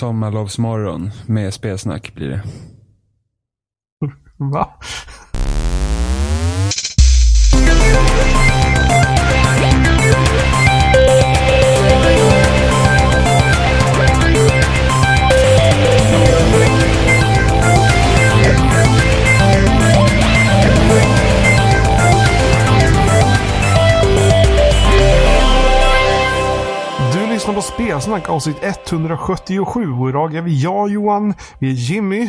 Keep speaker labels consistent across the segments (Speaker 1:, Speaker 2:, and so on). Speaker 1: Sommarlovsmorgon med spelsnack blir det.
Speaker 2: Va? Du lyssnar på Spelsnack avsnitt 177. Och idag är vi jag Johan, vi är Jimmy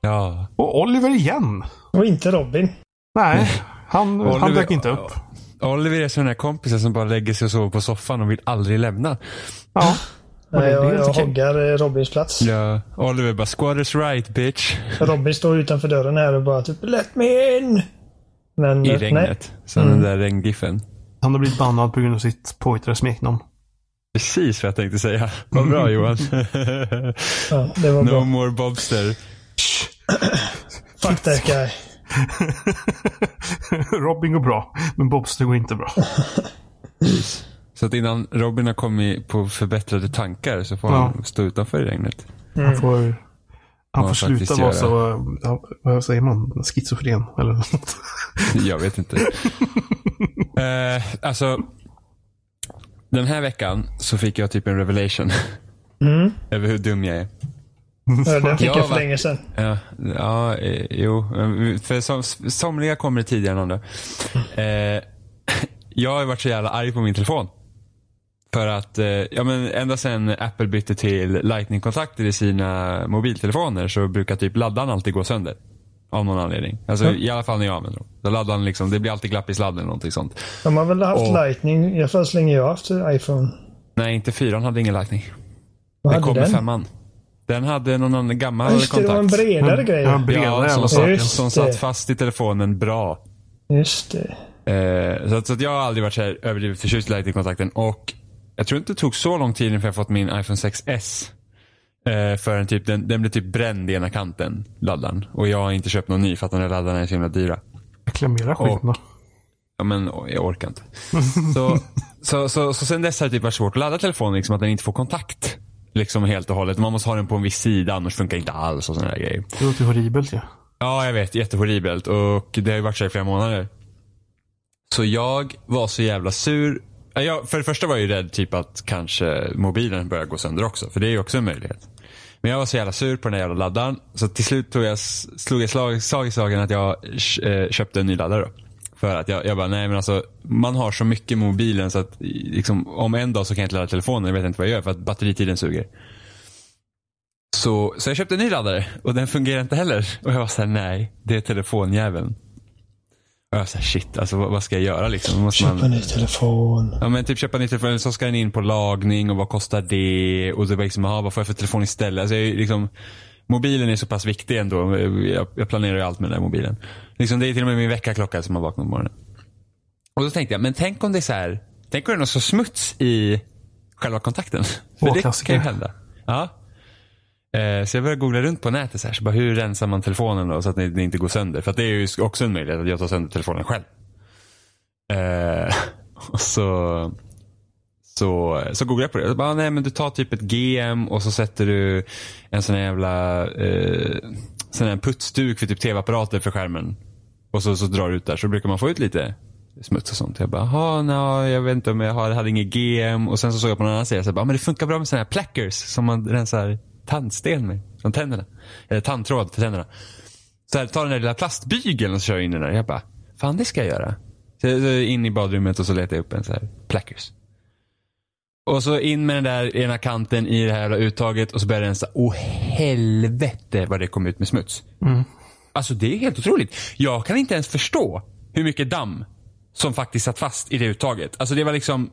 Speaker 1: Ja.
Speaker 2: och Oliver igen.
Speaker 3: Och inte Robin.
Speaker 2: Nej, han, han dök inte upp.
Speaker 1: Oliver är sån där kompisen som bara lägger sig och sover på soffan och vill aldrig lämna.
Speaker 2: Ja. Men det
Speaker 3: Nej,
Speaker 2: är
Speaker 3: jag,
Speaker 2: helt
Speaker 3: jag
Speaker 2: okej.
Speaker 3: hoggar eh, Robins plats.
Speaker 1: Ja. Oliver bara squatters right bitch.
Speaker 3: Robin står utanför dörren här och bara typ Let me in! Men,
Speaker 1: I
Speaker 3: eh, Nej,
Speaker 1: regnet. Som den där regngiffen.
Speaker 2: Han har blivit bannad på grund av sitt påhittade smeknamn.
Speaker 1: Precis vad jag tänkte säga. Vad bra Johan.
Speaker 3: ja, det var
Speaker 1: no
Speaker 3: bra.
Speaker 1: more Bobster.
Speaker 3: Fuck that guy.
Speaker 2: Robin går bra, men Bobster går inte bra.
Speaker 1: Så att innan Robin har kommit på förbättrade tankar så får han stå utanför i regnet.
Speaker 2: Han får, han får
Speaker 1: han faktiskt
Speaker 2: sluta vara
Speaker 1: göra.
Speaker 2: så, ja, vad säger man, schizofren eller något.
Speaker 1: Jag vet inte. eh, alltså, den här veckan så fick jag typ en revelation. Över hur dum jag är.
Speaker 3: Ja, Den fick
Speaker 1: Ja,
Speaker 3: jag för
Speaker 1: va?
Speaker 3: länge sedan.
Speaker 1: Ja, ja eh, jo. eh, För som, somliga kommer det tidigare än andra. Eh, jag har ju varit så jävla arg på min telefon. För att, eh, ja men ända sedan Apple bytte till Lightning-kontakter i sina mobiltelefoner så brukar typ laddaren alltid gå sönder. Av någon anledning. Alltså i alla fall när jag använder dem. Så laddaren liksom, det blir alltid glapp i sladden eller någonting sånt.
Speaker 3: De har väl haft
Speaker 1: Och-
Speaker 3: Lightning i alla fall så länge jag har haft iPhone.
Speaker 1: Nej, inte fyran hade ingen Lightning.
Speaker 3: Vad
Speaker 1: Den
Speaker 3: hade
Speaker 1: kom
Speaker 3: den?
Speaker 1: med femman. Den hade någon annan gammal
Speaker 3: Just det, det var en
Speaker 1: kontakt. Mm.
Speaker 3: bredare grej.
Speaker 2: Ja, breda
Speaker 1: Ja,
Speaker 2: jävla
Speaker 1: som,
Speaker 2: saker.
Speaker 1: satt,
Speaker 3: Just
Speaker 1: som
Speaker 3: det.
Speaker 1: satt fast i telefonen bra.
Speaker 3: Just det.
Speaker 1: Eh, så att, så att jag har aldrig varit så här överdrivet förtjust i Lightning-kontakten. Och jag tror inte det tog så lång tid innan jag fått min iPhone 6S. Eh, för en typ, den, den blev typ bränd i ena kanten, laddaren. Och jag har inte köpt någon ny för att de där laddarna är så himla dyra.
Speaker 2: Reklamera skiten då.
Speaker 1: Ja, men å- jag orkar inte. Så, så, så, så sen dess har det typ varit svårt att ladda telefonen, liksom, att den inte får kontakt. Liksom helt och hållet. Man måste ha den på en viss sida, annars funkar inte alls och sådana där grejer.
Speaker 2: Det låter ju horribelt ju.
Speaker 1: Ja, jag vet. Jättehorribelt. Och det har ju varit så i flera månader. Så jag var så jävla sur. Ja, Jag, för det första var jag ju rädd typ att kanske mobilen börjar gå sönder också. För det är ju också en möjlighet. Men jag var så jävla sur på den där jävla laddaren. Så till slut tog jag, slog jag slag, slag i slagen att jag eh, köpte en ny laddare. Då. För att jag, jag bara, nej men alltså man har så mycket i mobilen så att liksom, om en dag så kan jag inte ladda telefonen. Jag vet inte vad jag gör för att batteritiden suger. Så, så jag köpte en ny laddare och den fungerar inte heller. Och jag var såhär, nej, det är telefonjäveln. Och jag var såhär, shit, alltså vad, vad ska jag göra liksom? Måste
Speaker 3: Köpa en
Speaker 1: man,
Speaker 3: ny telefon.
Speaker 1: ja men typ köpa en ny telefon, så ska den in på lagning och vad kostar det? Och så var jag liksom, aha, vad får jag för telefon istället? Alltså jag är ju liksom, mobilen är så pass viktig ändå. Jag, jag planerar ju allt med den där mobilen. Liksom, det är till och med min väckarklocka som har vaknat på morgonen. Och då tänkte jag, men tänk om det är så här, tänk om det är någon så smuts i själva kontakten. För
Speaker 2: Åh,
Speaker 1: det
Speaker 2: klassiker.
Speaker 1: kan ju hända. Ja. Eh, Så jag började googla runt på nätet så här, så bara, hur rensar man telefonen då så att den inte går sönder? För att det är ju också en möjlighet att jag tar sönder telefonen själv. Eh, och så, så, så googlade jag på det. Jag bara, nej men du tar typ ett GM och så sätter du en sån här jävla eh, sån här putsduk för typ tv-apparater för skärmen. Och så, så drar du ut där så brukar man få ut lite smuts och sånt. Jag bara, jaha, no, jag vet inte om jag har, hade inget GM. Och sen så såg jag på någon annan sida, så jag bara, "Ah, men det funkar bra med såna här plackers som man rensar tandsten med. Från tänderna. Eller tandtråd för tänderna. Så här, tar den där lilla plastbygeln och så kör jag in den där. Jag bara, fan det ska jag göra. Så, så in i badrummet och så letar jag upp en så här plackers. Och så in med den där ena kanten i det här jävla uttaget och så börjar jag rensa. Åh helvete vad det kom ut med smuts. Alltså det är helt otroligt. Jag kan inte ens förstå hur mycket damm som faktiskt satt fast i det uttaget. Alltså det var liksom,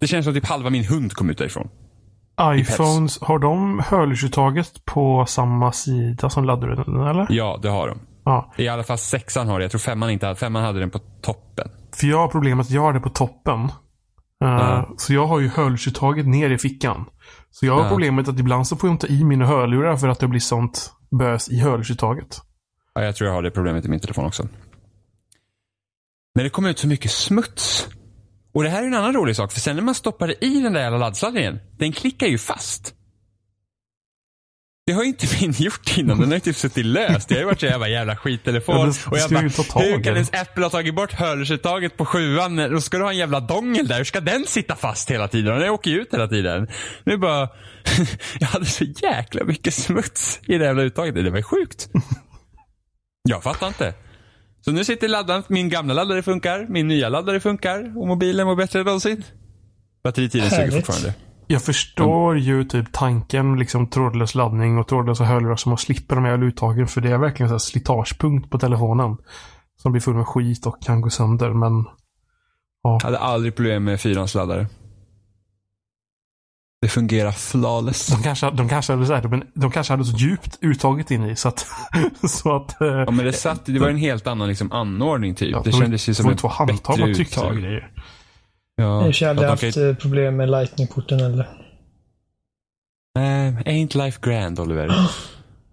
Speaker 1: det känns som typ halva min hund kom ut därifrån.
Speaker 2: iPhones, har de hörlursuttaget på samma sida som laddaren eller?
Speaker 1: Ja, det har de.
Speaker 2: Ja.
Speaker 1: I alla fall sexan har det. Jag tror femman inte hade, femman hade den på toppen.
Speaker 2: För jag har problemet att jag har det på toppen. Eh, Så jag har ju hörlursuttaget ner i fickan. Så jag har
Speaker 1: Ja.
Speaker 2: problemet att ibland så får jag inte i mina hörlurar för att det blir sånt bös i hörlursuttaget.
Speaker 1: Ja, jag tror jag har det problemet i min telefon också. Men det kom ut så mycket smuts. Och det här är en annan rolig sak, för sen när man stoppar i den där jävla laddsladden igen, den klickar ju fast. Det har inte min gjort innan. Den har ju typ suttit löst. Jag har ju varit så jävla jävla skittelefon.
Speaker 2: Ja, men det
Speaker 1: och jag
Speaker 2: ska ju ta
Speaker 1: bara,
Speaker 2: tag i
Speaker 1: hur
Speaker 2: den.
Speaker 1: kan ens Apple ha tagit bort hörlursuttaget på sjuan? Då ska du ha en jävla dongel där. Hur ska den sitta fast hela tiden? Den åker ju ut hela tiden. Nu bara, jag hade så jäkla mycket smuts i det jävla uttaget. Det var ju sjukt. Jag fattar inte. Så nu sitter laddaren, min gamla laddare funkar, min nya laddare funkar och mobilen mår bättre än någonsin. Batteritiden suger
Speaker 3: Härligt.
Speaker 1: fortfarande.
Speaker 2: Jag förstår ju typ tanken, liksom trådlös laddning och trådlösa hörlurar som man slipper de här uttagen. För det är verkligen så här slitagepunkt på telefonen. Som blir full med skit och kan gå sönder. Men
Speaker 1: Jag hade aldrig problem med fyrans laddare. Det fungerar flawless.
Speaker 2: de kanske, de kanske, hade, så här, de, de kanske hade så djupt uttaget in i så att... så att eh,
Speaker 1: Ja men det satt, det var en helt annan liksom anordning typ.
Speaker 2: ja,
Speaker 1: det kändes ju som
Speaker 2: får
Speaker 1: ett
Speaker 2: två handtag
Speaker 1: bättre
Speaker 2: och tryck och
Speaker 1: uttag.
Speaker 2: grejer.
Speaker 1: Ja,
Speaker 3: Jag har aldrig
Speaker 1: att de kan
Speaker 3: haft eh, problem med lightningporten eller.
Speaker 1: ju- Nej, Eh, ain't life grand Oliver.
Speaker 3: Ja.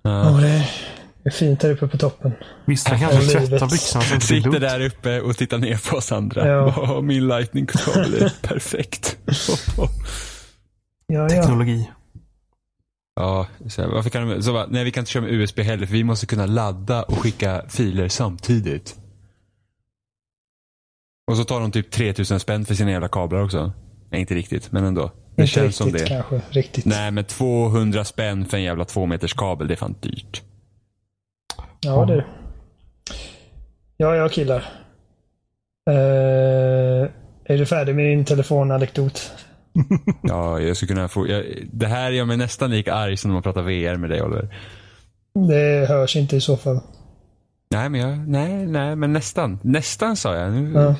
Speaker 1: Ja.
Speaker 3: det är- det är fint där uppe på toppen.
Speaker 2: Visst, de kanske
Speaker 3: livet.
Speaker 2: tvättar byxorna så att Alltså, det
Speaker 1: Sitter
Speaker 2: blir lugnt.
Speaker 1: där uppe och tittar ner på oss andra.
Speaker 3: Ja.
Speaker 1: Åh, min lightning control är perfekt.
Speaker 3: Ja, ja.
Speaker 2: Teknologi.
Speaker 1: Ja, så här, varför kan de, så bara, nej vi kan inte köra med USB heller för vi måste kunna ladda och skicka filer samtidigt. Och så tar de typ 3000 spänn för sina jävla kablar också. Nej, inte riktigt, men ändå. Det
Speaker 3: Inte
Speaker 1: känns som
Speaker 3: riktigt
Speaker 1: det.
Speaker 3: kanske. Riktigt.
Speaker 1: Nej, men 200 spänn för en jävla två meters kabel, det är fan dyrt.
Speaker 3: Ja,
Speaker 1: Mm.
Speaker 3: du. Ja, jag killar. Eh, är du färdig med din telefonanekdot?
Speaker 1: Ja, jag skulle kunna få, jag, det här gör mig nästan lika arg som när man pratar VR med dig Oliver.
Speaker 3: Det hörs inte i så fall.
Speaker 1: Nej, men jag, nej, nej, men nästan. Nästan sa jag. Nu,
Speaker 3: Ja.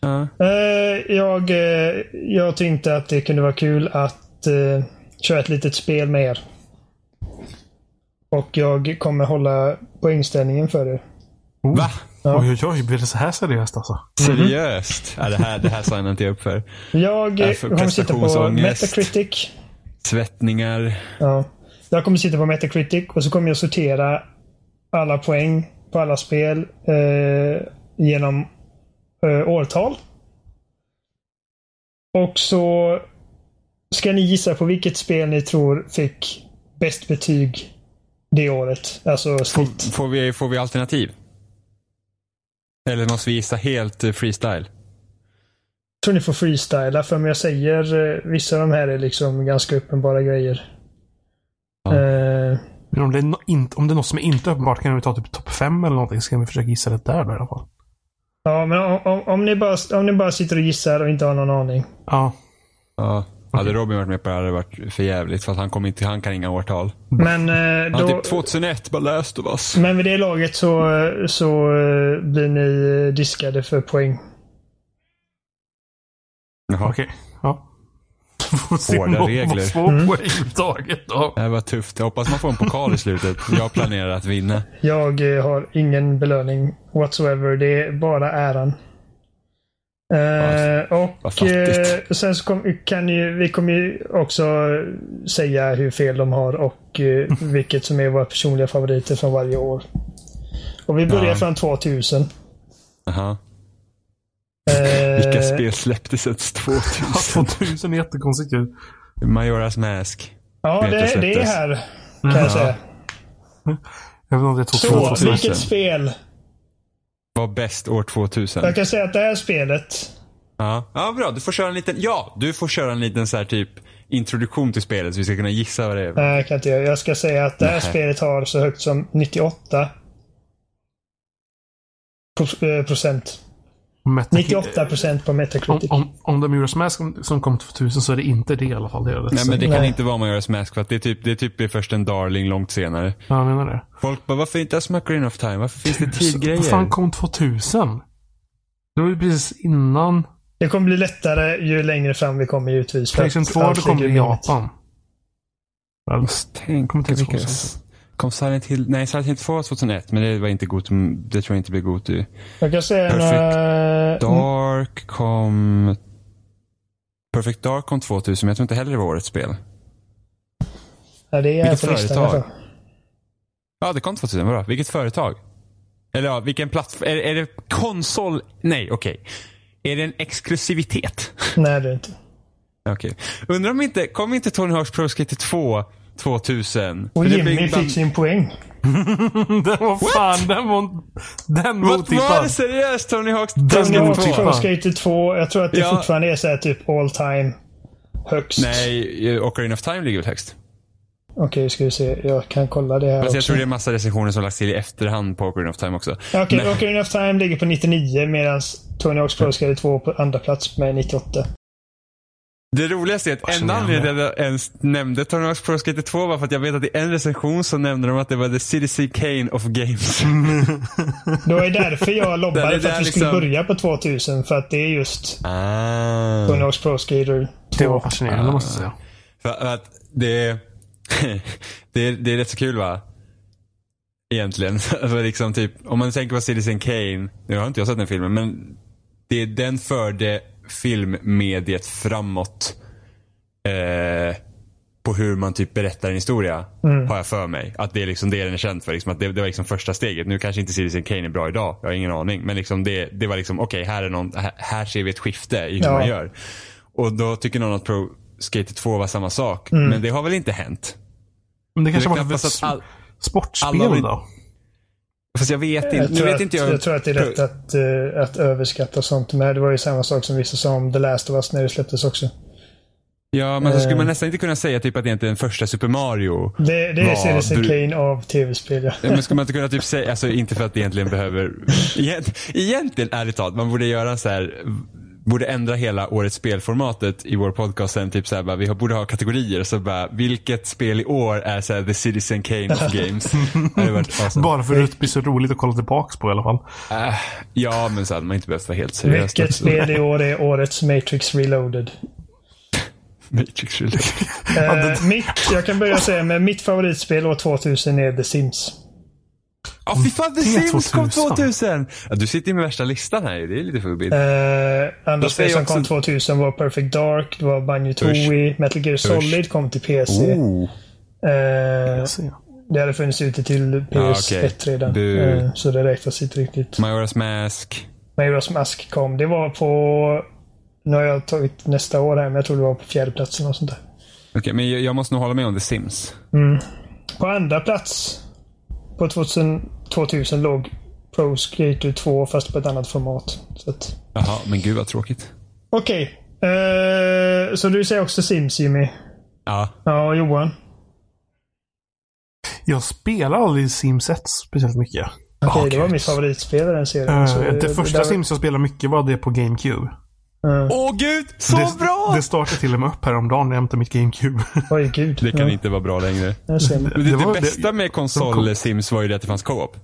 Speaker 1: ja.
Speaker 3: Eh, jag, eh, jag tänkte att det kunde vara kul att eh, köra ett litet spel med er. Och jag kommer hålla på inställningen för er.
Speaker 2: Oh.
Speaker 1: Va?
Speaker 2: Oj, oj, oj. Blir det så här seriöst alltså?
Speaker 1: Seriöst? Ja, det här, det här signar inte jag upp för.
Speaker 3: Jag
Speaker 1: Äh,
Speaker 3: eh,
Speaker 1: för
Speaker 3: kommer sitta på
Speaker 1: prestationsångest.
Speaker 3: Metacritic.
Speaker 1: Svettningar.
Speaker 3: Ja. Jag kommer sitta på Metacritic och så kommer jag sortera alla poäng på alla spel eh, genom eh, årtal. Och så ska ni gissa på vilket spel ni tror fick bäst betyg det året. Alltså snitt.
Speaker 1: Får vi, får vi alternativ? Eller måste vi gissa helt eh, freestyle?
Speaker 3: Jag tror ni får freestyla för om jag säger eh, vissa av de här är liksom ganska uppenbara grejer.
Speaker 1: Ja.
Speaker 3: Eh,
Speaker 2: Men om det, är no- inte, om det är något som är inte uppenbart kan vi ta typ topp fem eller någonting så kan vi försöka gissa det där då i alla fall.
Speaker 3: ja, men om, om, om, ni bara, om ni bara sitter och gissar och inte har någon aning.
Speaker 2: Ja,
Speaker 1: Ja. Hade Robin varit med på det hade det varit för jävligt för att han, kom inte, han kan inga årtal.
Speaker 3: Men, eh,
Speaker 1: Han
Speaker 3: då,
Speaker 1: har typ 2001 bara läst av oss.
Speaker 3: men vid det laget så, eh, så eh, blir ni eh, diskade för poäng.
Speaker 1: Jaha.
Speaker 2: okej. Ja. Får se
Speaker 1: Hårda
Speaker 2: om de-
Speaker 1: regler.
Speaker 2: vad svår
Speaker 3: Mm.
Speaker 2: poäng överhuvudtaget då.
Speaker 1: Det här var tufft. Jag hoppas man får en pokal i slutet. Jag planerar att vinna.
Speaker 3: Jag eh, har ingen belöning whatsoever. Det är bara äran. Eh,
Speaker 1: alltså, vad
Speaker 3: och eh,
Speaker 1: fattigt.
Speaker 3: sen så kom, kan ju, vi kommer ju också eh, säga hur fel de har och eh, vilket som är våra personliga favoriter från varje år. Och vi börjar
Speaker 1: Ja.
Speaker 3: från 2000.
Speaker 1: Aha.
Speaker 3: Eh,
Speaker 1: Vilka spel släpptes ens 2000?
Speaker 2: 2000 är jättekonstigt ju.
Speaker 1: Majoras Mask.
Speaker 3: Ja,
Speaker 1: vet jag
Speaker 3: det, det är
Speaker 1: släpptes.
Speaker 3: här. Kan jag säga.
Speaker 2: Jag vet inte om det tog
Speaker 3: Så,
Speaker 2: 2000.
Speaker 1: Tvåtusen.
Speaker 3: vilket spel?
Speaker 1: Var bäst år 2000.
Speaker 3: Jag kan säga att det här spelet
Speaker 1: Ja. ja, bra. Du får köra en liten, ja, du får köra en liten så här typ introduktion till spelet så vi ska kunna gissa vad det är.
Speaker 3: Nej, jag kan inte göra. Jag ska säga att det här
Speaker 1: Nej.
Speaker 3: spelet har så högt som 98 pro- eh, procent.
Speaker 2: Metac-
Speaker 3: 98 procent på
Speaker 2: Om,
Speaker 3: Metacritic.
Speaker 2: om, om det är Majora's Mask som- som kom 2000 så är det inte det i alla fall. Det är det.
Speaker 1: Nej men det kan
Speaker 3: Nej.
Speaker 1: inte vara Majoras Mask för att det är typ, det är typ blir först en darling långt senare.
Speaker 2: Ja, jag menar det.
Speaker 1: Folk bara, varför inte ens Macarin of Time? Varför finns det
Speaker 2: Vad fan
Speaker 1: tidgrejer?
Speaker 2: kom 2000? Det var ju precis innan
Speaker 3: Det kommer bli lättare ju längre fram vi kommer givetvis. för
Speaker 2: Playstation
Speaker 3: att
Speaker 2: 2 då
Speaker 3: allt
Speaker 2: kom det
Speaker 3: ligger
Speaker 2: i
Speaker 3: i minnet.
Speaker 2: Japan. Väl,
Speaker 1: Tänk
Speaker 2: Kommer inte
Speaker 1: vilka-
Speaker 2: ihåg sånt.
Speaker 1: Kom Silent Hill, nej Silent Hill 2 var 2001 men det var inte god, det tror jag inte blev god i.
Speaker 3: Jag kan säga
Speaker 1: Perfect
Speaker 3: några...
Speaker 1: Dark kom... Perfect Dark kom 2000 men jag tror inte heller det var årets spel.
Speaker 3: Nej, det är
Speaker 1: Vilket
Speaker 3: på listan. i
Speaker 1: företag?
Speaker 3: alla fall.
Speaker 1: Ja det kom 2000, vadå? Vilket företag? Eller ja, vilken plattform? Är, är det konsol? Nej, okej. Är det en exklusivitet?
Speaker 3: Nej, det är inte.
Speaker 1: Okej. Undrar om inte, kom inte Tony Hawk's Pro Skater 2 2000.
Speaker 3: Och
Speaker 1: För det blir
Speaker 3: Jimmy
Speaker 1: ibland-
Speaker 3: fick sin poäng.
Speaker 2: den var fan, den var... Den var
Speaker 1: Vad var det
Speaker 2: otippad.
Speaker 1: seriöst Tony Hawks
Speaker 2: Den
Speaker 3: Tony Hawk
Speaker 2: otippad.
Speaker 1: två?
Speaker 2: tippa.
Speaker 3: Pro Skater 2. Jag tror att det
Speaker 1: Ja.
Speaker 3: fortfarande är så här typ all time högst.
Speaker 1: Nej, eh, Ocarina of Time ligger väl högst.
Speaker 3: Okej, ska vi se. Jag kan kolla det här
Speaker 1: Fast Alltså,
Speaker 3: också.
Speaker 1: jag tror det är massa recensioner som lagts till i efterhand på Ocarina of Time också.
Speaker 3: Ja, Okej,
Speaker 1: Men-
Speaker 3: Ocarina of Time ligger på 99 medan Tony Hawk's Pro Skater 2 på andra plats med 98.
Speaker 1: Det roligaste är att
Speaker 2: som
Speaker 1: enda
Speaker 2: är det?
Speaker 1: anledningen till att jag ens nämnde Tony Hawk's Pro Skater 2 var för att jag vet att i en recension så nämnde de att det var the CDC Kane of Games.
Speaker 3: Det var ju därför jag
Speaker 1: Där
Speaker 3: lobbade
Speaker 1: är
Speaker 3: för att
Speaker 1: där
Speaker 3: vi skulle
Speaker 1: liksom-
Speaker 3: börja på 2000. För att det är just
Speaker 1: Ah.
Speaker 3: Tony Hawk's Pro Skater 2.
Speaker 2: Det var fascinerande måste jag säga.
Speaker 1: För att det, det, är, det är rätt så kul va? Egentligen. För liksom typ, om man tänker på Citizen Kane. Nu har inte jag sett den filmen men det, den förde filmmediet framåt. Eh, på hur man typ berättar en historia. Har jag för mig. Att det är liksom det den är känd för. Liksom, att det, det var liksom första steget. Nu kanske inte Citizen Kane är bra idag. Jag har ingen aning. Men liksom det, det var liksom okej här är någon, här, här ser vi ett skifte i hur
Speaker 3: Ja.
Speaker 1: man gör. Och då tycker någon att Pro Skater 2 var samma sak. Men det har väl inte hänt?
Speaker 2: Men det kanske
Speaker 1: Det är
Speaker 2: var ett
Speaker 1: knappast att all-
Speaker 2: sportspel
Speaker 1: alla vill-
Speaker 2: då?
Speaker 1: Fast jag vet
Speaker 3: Jag
Speaker 1: inte. Nu
Speaker 3: tror,
Speaker 1: vet
Speaker 3: att,
Speaker 1: inte
Speaker 3: jag...
Speaker 1: jag.
Speaker 3: tror att det är lätt att, eh, att överskatta sånt. Men det var ju samma sak som vissa sa om The Last of Us när det släpptes också.
Speaker 1: Ja, men så skulle
Speaker 3: Eh.
Speaker 1: man nästan inte kunna säga typ att det inte är den första Super Mario.
Speaker 3: Det, det är
Speaker 1: Vad
Speaker 3: Citizen
Speaker 1: du-
Speaker 3: Kane av tv-spel, ja.
Speaker 1: Ja, Men skulle man inte kunna typ säga, alltså inte för att det egentligen behöver. Egent- Egentligen, ärligt talat, man borde göra så här. Borde ändra hela årets spelformatet i vår podcast sen. Typ så här, bara, vi har- borde ha kategorier. Så bara, vilket spel i år är så här, the Citizen Kane of Games? Det hade varit awesome.
Speaker 2: Bara för att det blir så roligt att kolla tillbaks på i alla fall.
Speaker 1: Äh, ja, men så hade man inte behövt vara helt seriös.
Speaker 3: Vilket spel i år är årets Matrix Reloaded?
Speaker 1: Matrix Reloaded.
Speaker 3: Eh, mitt, jag kan börja säga med mitt favoritspel år 2000 är The Sims.
Speaker 1: Ja, fy fan, The
Speaker 2: Det är
Speaker 1: Sims kom
Speaker 2: 2000.
Speaker 1: 2000! Ja, du sitter ju med värsta listan här ju. Det är lite fubbigt.
Speaker 3: Eh, andra
Speaker 1: Då
Speaker 3: spel
Speaker 1: säger
Speaker 3: som
Speaker 1: jag också-
Speaker 3: kom 2000 var Perfect Dark, det var Banjo Tooie, Metal Gear Solid kom till PC.
Speaker 1: Oh.
Speaker 3: Eh,
Speaker 2: Jag ser.
Speaker 3: det hade funnits ute till PS1
Speaker 1: okej.
Speaker 3: redan.
Speaker 1: Bu.
Speaker 3: Eh, så det räknas inte riktigt.
Speaker 1: Majoras Mask.
Speaker 3: Majora's Mask kom. Det var på... Nu har jag tagit nästa år här, men jag tror det var på fjärde platsen och sånt där.
Speaker 1: Okej, men jag, jag måste nog hålla med om The Sims.
Speaker 3: På andra plats på 2000, 2000 låg Pro Skater 2 fast på ett annat format. Så att,
Speaker 1: Jaha, men gud vad tråkigt.
Speaker 3: Okej. Eh, så du säger också Sims, Jimmy?
Speaker 1: Ja.
Speaker 3: Ja, Johan?
Speaker 2: Jag spelar aldrig Sims 1 speciellt mycket.
Speaker 3: Okej, det var
Speaker 1: gud.
Speaker 3: mitt favoritspel i den serien.
Speaker 2: Eh,
Speaker 3: så
Speaker 2: det första
Speaker 3: där-
Speaker 2: Sims jag spelade mycket var det på GameCube.
Speaker 1: Åh gud, så
Speaker 2: det,
Speaker 1: bra!
Speaker 2: det startade till och med upp häromdagen när jag hämtade mitt GameCube.
Speaker 3: Oj, gud.
Speaker 1: Det kan
Speaker 3: ja,
Speaker 1: inte vara bra längre.
Speaker 3: där ser man.
Speaker 1: Men det,
Speaker 2: Det
Speaker 1: det,
Speaker 2: var- det-
Speaker 1: bästa med konsol-sims var ju det att det fanns co-op.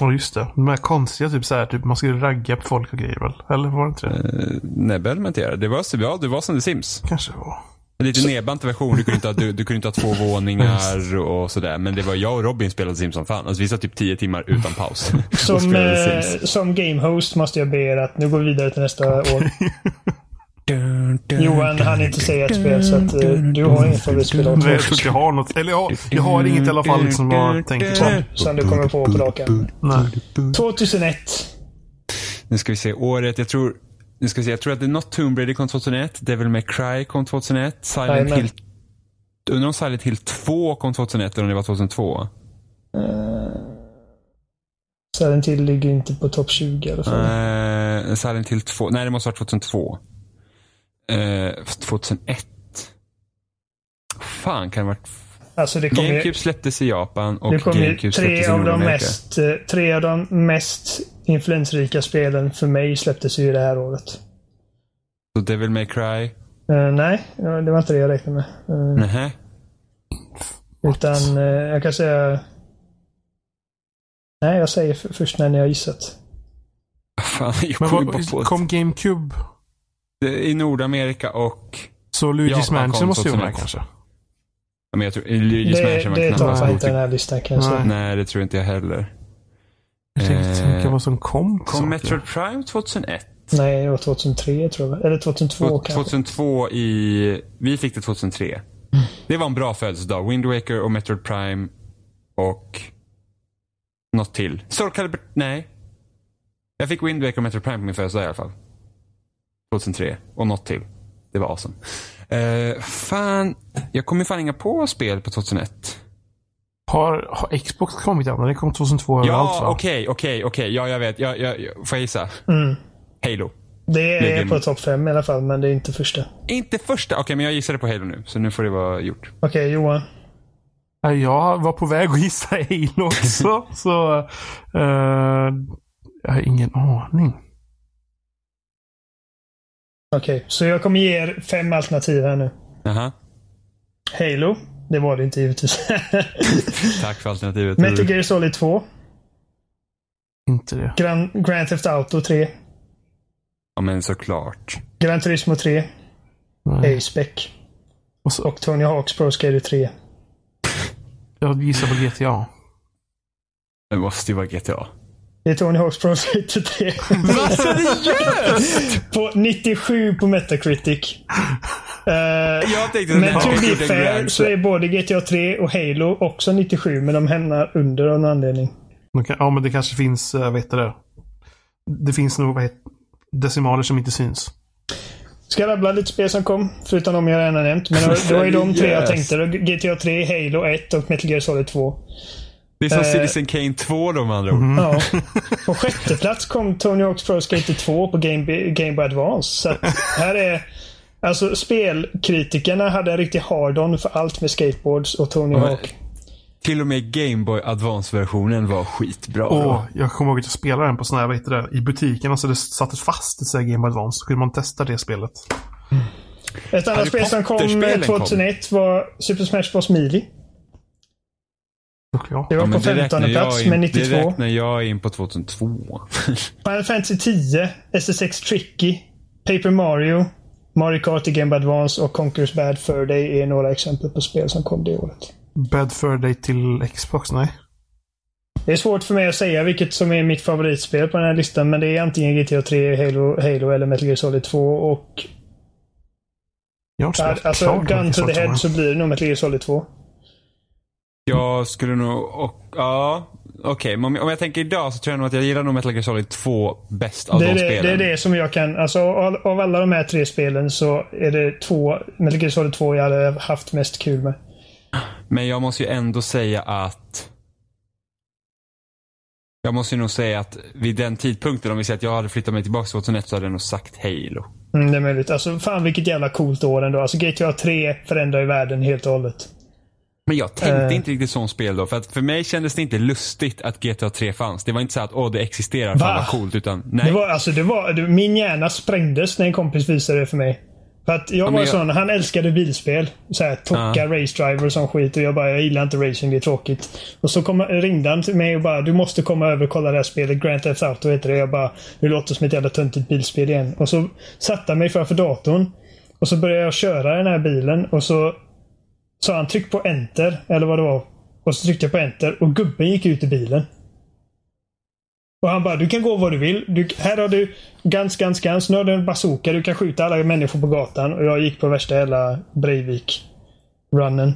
Speaker 2: Ja, just det. De här konstiga, typ så här, typ, man skulle ragga på folk och grejer väl? Eller var det inte
Speaker 1: Eh.
Speaker 2: det?
Speaker 1: Nej, behövde man inte göra. Det var, så- ja, det var som The Sims.
Speaker 2: Kanske det var.
Speaker 1: En lite nedbantad version. Du kunde, inte ha, du, du kunde inte ha två våningar och sådär. Men det var jag och Robin spelade Sims som fan. Alltså, vi satt typ tio timmar utan paus. och
Speaker 3: Som,
Speaker 1: spelade
Speaker 3: eh,
Speaker 1: Sims.
Speaker 3: som gamehost måste jag be er att nu går vi vidare till nästa år. eh, Johan han inte säga ett spel så att eh, du har inget favoritspel år
Speaker 2: Nej, jag
Speaker 3: 2000
Speaker 2: tror inte jag har något. Eller jag, jag har inget i alla fall liksom
Speaker 1: Mm.
Speaker 2: vad tänker på.
Speaker 3: som du kommer på på raken.
Speaker 2: Nej.
Speaker 3: 2001.
Speaker 1: Nu ska vi se året. Jag tror, nu ska vi se, jag tror att det är något Tomb Raider kom 2001. Devil May Cry kom 2001. Silent
Speaker 3: Jajamän.
Speaker 1: Hill. Undrar om Silent Hill 2 kom 2001 eller om det var 2002?
Speaker 3: Silent Eh, till ligger inte på topp 20 i alla fall.
Speaker 1: Uh, Silent Hill 2. Nej, det måste ha varit 2002. Eh, fast 2001. Fan, kan det ha varit...
Speaker 3: Alltså det kommer ju,
Speaker 1: GameCube släpptes i Japan och
Speaker 3: det kommer ju
Speaker 1: GameCube
Speaker 3: tre
Speaker 1: släpptes i
Speaker 3: av de
Speaker 1: Nordamerika.
Speaker 3: mest, eh, tre av de mest influensrika spelen för mig släpptes ju det här året.
Speaker 1: Så Devil May Cry.
Speaker 3: Eh, nej, ja, det var inte det jag räknade med. Eh,
Speaker 1: Nähä.
Speaker 3: utan eh, jag kan säga... Nej, jag säger f- först när ni har gissat.
Speaker 1: Fan, jag
Speaker 2: Men
Speaker 1: kom ju bara
Speaker 2: vad,
Speaker 1: på
Speaker 2: kom GameCube?
Speaker 1: I Nordamerika och...
Speaker 2: Så
Speaker 1: Japan
Speaker 2: Luigi's
Speaker 1: kom
Speaker 2: Mansion måste ju vara med
Speaker 1: 2001.
Speaker 2: kanske?
Speaker 1: Ja, Men jag tror... Luigi's
Speaker 3: Det,
Speaker 1: Mansion var
Speaker 3: det tar
Speaker 1: knappast
Speaker 3: fan inte
Speaker 1: godtyckligt.
Speaker 3: den här listan kan jag säga.
Speaker 2: Nej.
Speaker 1: Nej, det tror inte jag heller.
Speaker 2: Jag tänkte
Speaker 1: Eh,
Speaker 2: tänka vad som kom till saker.
Speaker 1: Kom Metroid Prime 2001?
Speaker 3: Nej, det var 2003 tror jag. Eller 2002 kanske.
Speaker 1: 2002 i... Vi fick det 2003. Det var en bra födelsedag. Wind Waker och Metroid Prime och något till. Soul Calibur... Nej. Jag fick Wind Waker och Metroid Prime på min födelsedag i alla fall. 2003. Och något till. Det var awesome. Eh, fan, jag kommer fan inga på spel på 2001.
Speaker 2: Har, har Xbox kommit än? Det kom 2002 överallt
Speaker 1: Ja,
Speaker 2: va?
Speaker 1: okej, okej, okej. Ja, jag vet. Jag, jag, jag, får jag gissa?
Speaker 3: Mm.
Speaker 1: Halo.
Speaker 3: Det
Speaker 1: Ligger
Speaker 3: är på
Speaker 1: mot-
Speaker 3: topp fem i alla fall, men det är inte första.
Speaker 1: Inte första. Okej, men jag gissade på Halo nu. Så nu får det vara gjort.
Speaker 3: Okej, Johan.
Speaker 2: Nej, Jag var på väg att gissa Halo också. så eh, jag har ingen aning.
Speaker 3: Okej, så jag kommer ge er fem alternativ här nu.
Speaker 1: Jaha.
Speaker 3: Halo. Det var det inte givetvis.
Speaker 1: Tack för alternativet.
Speaker 3: Metal Gear Solid 2.
Speaker 2: Inte det.
Speaker 3: Grand, Grand Theft Auto 3.
Speaker 1: Ja, men såklart.
Speaker 3: Gran Turismo 3.
Speaker 2: Nej.
Speaker 3: Aspec.
Speaker 2: Och så,
Speaker 3: Och Tony Hawk's Pro Skater 3.
Speaker 2: jag gissar på GTA.
Speaker 1: Det måste ju vara GTA.
Speaker 3: Det är Tony Hawk's Pro Skater 3.
Speaker 1: Vad seriöst?
Speaker 3: på 97 på Metacritic. Eh,
Speaker 1: Jag tänkte
Speaker 3: men to
Speaker 1: hade
Speaker 3: be
Speaker 1: gjort en
Speaker 3: fair
Speaker 1: grand
Speaker 3: så är både GTA 3 och Halo också 97, men de hamnar under av någon anledning.
Speaker 2: Man kan- Ja, men det kanske finns, eh, vet du det? Det finns nog vad heter, decimaler som inte syns.
Speaker 3: Ska jag rabbla lite spel som kom, förutom de jag redan nämnt. Men det var ju de tre jag tänkte. Det var GTA 3, Halo 1 och Metal Gear Solid 2.
Speaker 1: Det är som
Speaker 3: Eh. Mhm.
Speaker 1: Citizen Kane 2 de andra ord.
Speaker 3: Ja. På sjätte plats kom Tony Hawk's Pro Skater 2 på Game, Game Boy Advance. Så att här är... Alltså spelkritikerna hade en riktig hard-on för allt med skateboards och Tony
Speaker 1: men-
Speaker 3: Hawk.
Speaker 1: Till och med Game Boy Advance-versionen var skitbra.
Speaker 2: Åh,
Speaker 1: då.
Speaker 2: jag kommer ihåg att jag spelade den på sån här, vad heter det, i butiken. Alltså det sattes fast i så här Game Boy Advance. Så kunde man testa det spelet.
Speaker 3: Ett annat
Speaker 1: Harry
Speaker 3: spel som kom
Speaker 1: Potter-spelen kom.
Speaker 3: 2001 var Super Smash Bros. Melee.
Speaker 2: Och ja.
Speaker 3: Det var
Speaker 1: Ja, men
Speaker 3: på
Speaker 1: det
Speaker 3: 15
Speaker 1: räknar jag
Speaker 3: plats
Speaker 1: in-
Speaker 3: med
Speaker 1: Det
Speaker 3: 92.
Speaker 1: räknar jag in på 2002.
Speaker 3: Final Fantasy 10, SSX Tricky, Paper Mario, Mario Kart i Game Boy Advance och Conquer's Bad Fur Day är några exempel på spel som kom det året.
Speaker 2: Bad för dig till Xbox? Nej.
Speaker 3: Det är svårt för mig att säga vilket som är mitt favoritspel på den här listan, men det är antingen GTA 3, Halo, Halo eller Metal Gear Solid 2 och...
Speaker 2: Jag har inte spelat
Speaker 3: Alltså,
Speaker 2: klart
Speaker 3: Gun
Speaker 2: mycket
Speaker 3: to the
Speaker 2: sånt,
Speaker 3: Head
Speaker 2: men-
Speaker 3: så blir det nog Metal Gear Solid 2.
Speaker 1: Jag skulle nog... Och, ja, okej. men om, jag- om jag tänker idag så tror jag nog att jag gillar nog Metal Gear Solid 2 bäst av
Speaker 3: Det
Speaker 1: de
Speaker 3: är det,
Speaker 1: spelen.
Speaker 3: det är det som jag kan... Alltså, av, av alla de här tre spelen så är det två... Metal Gear Solid 2 jag hade haft mest kul med.
Speaker 1: Men jag måste ju ändå säga att... Jag måste ju nog säga att vid den tidpunkten, om vi säger att jag hade flyttat mig tillbaka till 2001 så hade jag nog sagt Halo.
Speaker 3: Mm, det är möjligt. Alltså, fan vilket jävla coolt år ändå. Alltså, GTA 3 förändrar ju världen helt och hållet.
Speaker 1: Men jag tänkte
Speaker 3: Eh.
Speaker 1: inte riktigt sånt spel då. För, att för mig kändes det inte lustigt att GTA 3 fanns. Det var inte så att åh, det existerar,
Speaker 3: Va?
Speaker 1: fan vad coolt. Utan nej.
Speaker 3: Det var, alltså, det var, det, min hjärna sprängdes när en kompis visade det för mig. För att jag
Speaker 1: men
Speaker 3: var
Speaker 1: jag-
Speaker 3: sån, han älskade bilspel. Så här, tocka race driver och sån skit. Och jag bara, jag gillar inte racing, det är tråkigt. Och så kom, ringde han till mig och bara, du måste komma över och kolla det här spelet. Grand Theft Auto heter det. Jag bara, nu låter det som ett jävla töntigt bilspel igen. Och så satte han mig framför datorn. Och så började jag köra den här bilen och så sa han tryck på enter, eller vad det var. Och så tryckte jag på enter och gubben gick ut i bilen. Och han bara, du kan gå var du vill. Du, här har du Guns, Guns, Guns. Nu har du en bazooka. Du kan skjuta alla människor på gatan. Och jag gick på värsta hela Breivik-runnen.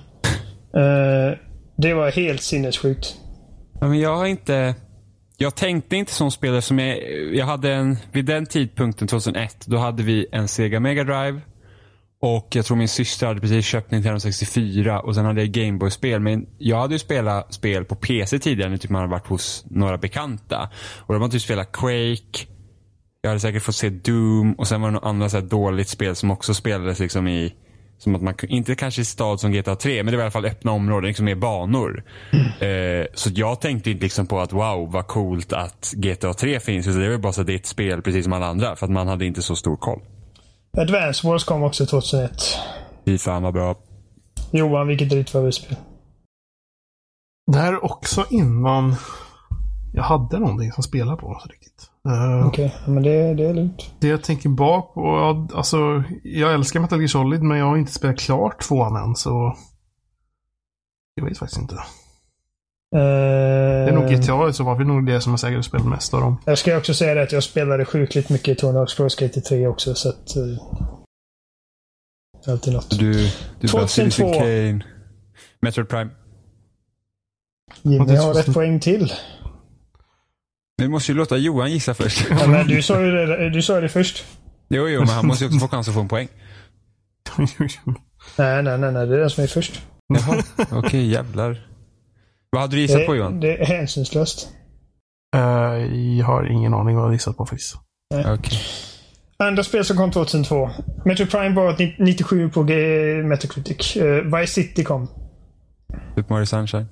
Speaker 3: Eh, det var helt sinnessjukt.
Speaker 1: Ja, men jag har inte... Jag tänkte inte som spelare som jag... Jag hade en... Vid den tidpunkten, 2001, då hade vi en Sega Mega Drive. Och jag tror min syster hade precis köpt Nintendo 64 och sen hade jag Gameboy-spel. Men jag hade ju spelat spel på PC tidigare när typ man hade varit hos några bekanta. Och de hade typ spelat Quake. Jag hade säkert fått se Doom och sen var det något annat så här dåligt spel som också spelades liksom i... Som att man, inte kanske i stad som GTA 3, men det var i alla fall öppna områden, liksom mer banor. Eh, så jag tänkte inte liksom på att wow, vad coolt att GTA 3 finns. Utan det var bara så att det är ett spel precis som alla andra. För att man hade inte så stor koll.
Speaker 3: Advance Wars kom också 2001.
Speaker 1: Fy fan vad bra.
Speaker 3: Johan, vilket är ditt favoritspel?
Speaker 2: Det här är också innan jag hade någonting som spelade på oss riktigt. Eh,
Speaker 3: Okej, ja, men det, det är lugnt.
Speaker 2: Det jag tänker bak på, ja, alltså jag älskar Metal Gear Solid men jag har inte spelat klart tvåan än så jag vet faktiskt inte.
Speaker 3: Eh,
Speaker 2: Det är nog GTA i så fall, för det är nog det som jag säkert har spelat mest av dem.
Speaker 3: Jag ska också säga det att jag spelade sjukligt mycket i Tony Hawk's Pro Skater 3 också, så att... eh, det är alltid något.
Speaker 1: Du, du bara
Speaker 3: 2002.
Speaker 1: Citizen Kane. Metroid Prime.
Speaker 3: Jimmy
Speaker 2: det är
Speaker 3: har
Speaker 2: så-
Speaker 3: ett poäng till.
Speaker 1: Vi måste ju låta Johan gissa först.
Speaker 3: Ja, men du sa ju det, du sa ju det först.
Speaker 1: Jo, jo, men han måste ju också få chans att få en poäng.
Speaker 3: Nej, nej, nej, nej. Det är den som är först.
Speaker 1: Jaha, okej jävlar. Vad hade du gissat
Speaker 3: Eh,
Speaker 1: på Johan?
Speaker 3: Det, det är hänsynslöst.
Speaker 2: Eh, jag har ingen aning vad jag gissat på faktiskt.
Speaker 1: Okej.
Speaker 3: Andra spel som kom 2002. Metro Prime var ett 97 på G- Metacritic. Eh, Vice City kom.
Speaker 1: Super Mario Sunshine.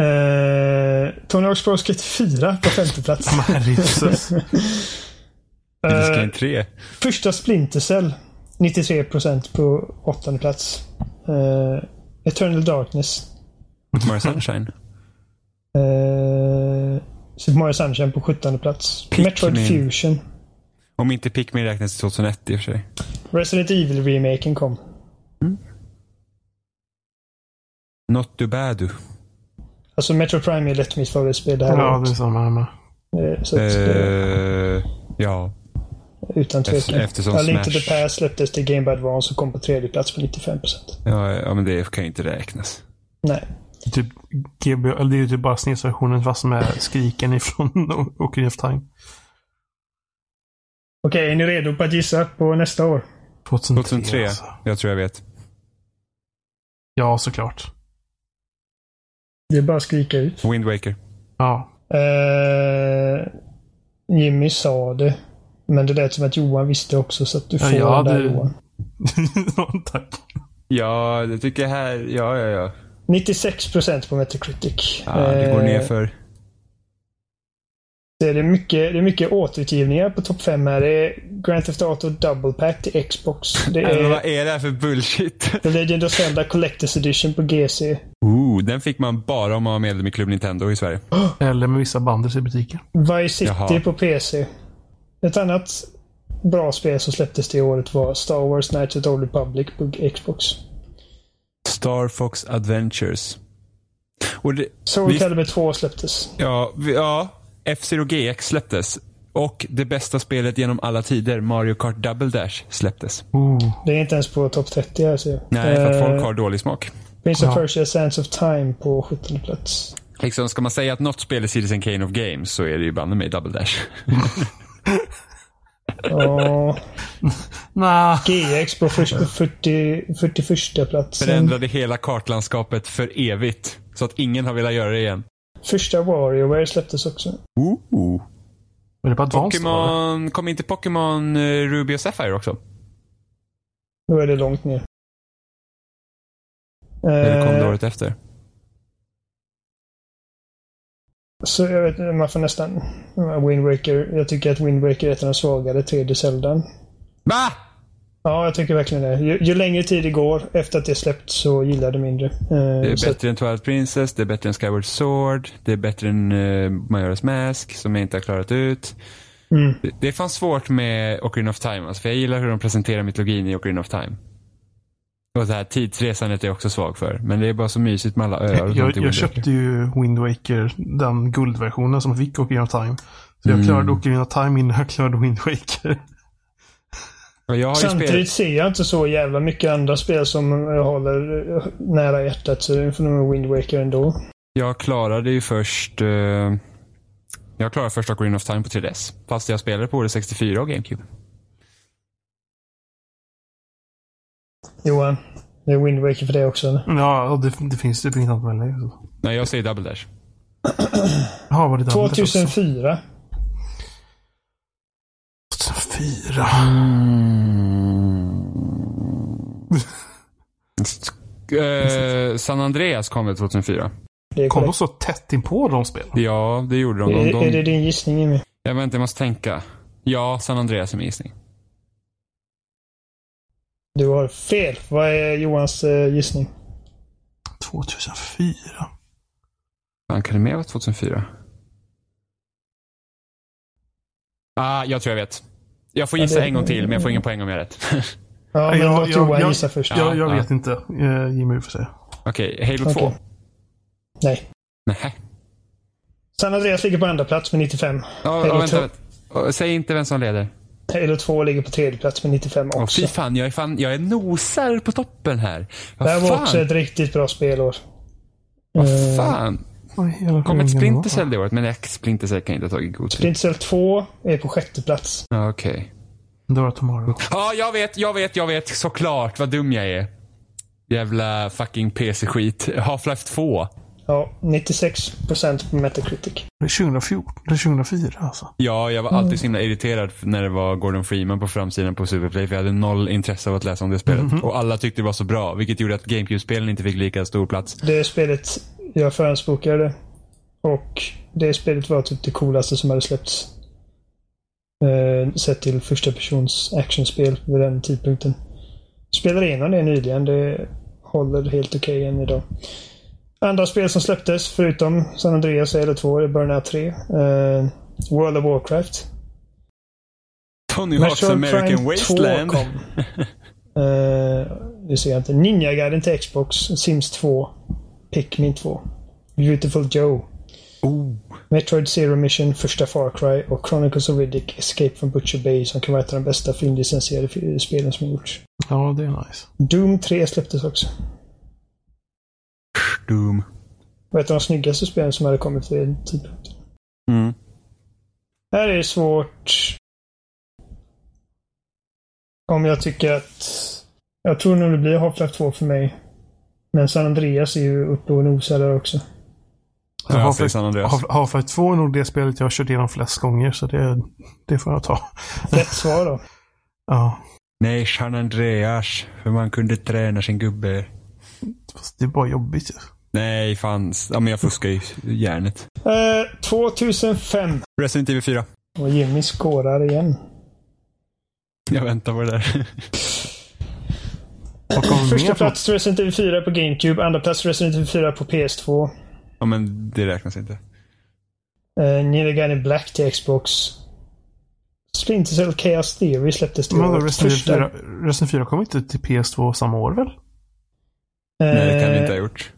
Speaker 3: Eh, Tony Hawk's Pro Skate 4 på femte plats.
Speaker 2: Marisus.
Speaker 1: Devil's
Speaker 3: Eh,
Speaker 1: Crying 3.
Speaker 3: Första Splinter Cell. 93% på åttonde plats. Eh, Eternal Darkness.
Speaker 1: Super Mario Sunshine.
Speaker 3: Eh, Super Mario Sunshine på sjuttonde plats.
Speaker 1: Pikmin.
Speaker 3: Metroid Fusion.
Speaker 1: Om inte Pikmin räknas till 2001 i och för sig.
Speaker 3: Resident Evil-remaken kom.
Speaker 1: Not too bad eh, du.
Speaker 3: Alltså Metro Prime är lätt mitt favoritspel det här
Speaker 2: ja,
Speaker 3: året.
Speaker 2: det är samma här med.
Speaker 3: Eh, Så att, eh,
Speaker 1: Eh, ja.
Speaker 3: utan tvekan.
Speaker 1: eft- eftersom
Speaker 3: ja, Link to
Speaker 1: Smash-
Speaker 3: the Past släpptes till Game Boy Advance och kom på tredje plats på 95%.
Speaker 1: ja. Ja, men det kan ju inte räknas.
Speaker 3: Nej.
Speaker 2: Typ GB, eller det är ju typ bara snedsversionen fast med skriken ifrån Ocarina of Time.
Speaker 3: Okej, är ni redo på att gissa på nästa år?
Speaker 2: 2003,
Speaker 1: 2003.
Speaker 2: Alltså.
Speaker 1: Jag tror jag vet.
Speaker 2: Ja, såklart.
Speaker 3: Det är bara att skrika ut.
Speaker 1: Wind Waker.
Speaker 2: Ja.
Speaker 3: Eh, Jimmy sa det. Men det lät som att Johan visste också så att du
Speaker 2: Ja,
Speaker 3: får
Speaker 2: jag
Speaker 3: den där
Speaker 2: hade-
Speaker 3: Johan.
Speaker 2: Tack.
Speaker 1: Ja, det tycker jag här. Ja, ja, ja.
Speaker 3: 96% på Metacritic.
Speaker 1: Ah, det går
Speaker 3: Eh,
Speaker 1: ner för.
Speaker 3: Det är, mycket, det är mycket återutgivningar på topp 5 här. Det är Grand Theft Auto Double Pack till Xbox. Det
Speaker 1: Äh, men
Speaker 3: är
Speaker 1: vad är det här för bullshit?
Speaker 3: The Legend of Zelda Collector's Edition på GC.
Speaker 1: Ooh, den fick man bara om man var medlem i Club Nintendo i Sverige.
Speaker 2: Eller med vissa banders i butiken.
Speaker 3: Vice City
Speaker 1: Jaha.
Speaker 3: på PC. Ett annat bra spel som släpptes det året var Star Wars Knights of the Old Republic på Xbox.
Speaker 1: Star Fox Adventures. Och det,
Speaker 3: Soul
Speaker 1: Vi-
Speaker 3: Calibur 2 släpptes.
Speaker 1: ja, vi- ja, F-Zero GX släpptes. Och det bästa spelet genom alla tider, Mario Kart Double Dash, släpptes.
Speaker 2: Oh.
Speaker 3: Det är inte ens på topp 30 här ser jag.
Speaker 1: Nej, för att
Speaker 3: Eh,
Speaker 1: folk har dålig smak.
Speaker 3: Prince of
Speaker 2: Ja.
Speaker 3: Persia Sands of Time på 17 plats.
Speaker 1: Liksom, ska man säga att något spel är Citizen Kane of Games så är det ju banne mig Double Dash.
Speaker 3: Och
Speaker 2: Nah.
Speaker 3: GX på för- 40, 41 plats. Mm.
Speaker 1: Förändrade hela kartlandskapet för evigt. Så att ingen har velat göra det igen.
Speaker 3: Första WarioWare släpptes också.
Speaker 1: Ooh.
Speaker 2: Var det på Advanced? var det?
Speaker 1: Pokémon, kom inte Pokémon eh, Ruby och Sapphire också?
Speaker 3: Då är det långt ner.
Speaker 1: Eller kom det
Speaker 3: Eh,
Speaker 1: året efter?
Speaker 3: Så jag vet inte, man får nästan... eh, Wind Waker. Jag tycker att Wind Waker är ett av de svagare 3D Zeldan.
Speaker 1: Va?
Speaker 3: Ja, jag tycker verkligen det. Ju, ju längre tid det går efter att det är släppt så gillar jag det mindre. Eh,
Speaker 1: Det är
Speaker 3: så att-
Speaker 1: bättre än Twilight Princess, det är bättre än Skyward Sword, det är bättre än uh, Majora's Mask som jag inte har klarat ut.
Speaker 3: Mm.
Speaker 1: Det, det är fan svårt med Ocarina of Time, alltså, för jag gillar hur de presenterar mytologin i Ocarina of Time. Och det här tidsresandet är jag också svag för, men det är bara så mysigt med alla öar och
Speaker 2: Jag,
Speaker 1: sånt i
Speaker 2: jag
Speaker 1: Wind Waker.
Speaker 2: köpte ju Wind Waker, den guldversionen som fick Ocarina of Time. Så
Speaker 1: Mm.
Speaker 2: jag klarade Ocarina of Time innan jag klarade Wind Waker.
Speaker 1: Och jag har ju
Speaker 3: Samtidigt
Speaker 1: spelat,
Speaker 3: ser jag inte så jävla mycket andra spel som jag håller eh, nära hjärtat så det får nog Wind Waker ändå.
Speaker 1: jag klarade ju först eh, jag klarade först Ocarina of Time på 3DS. Fast jag spelade på både 64 och GameCube.
Speaker 3: Johan, det är Wind Waker för dig också eller?
Speaker 2: Ja, det, det finns typ inget annat med det. så.
Speaker 1: Nej, jag säger Double
Speaker 3: Mm.
Speaker 1: Dash.
Speaker 2: Jaha, var det den?
Speaker 3: 2004.
Speaker 2: 2004.
Speaker 1: Eh, San Andreas kom väl 2004?
Speaker 3: Det är
Speaker 2: Kom de
Speaker 3: korrekt.
Speaker 2: så tätt in på de spelen?
Speaker 1: Ja, det gjorde de. de,
Speaker 3: Är,
Speaker 1: de...
Speaker 3: är det din gissning Jimmy?
Speaker 1: Jag väntar, jag måste tänka. Ja, San Andreas är min gissning.
Speaker 3: Du har fel. Vad är Johans eh, gissning?
Speaker 2: 2004.
Speaker 1: Fan, kan det mer vara 2004? Ah, jag tror jag vet. Jag får gissa
Speaker 3: Ja, det-
Speaker 1: en gång till, men jag får ingen poäng om jag har rätt.
Speaker 3: Ja, men
Speaker 2: jag-
Speaker 3: låt
Speaker 2: jag-
Speaker 3: Johan
Speaker 2: jag-
Speaker 3: gissa först.
Speaker 1: Ja,
Speaker 2: jag jag
Speaker 1: ja.
Speaker 2: vet inte. Eh, Jimmy får säga.
Speaker 1: Okej, Halo 2.
Speaker 3: Okej. Nej.
Speaker 1: Nej.
Speaker 3: San Andreas ligger på andra plats med 95.
Speaker 1: Ja,
Speaker 3: Halo
Speaker 1: ja, vänta,
Speaker 3: 2.
Speaker 1: vänta. Ja, Säg inte vem som leder.
Speaker 3: Halo 2 ligger på tredje plats med 95
Speaker 1: Åh,
Speaker 3: också.
Speaker 1: fy fan, jag är fan, jag är nosar på toppen här.
Speaker 3: det här
Speaker 1: Vad
Speaker 3: var också
Speaker 1: fan?
Speaker 3: ett riktigt bra Eh, spelår.
Speaker 1: Vad fan?
Speaker 2: Oj, hela
Speaker 1: Kom ett
Speaker 2: skärmen
Speaker 1: Splinter
Speaker 2: var-
Speaker 1: Cell det året, men nej, Splinter Cell kan jag inte ha tagit god tid.
Speaker 3: Splinter Cell 2 är på sjätte plats.
Speaker 1: Ja, Ah, Okej.
Speaker 2: Dora Tomorrow.
Speaker 1: Ja, jag vet, jag vet, jag vet. Såklart vad dum jag är. Jävla fucking PC-skit. Half-Life 2.
Speaker 3: Ja, 96% på Metacritic.
Speaker 2: Det är 2014, det är 2004 alltså.
Speaker 1: Ja, jag var alltid så himla irriterad när det var Gordon Freeman på framsidan på Superplay. För jag hade noll intresse av att läsa om det spelet. Och alla tyckte det var så bra. Vilket gjorde att GameCube-spelen inte fick lika stor plats.
Speaker 3: Det spelet jag förhandsbokade. Och det spelet var typ det coolaste som hade släppts. Eh, sett till första persons actionspel vid den tidpunkten. Spelade igenom det nyligen. Det håller helt okej än idag. Andra spel som släpptes, förutom San Andreas är det två, det är Burnout 3. Eh, World of Warcraft.
Speaker 1: Tony Hawk's American Wasteland.
Speaker 3: 2 kom. Eh, det ser jag inte. Ninja-guiden till Xbox, Sims 2, Pikmin 2, Beautiful Joe,
Speaker 1: Oh.
Speaker 3: Metroid Zero Mission, första Far Cry och Chronicles of Riddick, Escape from Butcher Bay som kan vara ett av de bästa filmlicensierade fi- spelen som har gjorts.
Speaker 2: Ja, det är nice.
Speaker 3: Doom 3 släpptes också.
Speaker 1: Doom.
Speaker 3: Och ett av de snyggaste spelen som hade kommit vid den tidpunkten.
Speaker 1: Mm.
Speaker 3: Här är det svårt. Om jag tycker att... Jag tror nog det blir Half-Life 2 för mig. Men San Andreas är ju uppe och nosar där också.
Speaker 1: Ja, jag säger
Speaker 2: Half-Life
Speaker 1: San Andreas.
Speaker 2: Half- Half-Life 2 är nog det spelet jag har kört igenom flest gånger, så det, det får jag ta.
Speaker 3: Rätt svar då.
Speaker 2: Ja,
Speaker 1: Nej, San Andreas. Hur man kunde träna sin gubbe.
Speaker 2: fast det är bara jobbigt ju.
Speaker 1: Nej, fan. Ja, men jag fuskar ju hjärnet.
Speaker 3: Eh, 2005.
Speaker 1: Resident Evil 4.
Speaker 3: Och Jimmy skårar igen.
Speaker 1: Jag väntar på det där.
Speaker 2: Vad kommer mer
Speaker 3: Första
Speaker 2: på?
Speaker 3: plats Resident Evil 4 på GameCube. Andra plats Resident Evil 4 på PS2.
Speaker 1: Ja, men det räknas inte.
Speaker 3: Uh, Nirigani Black till Xbox. Splinter Cell Chaos Theory släpptes det
Speaker 2: Men
Speaker 3: året.
Speaker 2: Resident Evil
Speaker 3: Första-
Speaker 2: 4, Resident 4 kom inte till PS2 samma år väl?
Speaker 1: Nej, det kan vi
Speaker 3: Eh,
Speaker 1: inte ha gjort.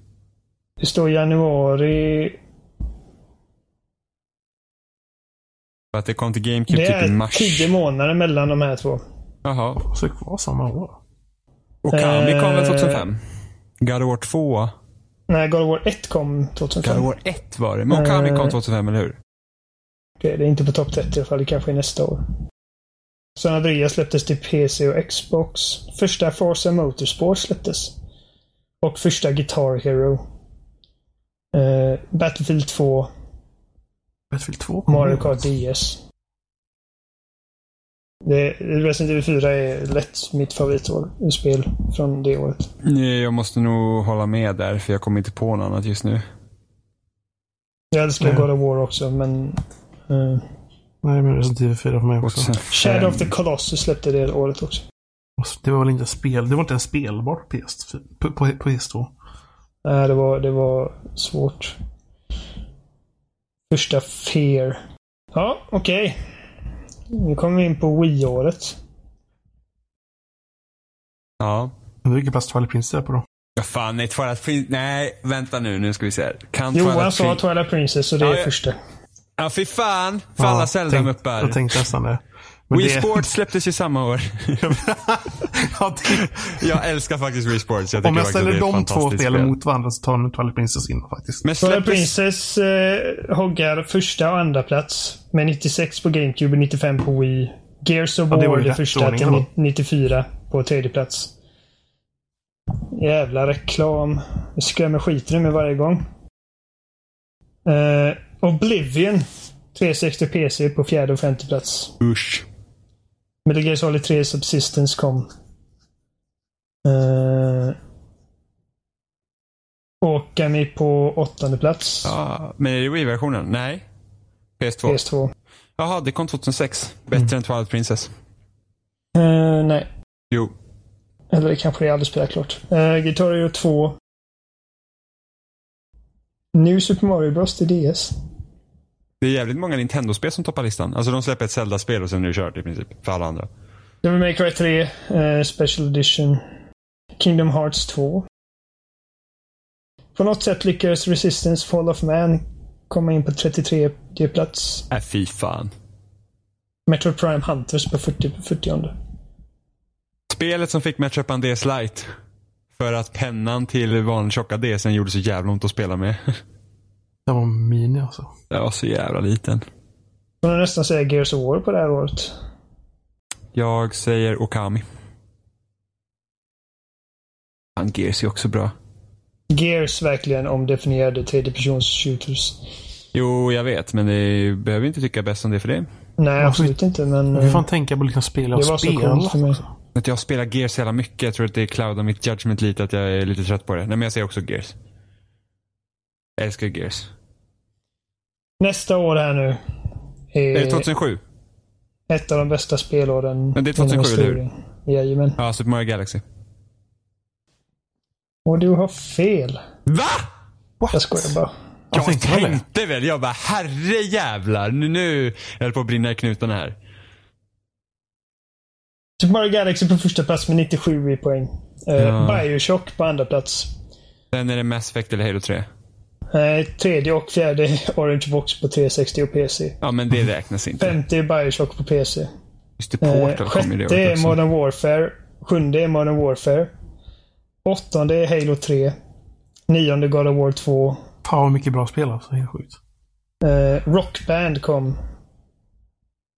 Speaker 3: Det står januari
Speaker 1: För att det kom till GameCube
Speaker 3: Det
Speaker 1: typ i
Speaker 3: är
Speaker 1: mars.
Speaker 3: tio månader mellan de här två.
Speaker 1: Jaha.
Speaker 2: Så det var samma år.
Speaker 1: Och Kami kom väl
Speaker 3: Eh.
Speaker 1: 2005? God of War 2?
Speaker 3: Nej, God of War 1 kom
Speaker 1: God
Speaker 3: 2005.
Speaker 1: of
Speaker 3: Okej,
Speaker 1: War 1 var det. Men Okami
Speaker 3: Eh.
Speaker 1: kom 2005, eller hur?
Speaker 3: det är inte på topp 30 i alla fall. Det kanske är nästa år. San Andreas släpptes till PC och Xbox. Första Forza Motorsport släpptes. Och första Guitar Hero. Eh, Battlefield 2,
Speaker 2: Battlefield 2 kom
Speaker 3: Mario
Speaker 2: ju.
Speaker 1: Mm.
Speaker 3: Kart DS. Det, Resident Evil 4 är lätt mitt favoritspel från det året.
Speaker 1: Nej, jag måste nog hålla med där, för jag kommer inte på något annat just nu.
Speaker 3: Jag älskar
Speaker 2: Mm.
Speaker 3: God of War också, men... eh,
Speaker 2: Nej, men Resident Evil 4 för mig också.
Speaker 1: 2005.
Speaker 3: Shadow
Speaker 1: Ehm.
Speaker 3: of the Colossus släppte det året också.
Speaker 2: Det var väl inte spel. Det var inte en spelbar PS4, på, på, på PS2.
Speaker 3: Nej, det var, det var svårt. Första Fear. Ja, okej. Nu kommer vi in på Wii-året.
Speaker 1: Ja.
Speaker 2: Men vilken plats Twilight Prince är på då?
Speaker 1: Ja, fan, nej, Twilight Prince. Nej, vänta nu. Nu ska vi se här. Kan
Speaker 3: Johan
Speaker 1: Twilight
Speaker 3: sa
Speaker 1: Prince...
Speaker 3: Twilight Princess och det
Speaker 1: Ja,
Speaker 3: är
Speaker 1: ja.
Speaker 3: första.
Speaker 1: Ja, fy fan. För alla Zelda-muppar.
Speaker 2: Jag tänkte nästan det. Men
Speaker 1: Wii
Speaker 2: det-
Speaker 1: Sports släpptes ju samma år.
Speaker 2: ja, det,
Speaker 1: jag älskar faktiskt Wii Sports. Jag tycker
Speaker 2: om jag
Speaker 1: faktiskt att det
Speaker 2: ställer
Speaker 1: är ett
Speaker 2: de två
Speaker 1: fantastiskt
Speaker 2: spelen
Speaker 1: spel.
Speaker 2: mot varandra så tar nog Twilight Princess in faktiskt.
Speaker 1: Men
Speaker 3: Twilight
Speaker 1: släpptes...
Speaker 3: Princess eh, hoggar första och andra plats med 96 på GameCube och 95 på Wii. Gears of
Speaker 2: Ja,
Speaker 3: War
Speaker 2: det var
Speaker 3: det,
Speaker 2: ju rätt
Speaker 3: första
Speaker 2: ordning
Speaker 3: till
Speaker 2: ändå.
Speaker 3: 94 på tredje plats. Jävla reklam. Det skrämmer skiten ur mig varje gång. Eh, Oblivion 360 PC på fjärde och femte plats.
Speaker 1: Usch.
Speaker 3: Metal Gear Solid 3 Subsistence kom. Eh, Okami på åttonde plats.
Speaker 1: Ja, men är det Wii-versionen? Nej. PS2.
Speaker 3: PS2.
Speaker 1: Jaha, det kom 2006. Bättre än Twilight Princess.
Speaker 3: Eh, nej.
Speaker 1: Jo.
Speaker 3: Eller det kanske jag aldrig spelar klart. Uh, Guitar Hero 2. New Super Mario Bros till DS.
Speaker 1: Det är jävligt många Nintendo-spel som toppar listan. Alltså de släpper ett Zelda-spel och sen är det kört i princip. För alla andra.
Speaker 3: Devil May Cry 3 eh, Special Edition. Kingdom Hearts 2. På något sätt lyckades Resistance Fall of Man komma in på 33 plats.
Speaker 1: Äh, fy fan.
Speaker 3: Metro Prime Hunters på 40, 40.
Speaker 1: Spelet som fick mig att köpa en DS Lite. För att pennan till vanlig tjocka DSen gjorde så jävla ont att spela med.
Speaker 2: Det var mini alltså.
Speaker 3: Mm.
Speaker 1: Jag var så jävla liten.
Speaker 3: Man kan nästan säga Gears of War på det här året.
Speaker 1: Jag säger Okami. Han Gears är också bra.
Speaker 3: Gears verkligen omdefinierade tredjepersons shooters.
Speaker 1: Jo, jag vet, men det behöver inte tycka bäst om det för det.
Speaker 3: Nej, absolut inte. Men
Speaker 2: Jag får
Speaker 3: eh,
Speaker 2: fan tänka på liksom spela och
Speaker 3: det var så coolt för
Speaker 2: spela.
Speaker 3: mig.
Speaker 1: Att jag spelar Gears så jävla mycket. Jag tror att det cloudar mitt judgment lite att jag är lite trött på det. Nej, men jag säger också Gears. Jag älskar Gears.
Speaker 3: Nästa år här nu. Är,
Speaker 1: Är det 2007?
Speaker 3: ett av de bästa spelåren.
Speaker 1: Men det är
Speaker 3: inom
Speaker 1: 2007, eller hur?
Speaker 3: historien. Jajamän.
Speaker 1: Ja, Super Mario Galaxy.
Speaker 3: Och du har fel.
Speaker 1: Va?
Speaker 3: Jag skojar bara.
Speaker 1: Jag
Speaker 2: Jag tänkte väl det.
Speaker 1: tänkte väl. Jag bara, herre jävlar. Nu, nu. Jag höll på att brinna i knutarna här.
Speaker 3: Super Mario Galaxy på första plats med 97 i poäng. Eh,
Speaker 1: Ja.
Speaker 3: Bioshock på andra plats.
Speaker 1: Sen är det Mass Effect eller Halo 3.
Speaker 3: Eh, tredje och fjärde är Orange Box på 360 och PC.
Speaker 1: Ja, men det räknas inte.
Speaker 3: Femte är Bioshock på PC.
Speaker 1: Just det,
Speaker 3: Eh,
Speaker 1: Portal kom ju det
Speaker 3: sjätte
Speaker 1: året
Speaker 3: är
Speaker 1: också.
Speaker 3: Modern Warfare. Sjunde är Modern Warfare. Åttonde är Halo 3. Nionde God of War 2.
Speaker 2: Fan vad mycket bra spel alltså. Helt sjukt.
Speaker 3: Eh, Rock Band kom.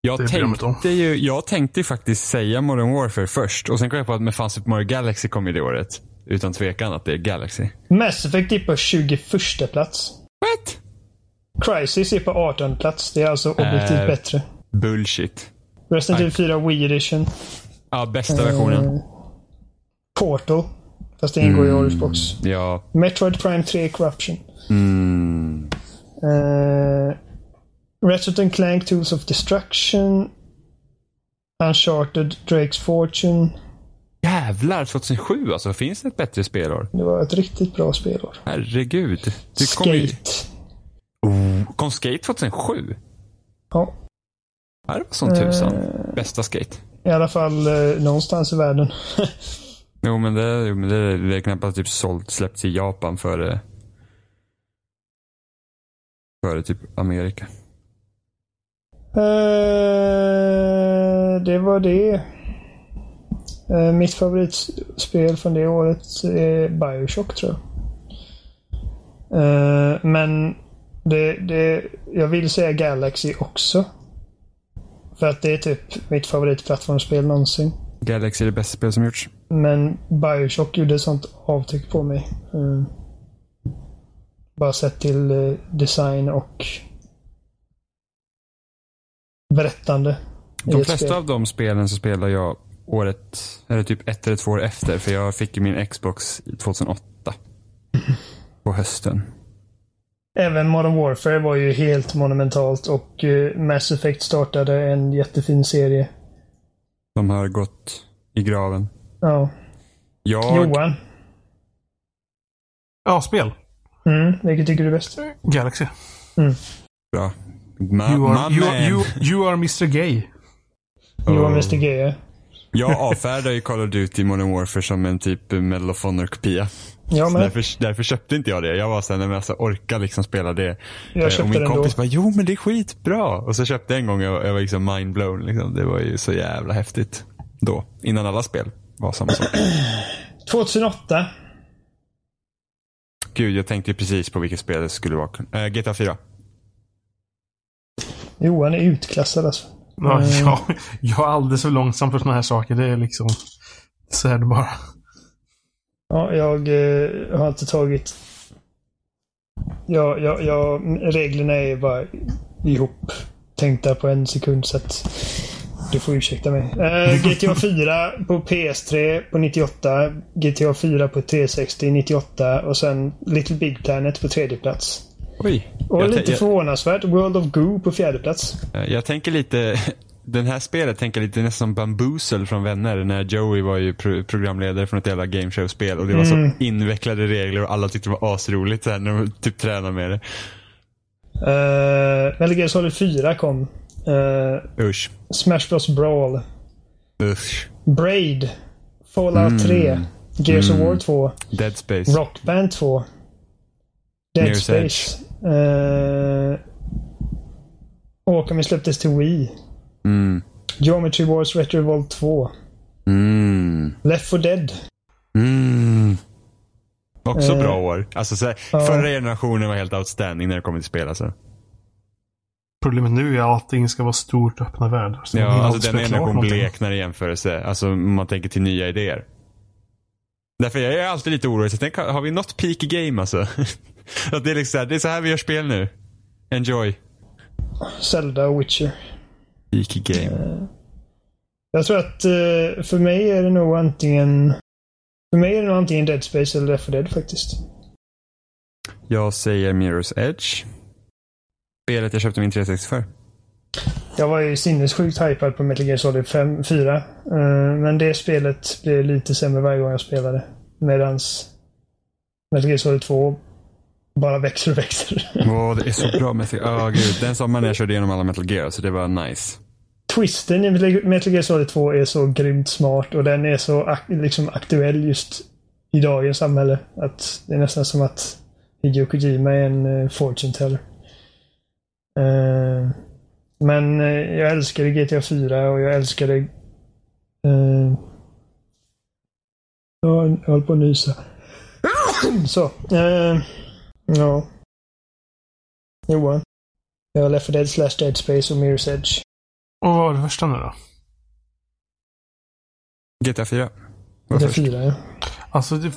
Speaker 1: Jag
Speaker 2: Det bryr jag mig inte om.
Speaker 1: tänkte, ju, jag tänkte ju faktiskt säga Modern Warfare först och sen kom jag på att men fan Super Mario Galaxy kom ju det året. Utan tvekan att det är Galaxy.
Speaker 3: Mass Effect är på 21 plats.
Speaker 1: What?
Speaker 3: Crisis är på 18 plats. Det är alltså objektivt
Speaker 1: Eh.
Speaker 3: bättre.
Speaker 1: Bullshit.
Speaker 3: Resident Evil 4 Wii Edition.
Speaker 1: Ja, bästa
Speaker 3: Eh.
Speaker 1: versionen.
Speaker 3: Portal. Fast det ingår
Speaker 1: Mm.
Speaker 3: i Orange Box.
Speaker 1: Ja.
Speaker 3: Metroid Prime 3 Corruption.
Speaker 1: Mm.
Speaker 3: Uh, Ratchet and Clank Tools of Destruction. Uncharted Drake's Fortune.
Speaker 1: Jävlar, 2007 alltså. Finns det ett bättre spelår?
Speaker 3: Det var ett riktigt bra spelår.
Speaker 1: Herregud. Det kom, ju,
Speaker 3: Skate.
Speaker 1: oh, kom Skate 2007?
Speaker 3: Ja, Eh.
Speaker 1: Ja, det var som tusan. Bästa Skate.
Speaker 3: i alla fall eh, någonstans i världen.
Speaker 1: Jo, men det, jo, men det, det är knappast typ sålt, släppts i Japan före... Före typ Amerika.
Speaker 3: Eh, det var det. Eh, mitt favoritspel från det året är Bioshock tror jag. Eh, men det, det, jag vill säga Galaxy också. För att det är typ mitt favoritplattformsspel någonsin.
Speaker 1: Galaxy är det bästa spel som gjorts.
Speaker 3: Men Bioshock gjorde ett sånt avtryck på mig. Eh, bara sett till eh, design och berättande. i
Speaker 1: De
Speaker 3: ett
Speaker 1: flesta
Speaker 3: spel.
Speaker 1: av de spelen så spelar jag året, eller typ ett eller två år efter. För jag fick ju min Xbox i 2008. På hösten.
Speaker 3: Även Modern Warfare var ju helt monumentalt och eh, Mass Effect startade en jättefin serie.
Speaker 1: De har gått i graven.
Speaker 3: Ja.
Speaker 1: Jag,
Speaker 3: Johan,
Speaker 2: Ja, spel.
Speaker 3: mm, vilket tycker du är bäst?
Speaker 2: Galaxy.
Speaker 1: Bra. Ma,
Speaker 2: You
Speaker 1: ma
Speaker 2: are, you,
Speaker 1: man.
Speaker 2: are- you, you are Mr Gay.
Speaker 3: Johan
Speaker 1: Oh.
Speaker 3: Mr G.
Speaker 1: Jag avfärdar ju Call of Duty Modern Warfare som en typ Medal of Honor-kopia.
Speaker 3: Ja,
Speaker 1: Så
Speaker 3: men
Speaker 1: Därför, därför köpte inte jag det. Jag var såhär, nej men alltså orka liksom spela det.
Speaker 3: jag
Speaker 1: Eh, och
Speaker 3: köpte
Speaker 1: min
Speaker 3: den då.
Speaker 1: kompis bara, jo men det är skitbra. Och så köpte jag en gång och jag, jag var liksom mindblown. Liksom. Det var ju så jävla häftigt. Då, innan alla spel var samma sak.
Speaker 3: 2008.
Speaker 1: Gud, jag tänkte ju precis på vilket spel det skulle vara. Eh, GTA 4.
Speaker 3: Johan är utklassad alltså.
Speaker 2: Ja, jag, jag är alldeles för långsam för såna här saker. Det är liksom... Så är det bara.
Speaker 3: Ja, jag eh, har inte tagit... Ja, ja, ja, reglerna är bara ihop tänkta på en sekund så att du får ursäkta mig. Eh, GTA 4 på PS3 på 98. GTA 4 på 360 98 och sen Little Big Planet på tredje plats.
Speaker 1: Oj.
Speaker 3: Och
Speaker 1: Jag,
Speaker 3: lite
Speaker 1: tän-
Speaker 3: förvånansvärt World of Goo på fjärde plats.
Speaker 1: jag, jag tänker lite, den här spelet tänker lite nästan som Bamboozle från Vänner. När Joey var ju pro- programledare från ett jävla gameshow-spel och det var
Speaker 3: Mm.
Speaker 1: så invecklade regler och alla tyckte det var asroligt så här, när de typ tränade med det.
Speaker 3: Eh, Metal Gear Solid 4 kom. Eh,
Speaker 1: Usch.
Speaker 3: Smash Bros Brawl.
Speaker 1: Usch.
Speaker 3: Braid. Fallout 3. Gears of War 2.
Speaker 1: Dead Space.
Speaker 3: Rock Band 2. Dead
Speaker 1: Mirror's
Speaker 3: Space. Uh, Åkami släpptes till Wii.
Speaker 1: Mm.
Speaker 3: Geometry Wars Retro Evolved 2.
Speaker 1: Mm.
Speaker 3: Left 4 Dead.
Speaker 1: Mm. Också
Speaker 3: Eh,
Speaker 1: bra år. Alltså, så här,
Speaker 3: ja.
Speaker 1: Förra generationen var helt outstanding när det kommer till spel. Alltså.
Speaker 2: Problemet nu är att allting ska vara stort öppna världar. Så man
Speaker 1: Ja,
Speaker 2: hinner
Speaker 1: alltså den
Speaker 2: aldrig spela klart
Speaker 1: energin
Speaker 2: någonting.
Speaker 1: bleknar i jämförelse. Alltså om man tänker till nya idéer. Därför jag är alltid lite orolig. Så jag tänker, har vi nått peak game alltså? att det, är liksom så här, det är så här vi gör spel nu. Enjoy.
Speaker 3: Zelda och Witcher.
Speaker 1: Peak
Speaker 3: Eh.
Speaker 1: game.
Speaker 3: Jag tror att eh, för mig är det nog antingen... För mig är det nog antingen Dead Space eller Left 4 Dead faktiskt.
Speaker 1: Jag säger Mirror's Edge. Spelet jag köpte min 360 för.
Speaker 3: Jag var ju sinnessjukt hypad på Metal Gear Solid 5, 4. eh, men det spelet blev lite sämre varje gång jag spelade. Medans Metal Gear Solid 2 bara växer och växer.
Speaker 1: Åh, det är så bra med sig. Åh, gud. Den sommaren jag körde igenom alla Metal Gear, så det var nice.
Speaker 3: Twisten i Metal Gear Solid 2 är så grymt smart och den är så ak- liksom aktuell just i dagens samhälle. Att det är nästan som att Hideo Kojima är en eh, fortune teller. Eh, men eh, jag älskade GTA 4 och jag älskade... Uh, jag höll på att nysa. så. eh, ja. Johan. Jag har Left 4 Dead slash Dead Space och Mirror's Edge.
Speaker 2: Och vad var det första nu då?
Speaker 1: GTA 4. Var
Speaker 3: Det
Speaker 1: först.
Speaker 3: fyra, ja.
Speaker 2: Alltså, det,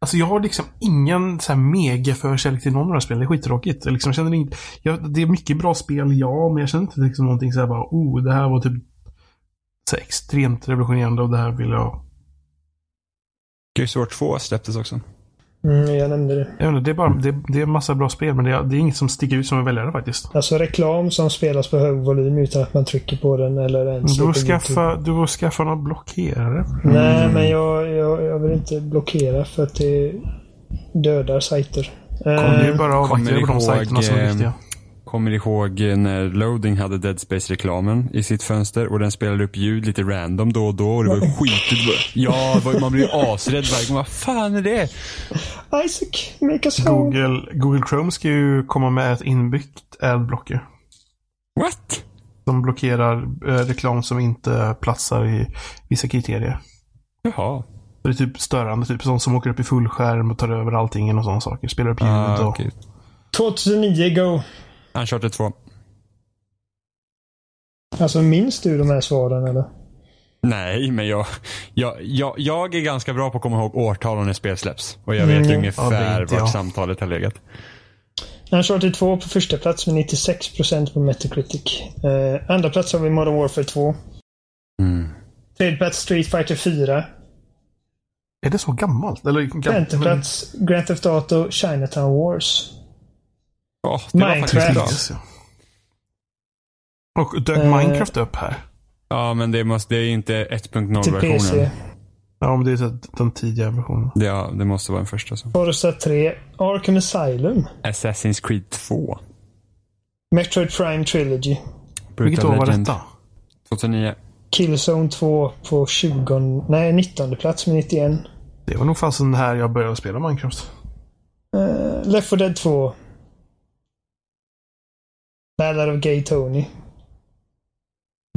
Speaker 2: alltså jag har liksom ingen så här mega förkärlek till någon av de här spelen. Det är skittråkigt. Jag liksom känner inte, jag, det är mycket bra spel, ja, men jag känner inte liksom någonting så här bara oh, det här var typ så här extremt revolutionerande och det här vill jag...
Speaker 1: Gears of War 2 släpptes också.
Speaker 3: Mm, jag nämnde det.
Speaker 2: Jag vet inte, det är bara det, det är en massa bra spel, men det är, det är inget som sticker ut som en väljare faktiskt.
Speaker 3: Alltså reklam som spelas på hög volym utan att man trycker på den eller ens...
Speaker 2: Du
Speaker 3: är
Speaker 2: borde
Speaker 3: på YouTube.
Speaker 2: skaffa, du borde skaffa någon blockerare.
Speaker 3: Nej, men jag, jag, jag vill inte blockera för att det dödar sajter.
Speaker 2: Kom
Speaker 3: Eh,
Speaker 2: ju bara och
Speaker 1: Kommer
Speaker 2: avvakta på de
Speaker 1: ihåg,
Speaker 2: sajterna som är
Speaker 1: eh,
Speaker 2: viktiga.
Speaker 1: Kommer ihåg när Loading hade Dead space reklamen i sitt fönster och den spelade upp ljud lite random då och då och det var ju skitigt. Ja, det var- man blev ju asrädd varje gång. Vad fan är det?
Speaker 3: Eh, Isaac, make us home.
Speaker 2: Google, Google Chrome ska ju komma med ett inbyggt adblocker.
Speaker 1: What?
Speaker 2: som blockerar eh, reklam som inte platsar i vissa kriterier.
Speaker 1: Jaha.
Speaker 2: Så Det är typ störande. Typ sånt som åker upp i fullskärm och tar över allting och sådana saker. Spelar upp ljudet
Speaker 1: Ah,
Speaker 2: och...
Speaker 1: okej.
Speaker 3: 2009, go.
Speaker 1: Uncharted 2.
Speaker 3: Alltså minns du de här svaren eller?
Speaker 1: Nej, men jag, jag, jag, jag är ganska bra på att komma ihåg årtal och när spel släpps. Och jag vet
Speaker 3: Mm.
Speaker 1: ungefär
Speaker 2: Ja, det är inte
Speaker 1: vart
Speaker 2: jag.
Speaker 1: samtalet har legat.
Speaker 3: Uncharted 2 på första plats med 96% på Metacritic. Eh, andra plats har vi Modern Warfare 2.
Speaker 1: Mm.
Speaker 3: Tredje plats Street Fighter 4.
Speaker 2: Är det så gammalt? Eller
Speaker 3: Femte
Speaker 2: gammalt?
Speaker 3: plats Grand Theft Auto Chinatown Wars.
Speaker 1: Ja, det var faktiskt
Speaker 3: Minecraft.
Speaker 1: bra.
Speaker 2: Jesus, ja. Och dök
Speaker 3: Eh.
Speaker 2: Minecraft upp här?
Speaker 1: Ja, men det, måste, det är inte
Speaker 3: Till PC.
Speaker 1: 1.0-versionen.
Speaker 2: Ja, men det är så att den tidiga versionen.
Speaker 1: Det, ja, det måste vara den första. Så.
Speaker 3: Forza 3, Arkham Asylum,
Speaker 1: Assassin's Creed 2.
Speaker 3: Metroid Prime Trilogy,
Speaker 1: Brutal
Speaker 2: Vilket år var
Speaker 1: Legend.
Speaker 2: detta?
Speaker 3: Mm.
Speaker 1: 2009.
Speaker 3: Killzone 2 på 20, nej 19 plats med 91.
Speaker 2: Det var nog fasen här jag började spela Minecraft.
Speaker 3: Eh, Left 4 Dead 2. Ballad of Gay Tony.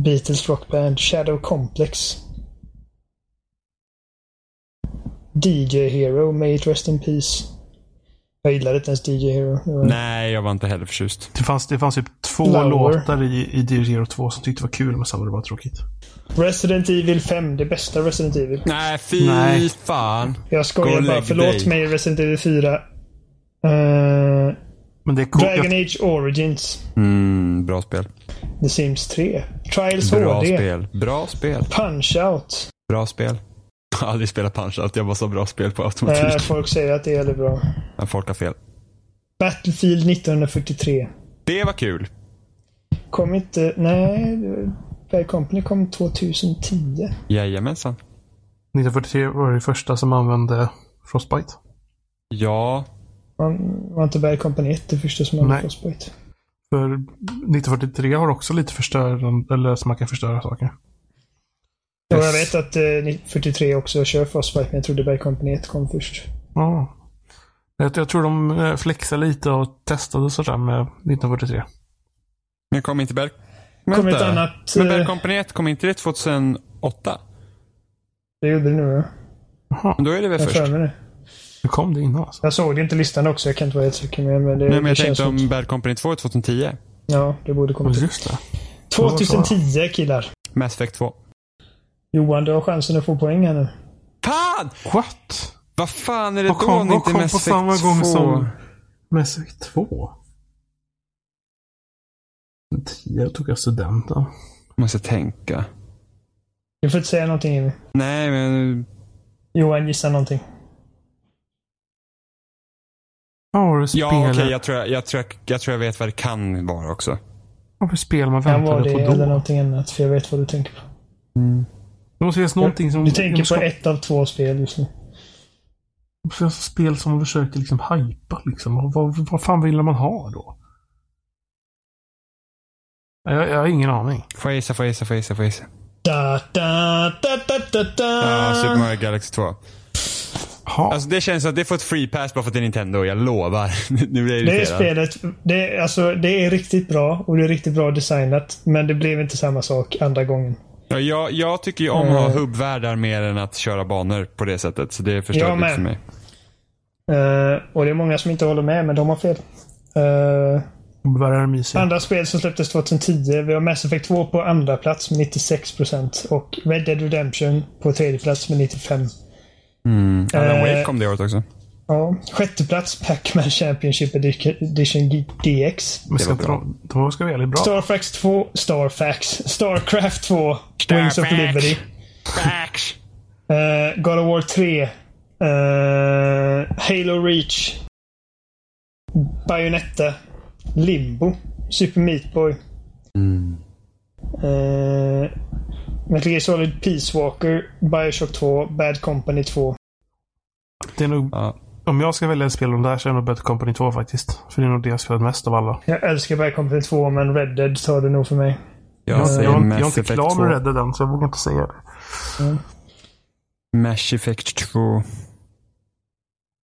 Speaker 3: Beatles Rock Band, Shadow Complex. DJ Hero, May it rest in peace. Jag gillade inte ens DJ Hero. Det var-
Speaker 1: Nej, jag var inte heller förtjust.
Speaker 2: Det fanns, det fanns typ två
Speaker 3: Lower.
Speaker 2: låtar i, i Zero 2 som tyckte var kul, men sen var det bara tråkigt.
Speaker 3: Resident Evil 5, det bästa Resident Evil.
Speaker 1: Nej, fy
Speaker 2: Nej.
Speaker 1: fan.
Speaker 3: Jag
Speaker 1: Gå och
Speaker 3: skojar bara.
Speaker 1: lägg
Speaker 3: Förlåt
Speaker 1: dig.
Speaker 3: mig Resident Evil 4. Eh,
Speaker 2: Men det är coolt.
Speaker 3: Dragon Age Origins.
Speaker 1: Mm, bra spel.
Speaker 3: The Sims 3. Trials
Speaker 1: Bra
Speaker 3: HD.
Speaker 1: spel. Bra spel.
Speaker 3: Punch Out.
Speaker 1: Bra spel. Jag har aldrig spelat Punch-Out. Jag var så bra spel på automatik.
Speaker 3: Eh, folk säger att det är väldigt bra.
Speaker 1: Men folk har fel.
Speaker 3: Battlefield 1943.
Speaker 1: Det var kul.
Speaker 3: Kom inte... Nej. det- Bad Company kom 2010.
Speaker 1: Jajamensan.
Speaker 2: 1943 var det första som använde Frostbite.
Speaker 1: Ja.
Speaker 3: Man, var inte Bad Company 1 det första som hade
Speaker 2: Nej.
Speaker 3: Frostbite?
Speaker 2: För 1943 har också lite förstörande, eller så man kan förstöra saker.
Speaker 3: Och jag
Speaker 1: Yes.
Speaker 3: vet att eh, 43 också kör Frostbite, men jag trodde Bad Company 1 kom först.
Speaker 2: Ja. Jag, jag tror de eh, flexade lite och testade sådär med 1943.
Speaker 1: Men kom inte Berg...
Speaker 3: Kom
Speaker 1: Vänta.
Speaker 3: ett annat...
Speaker 1: Men Berg
Speaker 3: Eh,
Speaker 1: Company 1, kom inte det 2008?
Speaker 3: det gjorde det nu, ja.
Speaker 2: Jaha,
Speaker 1: Men Då är det väl
Speaker 3: Jag har
Speaker 1: först?
Speaker 3: för mig det.
Speaker 2: nu kom det innan alltså. Eh,
Speaker 3: Jag såg det inte listan också, jag kan inte vara helt säker med men det,
Speaker 1: Nej, men
Speaker 3: det
Speaker 1: jag
Speaker 3: känns
Speaker 1: tänkte
Speaker 3: som...
Speaker 1: om Berg Company 2 är 2010.
Speaker 3: Ja, det borde komma till.
Speaker 2: Just det.
Speaker 3: 2010 killar.
Speaker 1: Mass Effect 2.
Speaker 3: Johan, du har chansen att få poäng här nu.
Speaker 1: Fan!
Speaker 2: What?
Speaker 1: Vad fan är det
Speaker 2: Vad kom-
Speaker 1: då
Speaker 2: vad
Speaker 1: inte
Speaker 2: kom
Speaker 1: Mass
Speaker 2: på
Speaker 1: Effect
Speaker 2: samma gång
Speaker 1: 2?
Speaker 2: som- Mass Effect 2? Men 10 tog jag studenten.
Speaker 1: Måste tänka.
Speaker 3: Du får inte säga någonting Jimmy.
Speaker 1: Nej, men...
Speaker 3: Johan, gissa någonting.
Speaker 2: Vad har du
Speaker 1: Ja,
Speaker 2: spelat?
Speaker 1: okej. jag, tror, jag, jag, tror, jag, jag tror jag vet vad det kan vara också.
Speaker 2: Vad för spel man
Speaker 3: Kan vara
Speaker 2: väntade
Speaker 3: det
Speaker 2: på
Speaker 3: eller
Speaker 2: då?
Speaker 3: någonting annat, för jag vet vad du tänker på.
Speaker 2: Det måste finnas någonting som...
Speaker 3: Du tänker på
Speaker 2: det
Speaker 3: ett av två spel just nu.
Speaker 2: måste finnas spel som man försökte liksom hypa liksom. Och Vad, vad fan ville man ha då? Nej, Jag, jag har ingen aning.
Speaker 1: Får jag gissa, får jag gissa, får jag gissa, får jag gissa?
Speaker 3: Da, da, da, da, da,
Speaker 2: Ah.
Speaker 1: Ja, Super
Speaker 3: da.
Speaker 1: Mario Galaxy 2.
Speaker 2: Ha.
Speaker 1: Alltså det känns som att det får ett free pass bara för att det är Nintendo, jag lovar. nu blir jag
Speaker 3: Det är
Speaker 1: irriterad.
Speaker 3: spelet. Det, är- alltså, det är riktigt bra och det är riktigt bra designat. Men det blev inte samma sak andra gången.
Speaker 1: Ja, jag, jag tycker ju om att
Speaker 2: Eh.
Speaker 1: ha hubbvärldar mer än att köra banor på det sättet. Så det förstör
Speaker 3: Jag
Speaker 1: lite
Speaker 3: med.
Speaker 1: för mig.
Speaker 3: Eh, och det är många som inte håller med, men de har fel. Eh,
Speaker 2: Vad är det mysiga?
Speaker 3: andra spel som släpptes 2010. Vi har Mass Effect 2 på andra plats med 96% och Red Dead Redemption på tredje plats med 95%.
Speaker 1: Mm. Alan
Speaker 3: Eh.
Speaker 1: Wake kom det året också.
Speaker 3: Ja, sjätte plats Pac-Man Championship Edition DX.
Speaker 2: Men ska
Speaker 1: var
Speaker 2: inte
Speaker 1: bra.
Speaker 2: de, de ska vara jävligt bra.
Speaker 3: Starfax 2, Starfax. Starcraft 2, Wings of Liberty. Eh, God of War 3. eh, Halo Reach. Bayonetta. Limbo. Super Meat Boy. Mm. Metal Gear Solid Peace Walker. Bioshock 2. Bad Company 2.
Speaker 2: Det är nog,
Speaker 1: Ja.
Speaker 2: om jag ska välja ett spel om det här så är det nog Better Company 2 faktiskt. För det är nog det jag spelat mest av alla.
Speaker 3: Jag älskar Bad Company 2 men Red Dead tar det nog för mig.
Speaker 1: Jag
Speaker 2: Jag, jag,
Speaker 1: säger
Speaker 2: jag, jag är
Speaker 1: Mass
Speaker 2: inte
Speaker 1: Effect
Speaker 2: klar
Speaker 1: 2.
Speaker 2: med Red Dead än så jag vågar inte säga det.
Speaker 1: Mass Effect 2.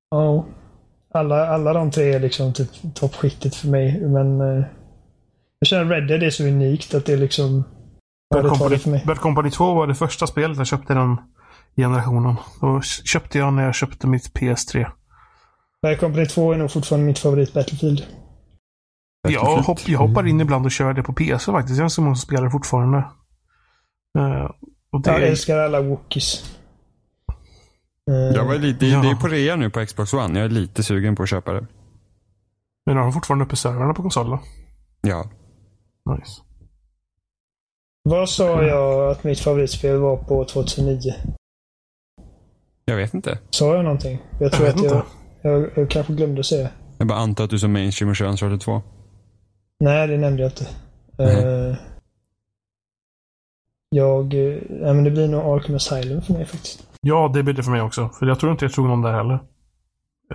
Speaker 3: Ja. Alla, alla de tre är liksom typ toppskiktet för mig. Men eh, jag känner Red Dead är så unikt att det är liksom... Ja, det
Speaker 2: Bad
Speaker 3: tar det för
Speaker 2: Company,
Speaker 3: mig.
Speaker 2: Bad Company 2 var det första spelet jag köpte i den generationen. Då köpte jag när jag köpte mitt PS3.
Speaker 3: Bad Company 2 är nog fortfarande mitt favorit Battlefield.
Speaker 2: Jag, hopp, jag
Speaker 1: Mm.
Speaker 2: hoppar in ibland och kör det på PS faktiskt. Jag är så många som spelar det fortfarande. Eh, och det
Speaker 3: Jag
Speaker 2: är,
Speaker 3: älskar alla Eh, Wookies.
Speaker 1: Jag var lite,
Speaker 2: Ja.
Speaker 1: Det är på rea nu på Xbox One. Jag är lite sugen på att köpa det.
Speaker 2: men har de fortfarande uppe servrarna på konsolen?
Speaker 1: Ja.
Speaker 2: Nice.
Speaker 3: Vad sa jag att mitt favoritspel var på 2009?
Speaker 1: Jag vet inte.
Speaker 3: Sa jag någonting? Jag tror
Speaker 2: vet
Speaker 3: att jag,
Speaker 2: inte.
Speaker 3: jag, jag kanske glömde säga.
Speaker 1: Jag bara antar att du som mainstream och kör Uncharted 2.
Speaker 3: Nej, det nämnde jag inte.
Speaker 1: Nej.
Speaker 3: Eh, jag... eh, Nej, men det blir nog Arkham Asylum för mig faktiskt.
Speaker 2: Ja, det blir det för mig också. För jag tror inte jag tog någon där heller.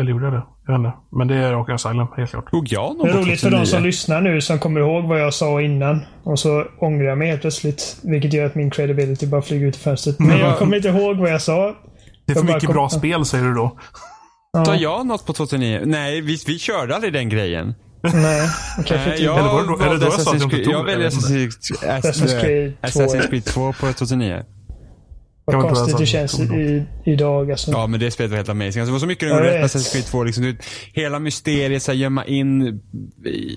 Speaker 2: Eller gjorde jag det? Jag vet inte. Men det är Arkham Asylum, helt klart.
Speaker 1: Tog jag någon
Speaker 3: Det är
Speaker 1: på
Speaker 3: roligt för de
Speaker 1: 2009?
Speaker 3: som lyssnar nu som kommer ihåg vad jag sa innan. Och så ångrar jag mig helt plötsligt. Vilket gör att min credibility bara flyger ut i fönstret. Men jag kommer inte ihåg vad jag sa.
Speaker 2: Det är för
Speaker 3: Jag bara
Speaker 2: mycket
Speaker 3: kom-
Speaker 2: bra spel säger du då.
Speaker 1: Tar jag något på 2009? Nej, vi, vi körde aldrig den grejen.
Speaker 3: Nej, kanske
Speaker 1: Nej,
Speaker 3: inte.
Speaker 1: jag
Speaker 2: Eller var det då- eller
Speaker 1: valde
Speaker 2: då jag sa att
Speaker 1: Assassin's
Speaker 2: jag inte
Speaker 1: Creed-
Speaker 2: tog
Speaker 1: Jag
Speaker 2: det,
Speaker 1: väljer
Speaker 2: jag vet
Speaker 1: Assassin's
Speaker 3: Assassin's Creed
Speaker 1: Creed 2.
Speaker 3: 2.
Speaker 1: Assassin's Creed 2 på 2009.
Speaker 2: kan
Speaker 3: Vad
Speaker 2: man tro
Speaker 3: konstigt det
Speaker 2: att jag
Speaker 3: känns
Speaker 2: sa det.
Speaker 3: i, idag. Alltså.
Speaker 1: Ja, men det spelet var helt amazing. Alltså, det var så mycket de
Speaker 3: Jag
Speaker 1: gjorde
Speaker 3: vet.
Speaker 1: rätt med Assassin's Creed 2. Liksom, du vet, hela mysteriet, så här, gömma in eh,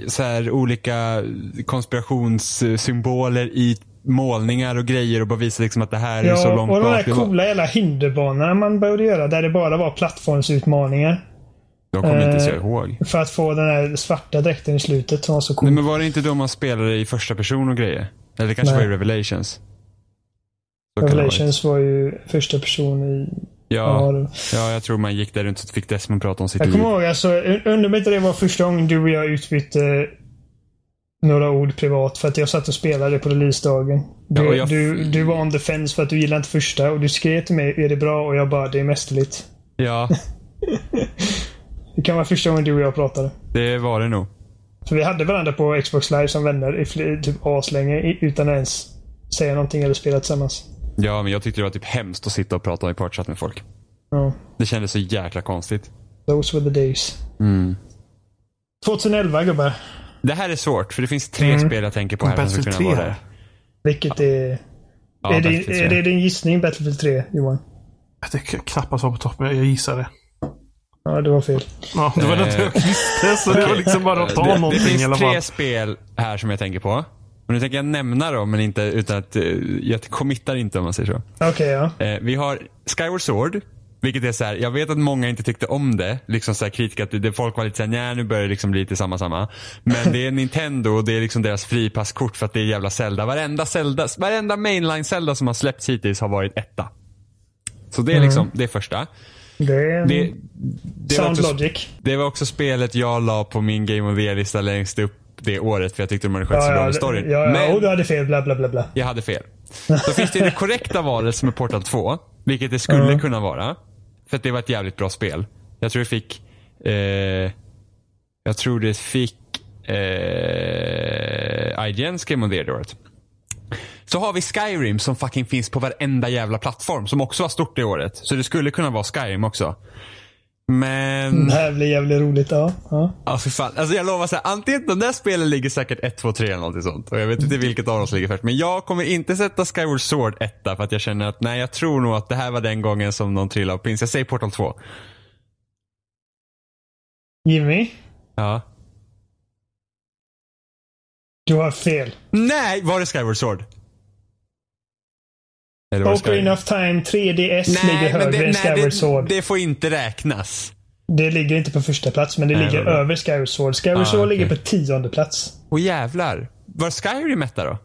Speaker 1: så här, olika konspirationssymboler i målningar och grejer och bara visa liksom, att det här är så
Speaker 3: Ja,
Speaker 1: långt
Speaker 3: och de där
Speaker 1: bak. Det var-
Speaker 3: coola jävla hinderbanorna man började göra. Där det bara var plattformsutmaningar.
Speaker 1: Jag kommer inte ens
Speaker 3: eh,
Speaker 1: ihåg.
Speaker 3: För att få den där svarta dräkten i slutet som var så cool.
Speaker 1: Nej, men var det inte då man spelade i första person och grejer? Eller det kanske
Speaker 3: Nej.
Speaker 1: var i Revelations? Så kan det ha varit.
Speaker 3: Revelations var ju första person i...
Speaker 1: Ja,
Speaker 3: det-
Speaker 1: ja, jag tror man gick där runt och fick Desmond prata om sitt
Speaker 3: Jag
Speaker 1: liv.
Speaker 3: kommer ihåg, alltså, un- undrar mig inte det var första gången du och jag utbytte några ord privat för att jag satt och spelade på releasedagen. Du,
Speaker 1: Ja, och jag-
Speaker 3: du, du var on the fence för att du gillade inte första och du skrev till mig är det bra och jag bara det är mästerligt.
Speaker 1: Ja,
Speaker 3: Det kan vara första gången du och jag pratade.
Speaker 1: det var det nog.
Speaker 3: För vi hade varandra på Xbox live som vänner i fl- typ aslänge i- utan att ens säga någonting eller spela tillsammans.
Speaker 1: Ja, men jag tyckte det var typ hemskt att sitta och prata i partschatt med folk.
Speaker 3: Ja,
Speaker 1: Det kändes så jäkla konstigt.
Speaker 3: those were the days.
Speaker 1: Mm.
Speaker 3: 2011 gubbar.
Speaker 1: Det här är svårt, för det finns tre
Speaker 3: Mm.
Speaker 1: spel jag tänker på här. som skulle
Speaker 2: Battlefield 3
Speaker 1: kunna vara
Speaker 2: här.
Speaker 1: där.
Speaker 3: Vilket är...
Speaker 1: Ja,
Speaker 3: är,
Speaker 1: Battlefield
Speaker 3: det, är
Speaker 1: 3.
Speaker 3: det din gissning Battlefield 3 Johan?
Speaker 2: Det kan knappast vara på toppen. Jag gissar det.
Speaker 3: Ja, det var fel.
Speaker 2: Ja, det var något jag visste, så det var liksom bara att ta
Speaker 1: Eh, Det
Speaker 2: någonting i alla
Speaker 1: finns
Speaker 2: fall.
Speaker 1: tre spel här som jag tänker på. Och nu tänker jag nämna dem, men inte utan att eh, jag committar inte om man säger så.
Speaker 3: Okej, ja.
Speaker 1: Eh, vi har Skyward Sword. Vilket är så här, jag vet att många inte tyckte om det. Liksom så här kritik att det, folk var lite såhär, nej nu börjar det liksom bli lite samma samma. Men det är Nintendo och det är liksom deras fripasskort för att det är jävla Zelda. Varenda, Zelda, varenda mainline Zelda som har släppts hittills har varit etta. Så
Speaker 3: Mm.
Speaker 1: det är liksom, det är första.
Speaker 3: Det är...
Speaker 1: Det, det var
Speaker 3: Mm. Sound
Speaker 1: också-
Speaker 3: Logic.
Speaker 1: det var också spelet jag la på min Game of the Year-lista längst upp det året för jag tyckte de hade skött så
Speaker 3: Ja,
Speaker 1: bra
Speaker 3: ja,
Speaker 1: med storyn.
Speaker 3: ja, ja. Och du
Speaker 1: Men Mm.
Speaker 3: hade fel, bla bla bla. bla.
Speaker 1: jag hade fel. Så finns det ju det korrekta valet som är Portal 2, vilket det skulle kunna vara. För att det var ett jävligt bra spel. Jag tror det fick... Eh, jag tror det fick eh, IGN's Game of the Year det året. Så har vi Skyrim som fucking finns på varenda jävla plattform som också var stort det året. Så det skulle kunna vara Skyrim också. Men...
Speaker 3: Det Mm, här blir jävligt roligt. Ja. ja.
Speaker 1: Ja, för fan. Alltså jag lovar så här, antingen de där spelen ligger säkert 1, 2, 3 eller någonting sånt. Och jag vet inte vilket av dem som ligger först. Men jag kommer inte sätta Skyward Sword etta för att jag känner att nej, jag tror nog att det här var den gången som någon trillade av pins. Jag säger Portal 2.
Speaker 3: Jimmy,
Speaker 1: Ja.
Speaker 3: du har fel.
Speaker 1: Nej, var det Skyward Sword? Eller var det Skyrim?
Speaker 3: Ocarina of Time 3DS ligger
Speaker 1: Nej, men
Speaker 3: högre
Speaker 1: det,
Speaker 3: än
Speaker 1: nej
Speaker 3: Skyward
Speaker 1: det,
Speaker 3: Sword. Det,
Speaker 1: det får inte räknas.
Speaker 3: ligger inte på första plats, men det
Speaker 1: Nej,
Speaker 3: ligger
Speaker 1: vad bra.
Speaker 3: över Skyward Sword. Skyward
Speaker 1: Ah,
Speaker 3: Sword
Speaker 1: okej.
Speaker 3: ligger på tionde plats.
Speaker 1: Och jävlar. Var Skyrim etta då?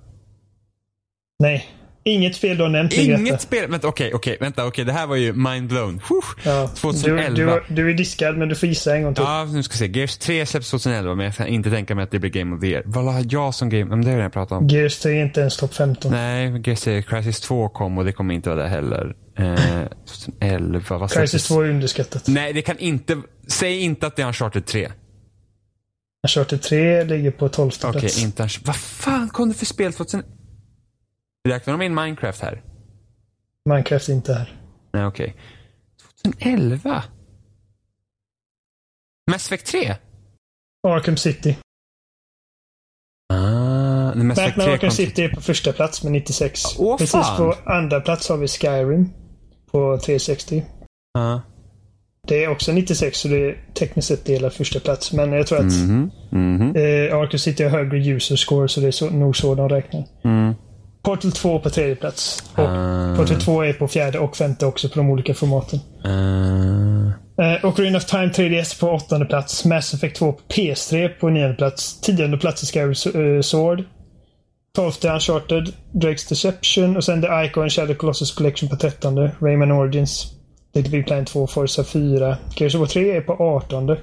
Speaker 3: Nej. Inget spel du har nämnt ligger
Speaker 1: Inget
Speaker 3: etta.
Speaker 1: spel. Vänta, okej, okej, vänta, okej. Det här var ju mind blown. Huh.
Speaker 3: Ja.
Speaker 1: 2011.
Speaker 3: Du, du, du är diskad, men du får gissa en gång till.
Speaker 1: Ja, nu ska vi se. Gears 3 släpps 2011, men jag kan inte tänka mig att det blir Game of the Year. Vad har jag som Game... Men det har jag pratat om.
Speaker 3: Gears 3 är inte ens topp 15.
Speaker 1: Nej, men Gears 3, Crisis 2 kom och det kommer inte vara där heller. Eh, 2011, vad
Speaker 3: Crisis
Speaker 1: släpptes?
Speaker 3: 2 är underskattat.
Speaker 1: Nej, det kan inte... Säg inte att det är Uncharted 3.
Speaker 3: Uncharted 3 ligger på 12
Speaker 1: Okej,
Speaker 3: plats.
Speaker 1: inte Uncharted... Vad fan kom det för spel 2000... Räknar de in Minecraft här?
Speaker 3: Minecraft är inte här.
Speaker 1: Nej, okej. 2011? Mass Effect 3?
Speaker 3: Arkham City.
Speaker 1: Ah, nej, Mass Effect
Speaker 3: Batman
Speaker 1: 3 kom...
Speaker 3: Arkham City är på första plats med 96.
Speaker 1: Åh,
Speaker 3: Precis
Speaker 1: fan.
Speaker 3: på andra plats har vi Skyrim på 360.
Speaker 1: Ah.
Speaker 3: Det är också 96 så det är tekniskt sett delar första plats. Men jag tror att
Speaker 1: Mhm, mhm.
Speaker 3: eh, Arkham City har högre user score så det är så, nog så de räknar.
Speaker 1: Mm.
Speaker 3: Portal 2 på tredje plats. Och
Speaker 1: Ah.
Speaker 3: Portal 2 är på fjärde och femte också på de olika formaten.
Speaker 1: Eh.
Speaker 3: Eh, Ocarina of Time 3DS på åttonde plats. Mass Effect 2 på PS3 på nionde plats. Tionde plats i Skyward eh, Sword. Tolfte Uncharted. Drake's Deception. Och sen The Ico and Shadow Colossus Collection på trettonde. Rayman Origins. Little Big Planet 2. Forza 4. Gears of War 3 är på artonde.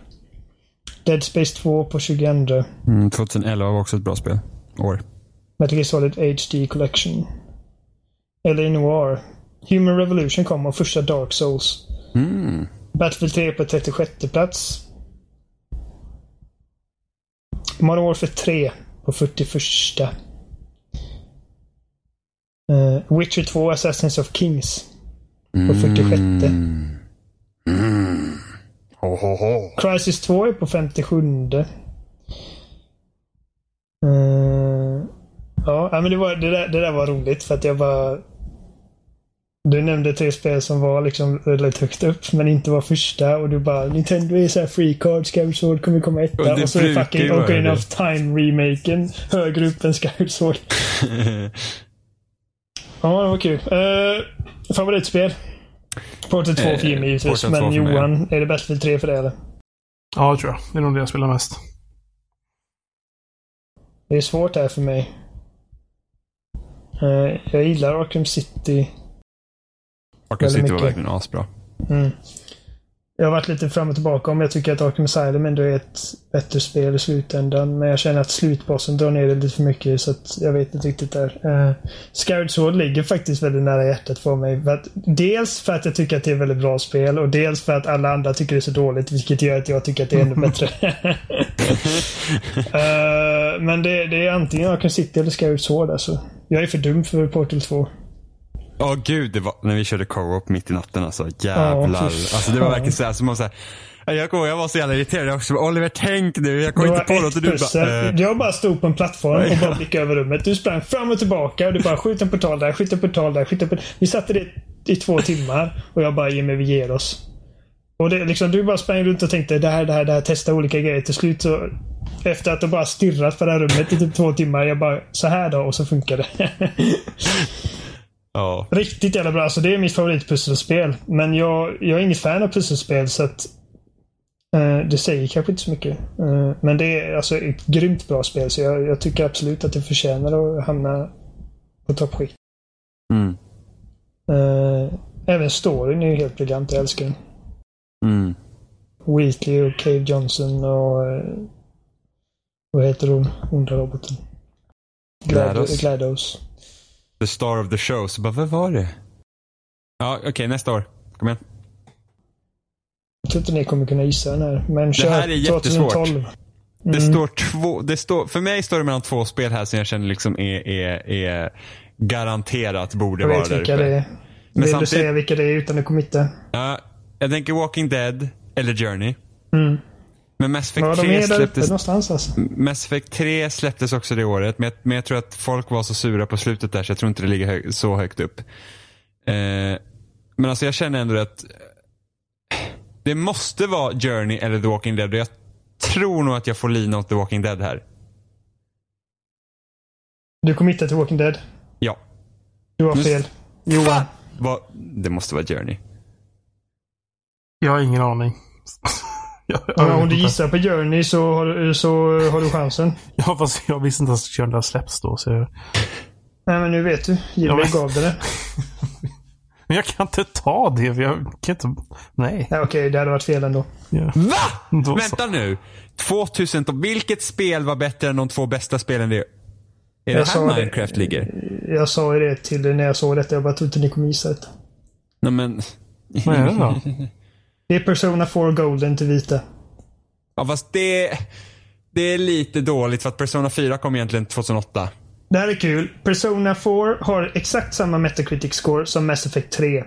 Speaker 3: Dead Space 2 på 22.
Speaker 1: Mm, 2011 var också ett bra spel. År.
Speaker 3: Metal Gear Solid HD Collection. LA Noir. Human Revolution kom och första Dark Souls.
Speaker 1: Mm.
Speaker 3: Battlefield 3 på 36 plats. Modern Warfare 3 på 41. Eh, Witcher 2 Assassins of Kings på 46.
Speaker 1: Mm. Ho, ho, ho.
Speaker 3: Crisis 2 är på 57. Eh, ja, ja, men det, var, det, där, det där var roligt för att jag bara... Du nämnde tre spel som var liksom väldigt högt upp men inte var första och du bara Nintendo är såhär free card, Skyward Sword kommer komma
Speaker 1: Och
Speaker 3: etta
Speaker 1: det
Speaker 3: och, så är
Speaker 1: brukar ju
Speaker 3: fucking
Speaker 1: vara
Speaker 3: Ocarina
Speaker 1: det.
Speaker 3: of Time-remaken högre upp än Skyward Sword. ja, det var kul. Eh, favoritspel? Portal 2 för
Speaker 1: Eh,
Speaker 3: Jimmy givetvis,
Speaker 1: Portal 2
Speaker 3: men
Speaker 1: för mig, ja.
Speaker 3: Johan, är det Battlefield 3 för dig eller?
Speaker 2: Ja, det tror jag. Det är nog det jag spelar mest.
Speaker 3: Det är svårt här för mig. Eh, Jag gillar Arkham City.
Speaker 1: Arkham
Speaker 3: Väldigt
Speaker 1: City var
Speaker 3: mycket.
Speaker 1: verkligen asbra.
Speaker 3: Mm. Jag har varit lite fram och tillbaka om jag tycker att Arkham Asylum ändå är ett bättre spel i slutändan. Men jag känner att slutbossen drar ner det lite för mycket så att jag vet inte riktigt där. Uh, Scarred Sword ligger faktiskt väldigt nära hjärtat för mig. För att, dels för att jag tycker att det är väldigt bra spel och dels för att alla andra tycker det är så dåligt vilket gör att jag tycker att det är ännu bättre. Eh, men det, det är antingen Arkham City eller Scarred Sword alltså. Jag är för dum för Portal 2.
Speaker 1: Ja, gud. Det var när vi körde co-op mitt i natten alltså. Jävlar.
Speaker 3: Ja, fy fan.
Speaker 1: alltså, det var verkligen så här som man så här, Ja, jag, kommer- jag var så jävla irriterad. Jag också bara, Oliver, tänk nu. Jag kom
Speaker 3: Det
Speaker 1: inte
Speaker 3: var
Speaker 1: på något.
Speaker 3: ett
Speaker 1: Och du
Speaker 3: pussel.
Speaker 1: bara, eh,
Speaker 3: Jag bara stod på en plattform och bara blickade över rummet. Du sprang fram och tillbaka och du bara skjut en portal där, skjut en portal där, skjut en portal. Vi satte det i två timmar och jag bara Jimmy vi ger oss. Och det, är liksom, du bara sprang runt och tänkte det här, det här, det här. Testa olika grejer. Till slut så, efter att ha bara stirrat på det här rummet i typ två timmar. Jag bara, så här då. Och så funkar det.
Speaker 1: Ja.
Speaker 3: Riktigt jävla bra. Alltså, det är mitt favoritpusselspel. Men jag, jag är inget fan av pusselspel så att eh, det säger kanske inte så mycket. Eh, men det är alltså ett grymt bra spel så jag, jag tycker absolut att det förtjänar att hamna på toppskikt.
Speaker 1: Mm.
Speaker 3: Eh, även storyn är ju helt briljant. Jag älskar den.
Speaker 1: Mm.
Speaker 3: Wheatley och Cave Johnson och eh, vad heter hon, onda roboten? Glad-
Speaker 1: GLaDOS.
Speaker 3: GLaDOS.
Speaker 1: The star of the show. Så bara, vad var det? Ja, okej, nästa år. Kom igen.
Speaker 3: Jag tror inte ni kommer kunna gissa den här. Men kör
Speaker 1: här är jättesvårt.
Speaker 3: 2012.
Speaker 1: Det
Speaker 3: Mm.
Speaker 1: står två, det står, för mig står det mellan två spel här som jag känner liksom är, är, är garanterat borde
Speaker 3: Jag
Speaker 1: vara
Speaker 3: vet
Speaker 1: där
Speaker 3: vilka
Speaker 1: uppe.
Speaker 3: det är.
Speaker 1: Men
Speaker 3: Vill
Speaker 1: samtidigt-
Speaker 3: du säga vilka det är utan du kommer inte?
Speaker 1: Ja, jag tänker Walking Dead eller Journey.
Speaker 3: Mm.
Speaker 1: Men Mass
Speaker 3: Ja,
Speaker 1: Effect,
Speaker 3: de
Speaker 1: 3
Speaker 3: är där uppe
Speaker 1: släpptes,
Speaker 3: någonstans alltså.
Speaker 1: Mass Effect 3 släpptes också det året. Men jag, men jag tror att folk var så sura på slutet där så jag tror inte det ligger hö- så högt upp. Eh, men alltså jag känner ändå att det måste vara Journey eller The Walking Dead. Och jag tror nog att jag får lina åt The Walking Dead här.
Speaker 3: Du kommer inte till Walking Dead.
Speaker 1: Ja.
Speaker 3: Du har
Speaker 1: Men-
Speaker 3: fel. Johan.
Speaker 1: Vad- det måste vara Journey.
Speaker 2: Jag har ingen aning. jag, jag,
Speaker 3: Ja, om
Speaker 2: vet inte.
Speaker 3: du gissar på Journey så har, så har du chansen.
Speaker 2: ja, fast jag visste inte ens att Jörn släpps då. Så jag...
Speaker 3: Nej, men nu vet du.
Speaker 2: Ja,
Speaker 3: Jimmy
Speaker 2: men-
Speaker 3: gav dig det.
Speaker 2: Men jag kan inte ta det. För jag kan inte... Nej.
Speaker 3: Ja, Okej, det hade varit fel ändå.
Speaker 2: Ja.
Speaker 1: Va?
Speaker 2: Då så.
Speaker 1: Vänta nu. 2000, vilket spel var bättre än de två bästa spelen? Det är är det
Speaker 3: Jag sa
Speaker 1: här
Speaker 3: det.
Speaker 1: Minecraft ligger?
Speaker 3: Jag sa ju det till dig när jag såg detta. Jag bara trodde inte ni kommer gissa detta.
Speaker 1: Nej men,
Speaker 2: Vad är det då?
Speaker 3: Det är Persona 4 Golden till vita.
Speaker 1: ja, fast det, det är lite dåligt för att Persona 4 kom egentligen 2008.
Speaker 3: Det här är kul. Persona 4 har exakt samma Metacritic score som Mass Effect 3. Det är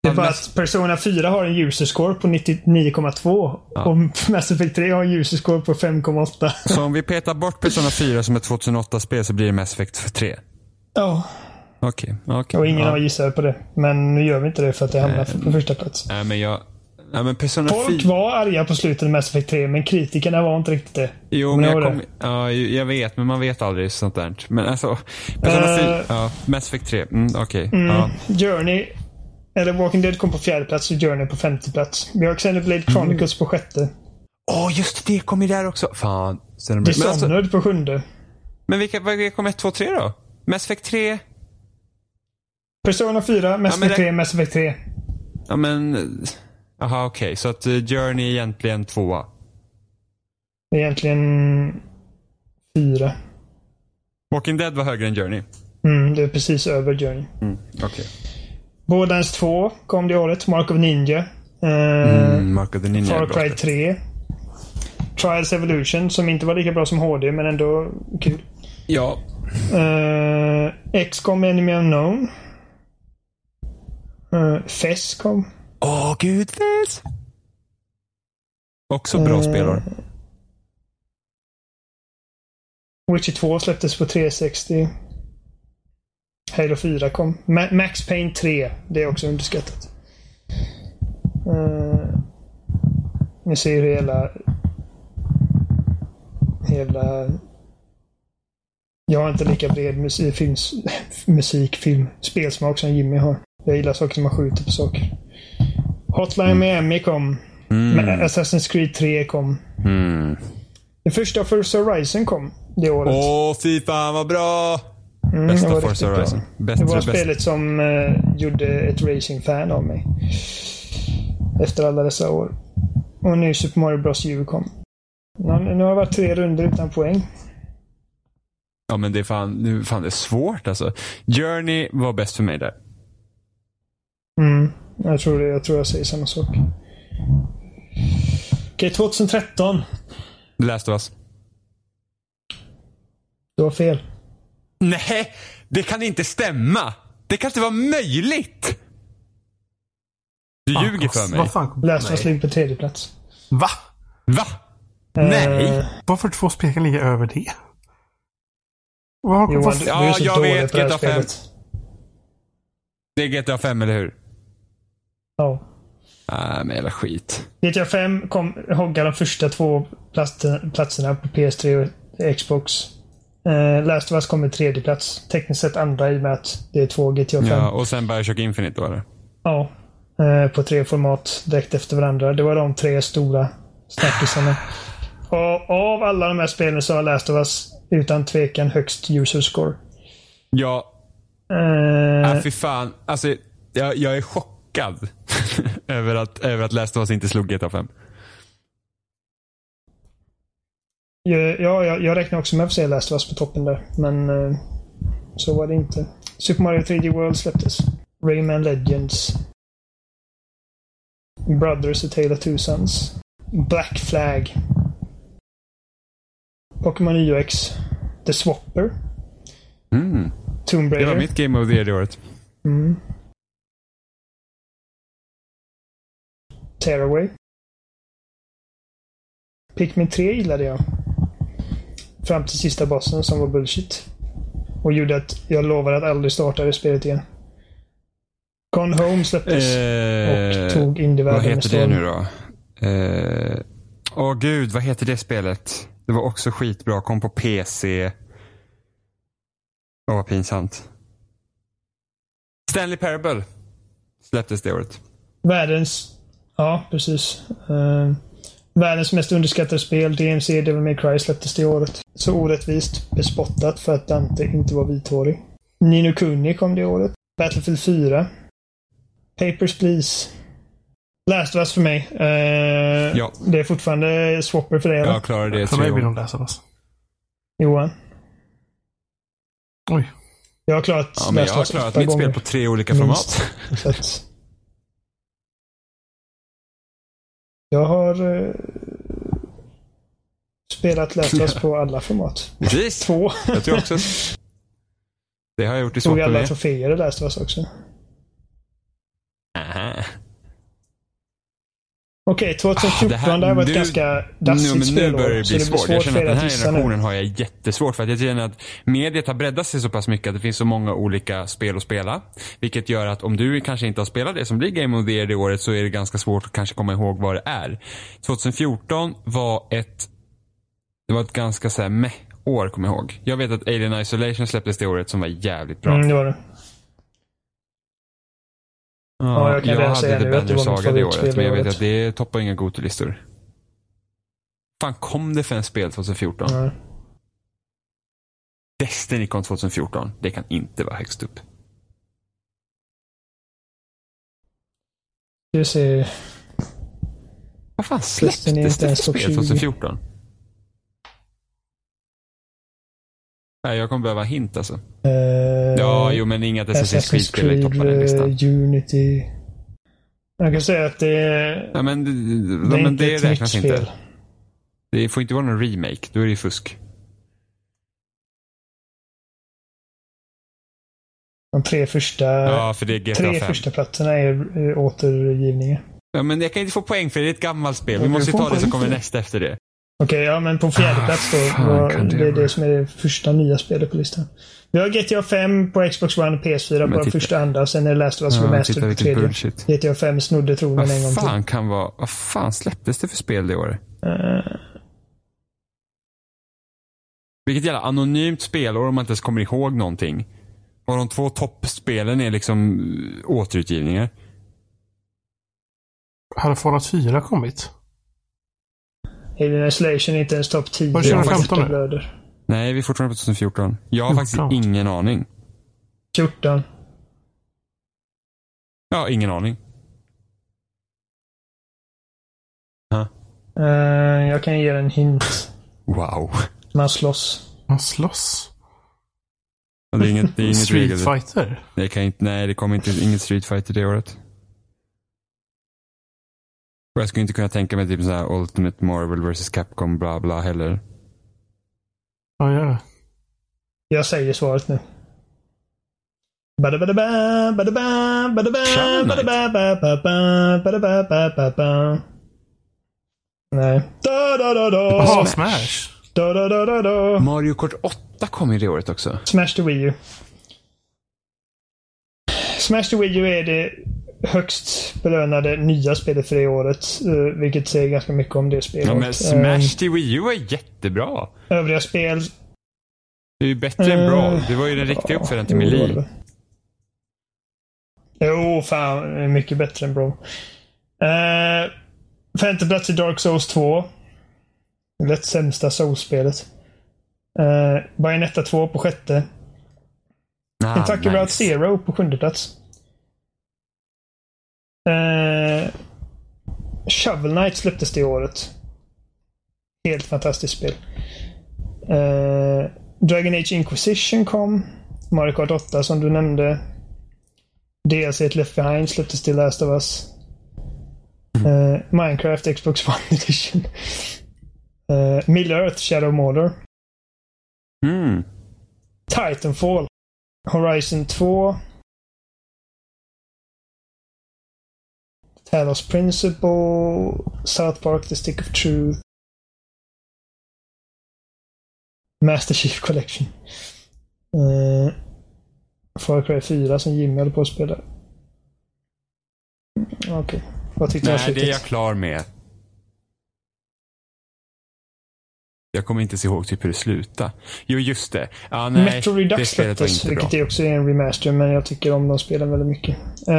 Speaker 1: Ja,
Speaker 3: bara
Speaker 1: Mass-
Speaker 3: att Persona 4 har en user score på 99,2 och Mass Effect 3 har en user score på 5,8.
Speaker 1: Så om vi petar bort Persona 4 som ett 2008-spel så blir det Mass Effect 3?
Speaker 3: Ja,
Speaker 1: Okej, okej.
Speaker 3: och ingen
Speaker 1: ja.
Speaker 3: har gissat på det. Men nu gör vi inte det för att det hamnar på första plats.
Speaker 1: Nej men jag, nej men Persona 4.
Speaker 3: Folk var arga på slutet av Mass Effect 3, men kritikerna var inte riktigt det.
Speaker 1: Jo, men jag,
Speaker 3: Kommer
Speaker 1: kom,
Speaker 3: ni ihåg
Speaker 1: ja, ju- jag vet, men man vet aldrig sånt där. Men alltså, Persona
Speaker 3: Eh.
Speaker 1: 4, ja, Mass Effect 3, mm, okej. Ja.
Speaker 3: Journey, eller Walking Dead kom på fjärde plats och Journey på femte plats. Vi har Xenoblade Chronicles på sjätte.
Speaker 1: Åh, just det. kom ju där också. Fan. Sen det men,
Speaker 3: Dishonored
Speaker 1: alltså,
Speaker 3: på sjunde.
Speaker 1: men vilka, vilka kom 1, 2, 3 då? Mass Effect 3?
Speaker 3: Persona 4, Mass
Speaker 1: Ja, men
Speaker 3: Effect
Speaker 1: det-
Speaker 3: 3, Mass Effect 3.
Speaker 1: Ja, men... Jaha, okej. Så att eh, Journey är egentligen tvåa.
Speaker 3: Det är Egentligen... Fyra.
Speaker 1: Walking Dead var högre än Journey.
Speaker 3: Mm, det är precis över Journey.
Speaker 1: Mm, Okej.
Speaker 3: Borderlands 2 kom det året. Mark of Ninja. Eh,
Speaker 1: Mm, Mark of the Ninja är
Speaker 3: Far
Speaker 1: bra
Speaker 3: Cry
Speaker 1: spel.
Speaker 3: 3. Trials Evolution, som inte var lika bra som HD, men ändå kul.
Speaker 1: Ja.
Speaker 3: Uh, X-com Enemy Unknown. Uh, Fess kom.
Speaker 1: Åh, gud. Fes. Också bra
Speaker 3: Eh.
Speaker 1: spelare.
Speaker 3: Witcher 2 släpptes på 360. Halo 4 kom. Ma- Max Payne 3. Det är också underskattat. Eh, ni ser hur hela... Hela... Jag har inte lika bred musik, films, musik, film, spelsmak som Jimmy har. Jag gillar saker som man skjuter på saker. Hotline Miami kom. Ma- Assassin's Creed 3 kom.
Speaker 1: Mm.
Speaker 3: Det första Forza Horizon kom det året.
Speaker 1: Åh, fy fan vad bra!
Speaker 3: Mm, det
Speaker 1: Bästa
Speaker 3: var
Speaker 1: Forza
Speaker 3: riktigt bra.
Speaker 1: Horizon.
Speaker 3: Det
Speaker 1: Bättre,
Speaker 3: var
Speaker 1: bästa.
Speaker 3: spelet som eh, gjorde ett racingfan av mig. Efter alla dessa år. Och nu Super Mario Bros U kom. Nu, nu har det varit tre runder utan poäng.
Speaker 1: Ja, men det är fan, nu, fan det är svårt alltså. Journey var bäst för mig där.
Speaker 3: Mm, jag, tror det, jag tror jag säger samma sak. Okej, 2013.
Speaker 1: The Last of Us.
Speaker 3: Du har fel.
Speaker 1: Nej, det kan inte stämma. Det kan inte vara möjligt. Du
Speaker 2: Fan,
Speaker 1: ljuger för
Speaker 2: vad-
Speaker 1: mig.
Speaker 2: Vad fan kom...
Speaker 3: Last of Us ligger på tredje plats.
Speaker 2: Va?
Speaker 1: Va? Nej.
Speaker 3: Eh,
Speaker 2: Varför två spel kan ligga över det? Vad har...
Speaker 3: Johan,
Speaker 2: vad-
Speaker 3: du, du
Speaker 1: Ja,
Speaker 3: är så
Speaker 1: jag
Speaker 3: dålig
Speaker 1: vet,
Speaker 3: på det här
Speaker 1: GTA 5.
Speaker 3: spelet.
Speaker 1: Det är GTA 5, eller hur?
Speaker 3: Ja.
Speaker 1: Nej, Ah, men jävla skit.
Speaker 3: GTA 5 kom hogga de första två plast- platserna på PS3 och Xbox. Eh, Last of Us kom i tredje plats. Tekniskt sett andra i och med att det är två GTA 5.
Speaker 1: Ja,
Speaker 3: Ja.
Speaker 1: och sen Bioshock Infinite var det.
Speaker 3: Eh, på tre format direkt efter varandra. Det var de tre stora snackisarna. Och av alla de här spelen så har Last of Us utan tvekan högst user score.
Speaker 1: Ja,
Speaker 3: Eh,
Speaker 1: äh, fy fan. Alltså, jag, jag är chockad över, att, över att Last of Us inte slog GTA 5.
Speaker 3: Ja, jag, jag räknar också med att se Last of Us på toppen där, men eh, så var det inte. Super Mario 3D World släpptes. Rayman Legends. Brothers A Tale of Two Sons. Black Flag. Pokémon UX. The Swapper.
Speaker 1: Mm.
Speaker 3: Tomb
Speaker 1: Det
Speaker 3: Raider.
Speaker 1: var mitt Game of the Year det året.
Speaker 3: Mm. Tearaway. Pikmin 3 gillade jag. Fram till sista bossen som var bullshit. Och gjorde att jag lovade att aldrig starta det spelet igen. Gone Home släpptes och
Speaker 1: Eh,
Speaker 3: tog
Speaker 1: vad
Speaker 3: Indievärlden med
Speaker 1: heter det
Speaker 3: storm.
Speaker 1: nu då? Eh, Åh gud, vad heter det spelet? Det var också skitbra. Kom på PC. Åh, vad pinsamt. Stanley Parable släpptes det året.
Speaker 3: Världens... Ja, precis. Eh, världens mest underskattade spel, DMC Devil May Cry, släpptes det året. Så orättvist bespottat för att Dante inte var vithårig. Nino Kuni kom det året. Battlefield 4. Papers, Please. Last of Us för mig. Eh,
Speaker 1: Ja.
Speaker 3: Det är fortfarande Swapper för dig, eller?
Speaker 1: Jag klarade det
Speaker 2: För mig
Speaker 1: tre
Speaker 2: blir
Speaker 1: år.
Speaker 2: de Last of Us.
Speaker 3: Johan.
Speaker 2: Oj.
Speaker 3: Jag har klarat
Speaker 1: Ja, men jag
Speaker 3: Last
Speaker 1: har
Speaker 3: of Us
Speaker 1: klarat
Speaker 3: åtta
Speaker 1: mitt
Speaker 3: gånger.
Speaker 1: spel på tre olika
Speaker 3: Minst.
Speaker 1: format.
Speaker 3: Så att... Jag har eh, spelat Last of Us på alla format.
Speaker 1: Precis.
Speaker 3: Två.
Speaker 1: Jag tror också. Det har jag gjort i
Speaker 3: Tog
Speaker 1: Swapper
Speaker 3: alla
Speaker 1: med.
Speaker 3: troféer i Last of Us också.
Speaker 1: Aha.
Speaker 3: Okej, 2014
Speaker 1: Ah, det här-
Speaker 3: det här var ett
Speaker 1: nu-
Speaker 3: ganska
Speaker 1: Nu, men
Speaker 3: dassigt
Speaker 1: nu
Speaker 3: spelår.
Speaker 1: börjar det
Speaker 3: så
Speaker 1: bli svårt. Jag känner
Speaker 3: för
Speaker 1: att
Speaker 3: er
Speaker 1: den här
Speaker 3: gissa nu.
Speaker 1: generationen har jag jättesvårt för. Att jag känner att mediet har breddat sig så pass mycket att det finns så många olika spel att spela. Vilket gör att om du kanske inte har spelat det som blir Game of the Year det året så är det ganska svårt att kanske komma ihåg vad det är. 2014 var ett det var ett ganska så här meh år kommer jag ihåg. Jag vet att Alien Isolation släpptes det året som var jävligt bra.
Speaker 3: Mm, det var det. Ja, jag kan redan
Speaker 1: hade
Speaker 3: säga
Speaker 1: The
Speaker 3: nu att det
Speaker 1: Banner
Speaker 3: var mitt
Speaker 1: Saga det året, men
Speaker 3: favoritspel
Speaker 1: jag
Speaker 3: det
Speaker 1: vet
Speaker 3: året.
Speaker 1: att det toppar inga Gotilistor. Fan, kom det för en spel 2014?
Speaker 3: Ja.
Speaker 1: Destiny kom 2014. Det kan inte vara högst upp.
Speaker 3: Ska vi se.
Speaker 1: Vad fan släpptes
Speaker 3: Destiny är inte
Speaker 1: det
Speaker 3: ens topp
Speaker 1: spel
Speaker 3: 20.
Speaker 1: 2014? Nej, jag kommer behöva hint alltså.
Speaker 3: Eh,
Speaker 1: Ja, jo men inga Assassin's
Speaker 3: Assassin's
Speaker 1: Creed-spel är i toppen av den
Speaker 3: Creed,
Speaker 1: listan.
Speaker 3: eh, Unity. Jag kan säga att det, är-
Speaker 1: Ja, men, eh,
Speaker 3: det är
Speaker 1: men
Speaker 3: inte
Speaker 1: det
Speaker 3: ett nytt
Speaker 1: räknas
Speaker 3: spel.
Speaker 1: inte. Det får inte vara någon remake, då är det ju fusk.
Speaker 3: De tre första,
Speaker 1: Ja, för det är GTA
Speaker 3: tre
Speaker 1: 5.
Speaker 3: första platserna är eh, återgivningar.
Speaker 1: Ja, men jag kan inte få poäng för det är ett gammalt spel.
Speaker 3: Ja,
Speaker 1: Vi
Speaker 3: du
Speaker 1: måste ju
Speaker 3: får
Speaker 1: ta det som
Speaker 3: poäng
Speaker 1: kommer
Speaker 3: för det.
Speaker 1: näst efter det.
Speaker 3: Okej, ja men på fjärde
Speaker 1: Ah,
Speaker 3: plats då.
Speaker 1: fan
Speaker 3: var,
Speaker 1: kan det
Speaker 3: det är
Speaker 1: vara?
Speaker 3: det som är det första nya spelet på listan. Vi har GTA 5 på Xbox One och PS4 på den
Speaker 1: titta.
Speaker 3: första och andra. Sen är det Last of Us
Speaker 1: Ja,
Speaker 3: Remastered
Speaker 1: titta
Speaker 3: på
Speaker 1: vilken
Speaker 3: tredje.
Speaker 1: bullshit.
Speaker 3: GTA 5 snodde tronen en gång
Speaker 1: Vad
Speaker 3: till.
Speaker 1: fan kan vara... Vad fan släpptes det för spel det året?
Speaker 3: Eh,
Speaker 1: Vilket jävla anonymt spelår om man inte ens kommer ihåg någonting. Och de två toppspelen är liksom eh, återutgivningar.
Speaker 2: Hade Fallout 4 kommit?
Speaker 3: Alien Isolation är inte ens topp 10.
Speaker 2: Var det
Speaker 3: Det är
Speaker 2: 2015
Speaker 3: faktiskt
Speaker 2: nu?
Speaker 3: blöder.
Speaker 1: Nej, vi är fortfarande på 2014. Jag
Speaker 3: Mm,
Speaker 1: har faktiskt
Speaker 2: 14.
Speaker 1: ingen aning.
Speaker 3: 14.
Speaker 1: Ja, ingen aning.
Speaker 3: Eh, jag kan ge en hint.
Speaker 1: Wow.
Speaker 3: Man slåss.
Speaker 2: Man slåss?
Speaker 1: Och Det är inget, det är inget
Speaker 2: Street
Speaker 1: regel.
Speaker 2: Fighter?
Speaker 1: Det kan inte, nej, det kommer inte, inget Street Fighter det året. Och jag skulle inte kunna tänka mig typ så här Ultimate Marvel vs Capcom bla bla heller.
Speaker 2: Ja, gör det.
Speaker 3: Jag säger svaret nu. Badabadaba, badaba, badaba,
Speaker 1: Shovel Knight.
Speaker 3: badababababa, badababababa. Nej. Da, da, da, da.
Speaker 2: Jaha, Smash?
Speaker 3: Da, da, da, da, da.
Speaker 1: Mario Kart 8 kom ju det året också.
Speaker 3: Smash the Wii U. Smash the Wii U är det högst belönade nya spelet för det året. eh, Vilket säger ganska mycket om det spelet.
Speaker 1: Ja, men
Speaker 3: Eh,
Speaker 1: Smash till Wii U är jättebra.
Speaker 3: Övriga spel.
Speaker 1: Det är ju bättre än
Speaker 3: Eh,
Speaker 1: Brawl. Det var ju den riktiga
Speaker 3: ja,
Speaker 1: uppföljaren till
Speaker 3: jo, det var
Speaker 1: Melee.
Speaker 3: det. Jo, fan. det är Mycket bättre än Bro. Eh, femte plats i Dark Souls 2. Det lätt sämsta Souls-spelet. Eh, Bayonetta 2 på sjätte.
Speaker 1: Ah,
Speaker 3: Kentucky Route
Speaker 1: nice.
Speaker 3: Zero på sjunde plats. Eh, Shovel Knight släpptes det året. Helt fantastiskt spel. Eh, Dragon Age Inquisition kom. Mario Kart 8 som du nämnde. DLC ett Left Behind släpptes till Last of Us. Eh, Minecraft Xbox One Edition. Eh, Middle Earth Shadow Mordor.
Speaker 1: Mm.
Speaker 3: Titanfall. Horizon 2. Talos Principle. South Park The Stick of Truth. Master Chief Collection. Uh, Far Cry 4 som Jimmy höll på att spela. Mm, Okej. Vad tyckte du om
Speaker 1: Nej, det är
Speaker 3: slutet?
Speaker 1: jag klar med. Jag kommer inte se ihåg typ hur det slutade. Jo, just det. Ja, nej,
Speaker 3: Metro Redux
Speaker 1: det spelet var
Speaker 3: släpptes,
Speaker 1: inte bra.
Speaker 3: vilket är också är en remaster, men jag tycker om de spelen väldigt mycket. Eh,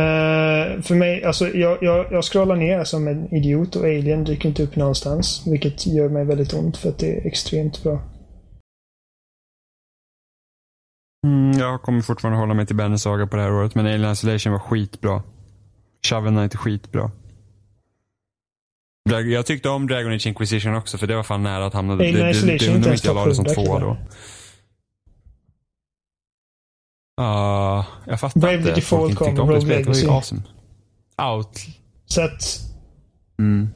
Speaker 3: för mig, alltså jag, jag, jag scrollar ner som en idiot och Alien dyker inte upp någonstans. Vilket gör mig väldigt ont för att det är extremt bra.
Speaker 1: Mm, jag kommer fortfarande hålla mig till Banners Saga på det här året, men Alien Isolation var skitbra. Shovel Knight är skitbra. Drag- Jag tyckte om Dragon Age Inquisition också, för det var fan nära att hamna...
Speaker 3: Alien
Speaker 1: det, det,
Speaker 3: Isolation
Speaker 1: det,
Speaker 3: är
Speaker 1: det,
Speaker 3: inte
Speaker 1: undrar om
Speaker 3: ens
Speaker 1: inte jag la det som
Speaker 3: topp
Speaker 1: tvåa
Speaker 3: 100
Speaker 1: då.
Speaker 3: killar.
Speaker 1: Ah, jag fattar
Speaker 3: Bravely
Speaker 1: inte. att
Speaker 3: Default
Speaker 1: folk inte
Speaker 3: kom,
Speaker 1: tyckte om det
Speaker 3: Rogue
Speaker 1: spelet. Det var ju
Speaker 3: Legacy.
Speaker 1: awesome. Out.
Speaker 3: Så att,
Speaker 1: Mm.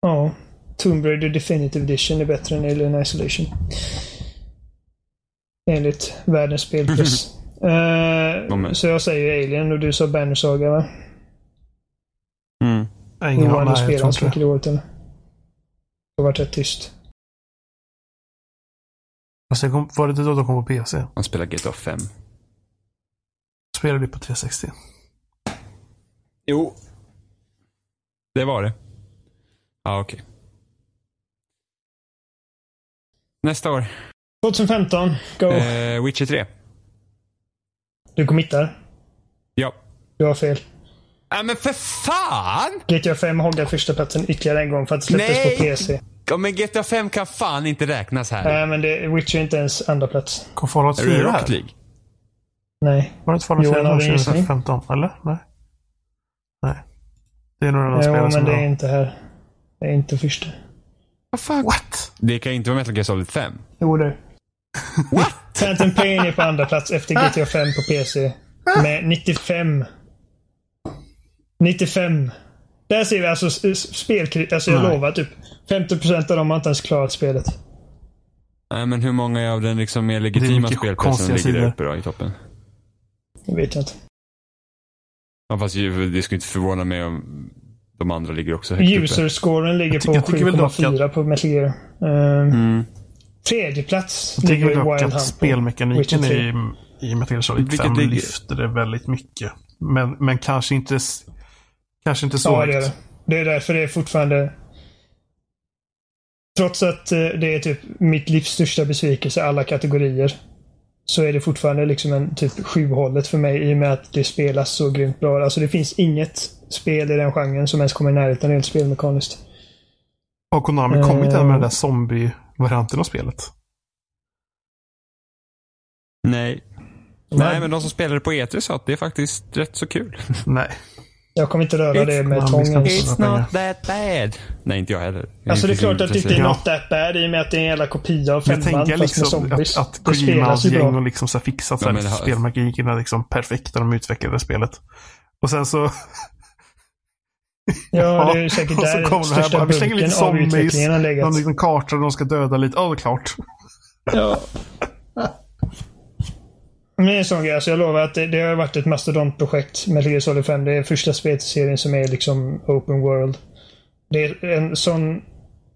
Speaker 3: ja. Tomb Raider Definitive Edition är bättre än Alien Isolation. Enligt Världens Spelpress. Eh,
Speaker 1: De är-
Speaker 3: så jag säger Alien och du sa Banner Saga va?
Speaker 1: Mm.
Speaker 2: Nej,
Speaker 3: Ingen
Speaker 2: ingen
Speaker 3: Johan,
Speaker 2: aning.
Speaker 3: du
Speaker 2: Jag tror
Speaker 3: spelar
Speaker 2: inte
Speaker 3: så mycket
Speaker 2: det.
Speaker 3: det året eller? Det har varit rätt tyst.
Speaker 2: Och sen Alltså, kom, var det inte då de kom på PC?
Speaker 1: Han spelar GTA 5.
Speaker 2: Spelade vi på 360.
Speaker 1: Jo. Det var det. Ja, ah, okej. Nästa år.
Speaker 3: 2015, go.
Speaker 1: Eh, Witcher 3.
Speaker 3: Du kom hit där.
Speaker 1: Ja.
Speaker 3: Du har fel.
Speaker 1: Ja Äh, men för fan!
Speaker 3: GTA 5 hoggade första platsen ytterligare en gång för att det släpptes
Speaker 1: Nej!
Speaker 3: på PC.
Speaker 1: Ja, men GTA 5 kan fan inte räknas här.
Speaker 3: Nej, men det, Witcher är inte ens andra plats.
Speaker 2: Kom Fallout
Speaker 1: Äh, är det
Speaker 2: 4
Speaker 1: Rocket
Speaker 2: här?
Speaker 1: League?
Speaker 3: Nej.
Speaker 2: Var det inte Fallout
Speaker 3: Johan,
Speaker 2: 4
Speaker 3: har du en gissning?
Speaker 2: 2015? Eller? Nej. Nej. Det är nog den här
Speaker 3: Jo,
Speaker 2: spelaren
Speaker 3: men
Speaker 2: som...
Speaker 3: det är
Speaker 2: jag-
Speaker 3: inte här. Det är inte första.
Speaker 1: Vad fan?
Speaker 2: What?
Speaker 1: Det kan ju inte vara Metal Gear Solid 5.
Speaker 3: Jo, det.
Speaker 1: What?
Speaker 3: Phantom Pain är på andra plats efter
Speaker 2: Ah!
Speaker 3: GTA 5 på PC. Med 95. 95. Där ser vi alltså s- s- spelkritik. Alltså jag
Speaker 2: Nej.
Speaker 3: lovar typ. 50% av dem har inte ens klarat spelet.
Speaker 1: Nej men hur många av den liksom mer
Speaker 2: Det är
Speaker 1: legitima
Speaker 2: mycket
Speaker 1: spelplatsen
Speaker 2: konstiga
Speaker 1: ligger där
Speaker 2: sidor.
Speaker 1: uppe då i toppen?
Speaker 3: Det vet jag inte.
Speaker 1: Ja, fast ju- det skulle inte förvåna mig om de andra ligger också högt uppe.
Speaker 3: typ User-scoren ligger
Speaker 2: Jag tycker- jag
Speaker 3: på
Speaker 2: tycker väl dock
Speaker 3: 7,4 på Metal Gear. Ehm,
Speaker 1: Mm.
Speaker 3: Tredje plats
Speaker 2: Jag tycker
Speaker 3: ligger
Speaker 2: väl dock
Speaker 3: Wild
Speaker 2: att
Speaker 3: Hunt på.
Speaker 2: spelmekaniken
Speaker 3: Witcher
Speaker 2: i, i Metal Gear Solid
Speaker 1: Vilket
Speaker 2: 5
Speaker 1: ligger-
Speaker 2: lyfter det väldigt mycket. Men, men kanske inte s- Kanske inte så
Speaker 3: Ja, det är
Speaker 2: högt.
Speaker 3: det. Det är därför det är fortfarande... Trots att eh, det är typ mitt livs största besvikelse i alla kategorier. Så är det fortfarande liksom en typ sjuhållet för mig i och med att det spelas så grymt bra. Alltså det finns inget spel i den genren som ens kommer i närheten rent spelmekaniskt.
Speaker 2: Har Konami
Speaker 3: Eh.
Speaker 2: kommit än med den där zombie-varianten av spelet?
Speaker 1: Nej. Nej men de som spelade på E3 sa att det är faktiskt rätt så kul.
Speaker 2: Nej.
Speaker 3: Jag kommer inte röra det med
Speaker 2: It's-
Speaker 3: tången.
Speaker 2: It's not
Speaker 1: that bad. Nej inte jag heller. Jag
Speaker 3: Alltså det är
Speaker 1: inte så
Speaker 3: klart att det inte är
Speaker 1: intresserad.
Speaker 3: något that bad i och med att det är en jävla kopia av
Speaker 2: Jag
Speaker 3: femman
Speaker 2: tänker
Speaker 3: fast med
Speaker 2: liksom
Speaker 3: zombies.
Speaker 2: att, att
Speaker 3: det spelas
Speaker 2: Kojimas
Speaker 3: ju
Speaker 2: gäng
Speaker 3: bra.
Speaker 2: har liksom så här fixat så
Speaker 1: Ja,
Speaker 2: här
Speaker 1: men det har-
Speaker 2: spelmekaniken är liksom perfekt när de utvecklade spelet. Och sen så,
Speaker 3: Ja, det är säkert
Speaker 2: och så
Speaker 3: där
Speaker 2: kom det här
Speaker 3: största
Speaker 2: bara, vi slänger lite
Speaker 3: bunken av
Speaker 2: zombies,
Speaker 3: utvecklingen har legat.
Speaker 2: de liksom kartar och de ska döda lite. Ja, det är klart.
Speaker 3: Ja. Men det är en sån grej, alltså jag lovar att det, det har varit ett mastodontprojekt med Gear Solid 5. Det är första spelet i serien som är liksom open world. Det är en sån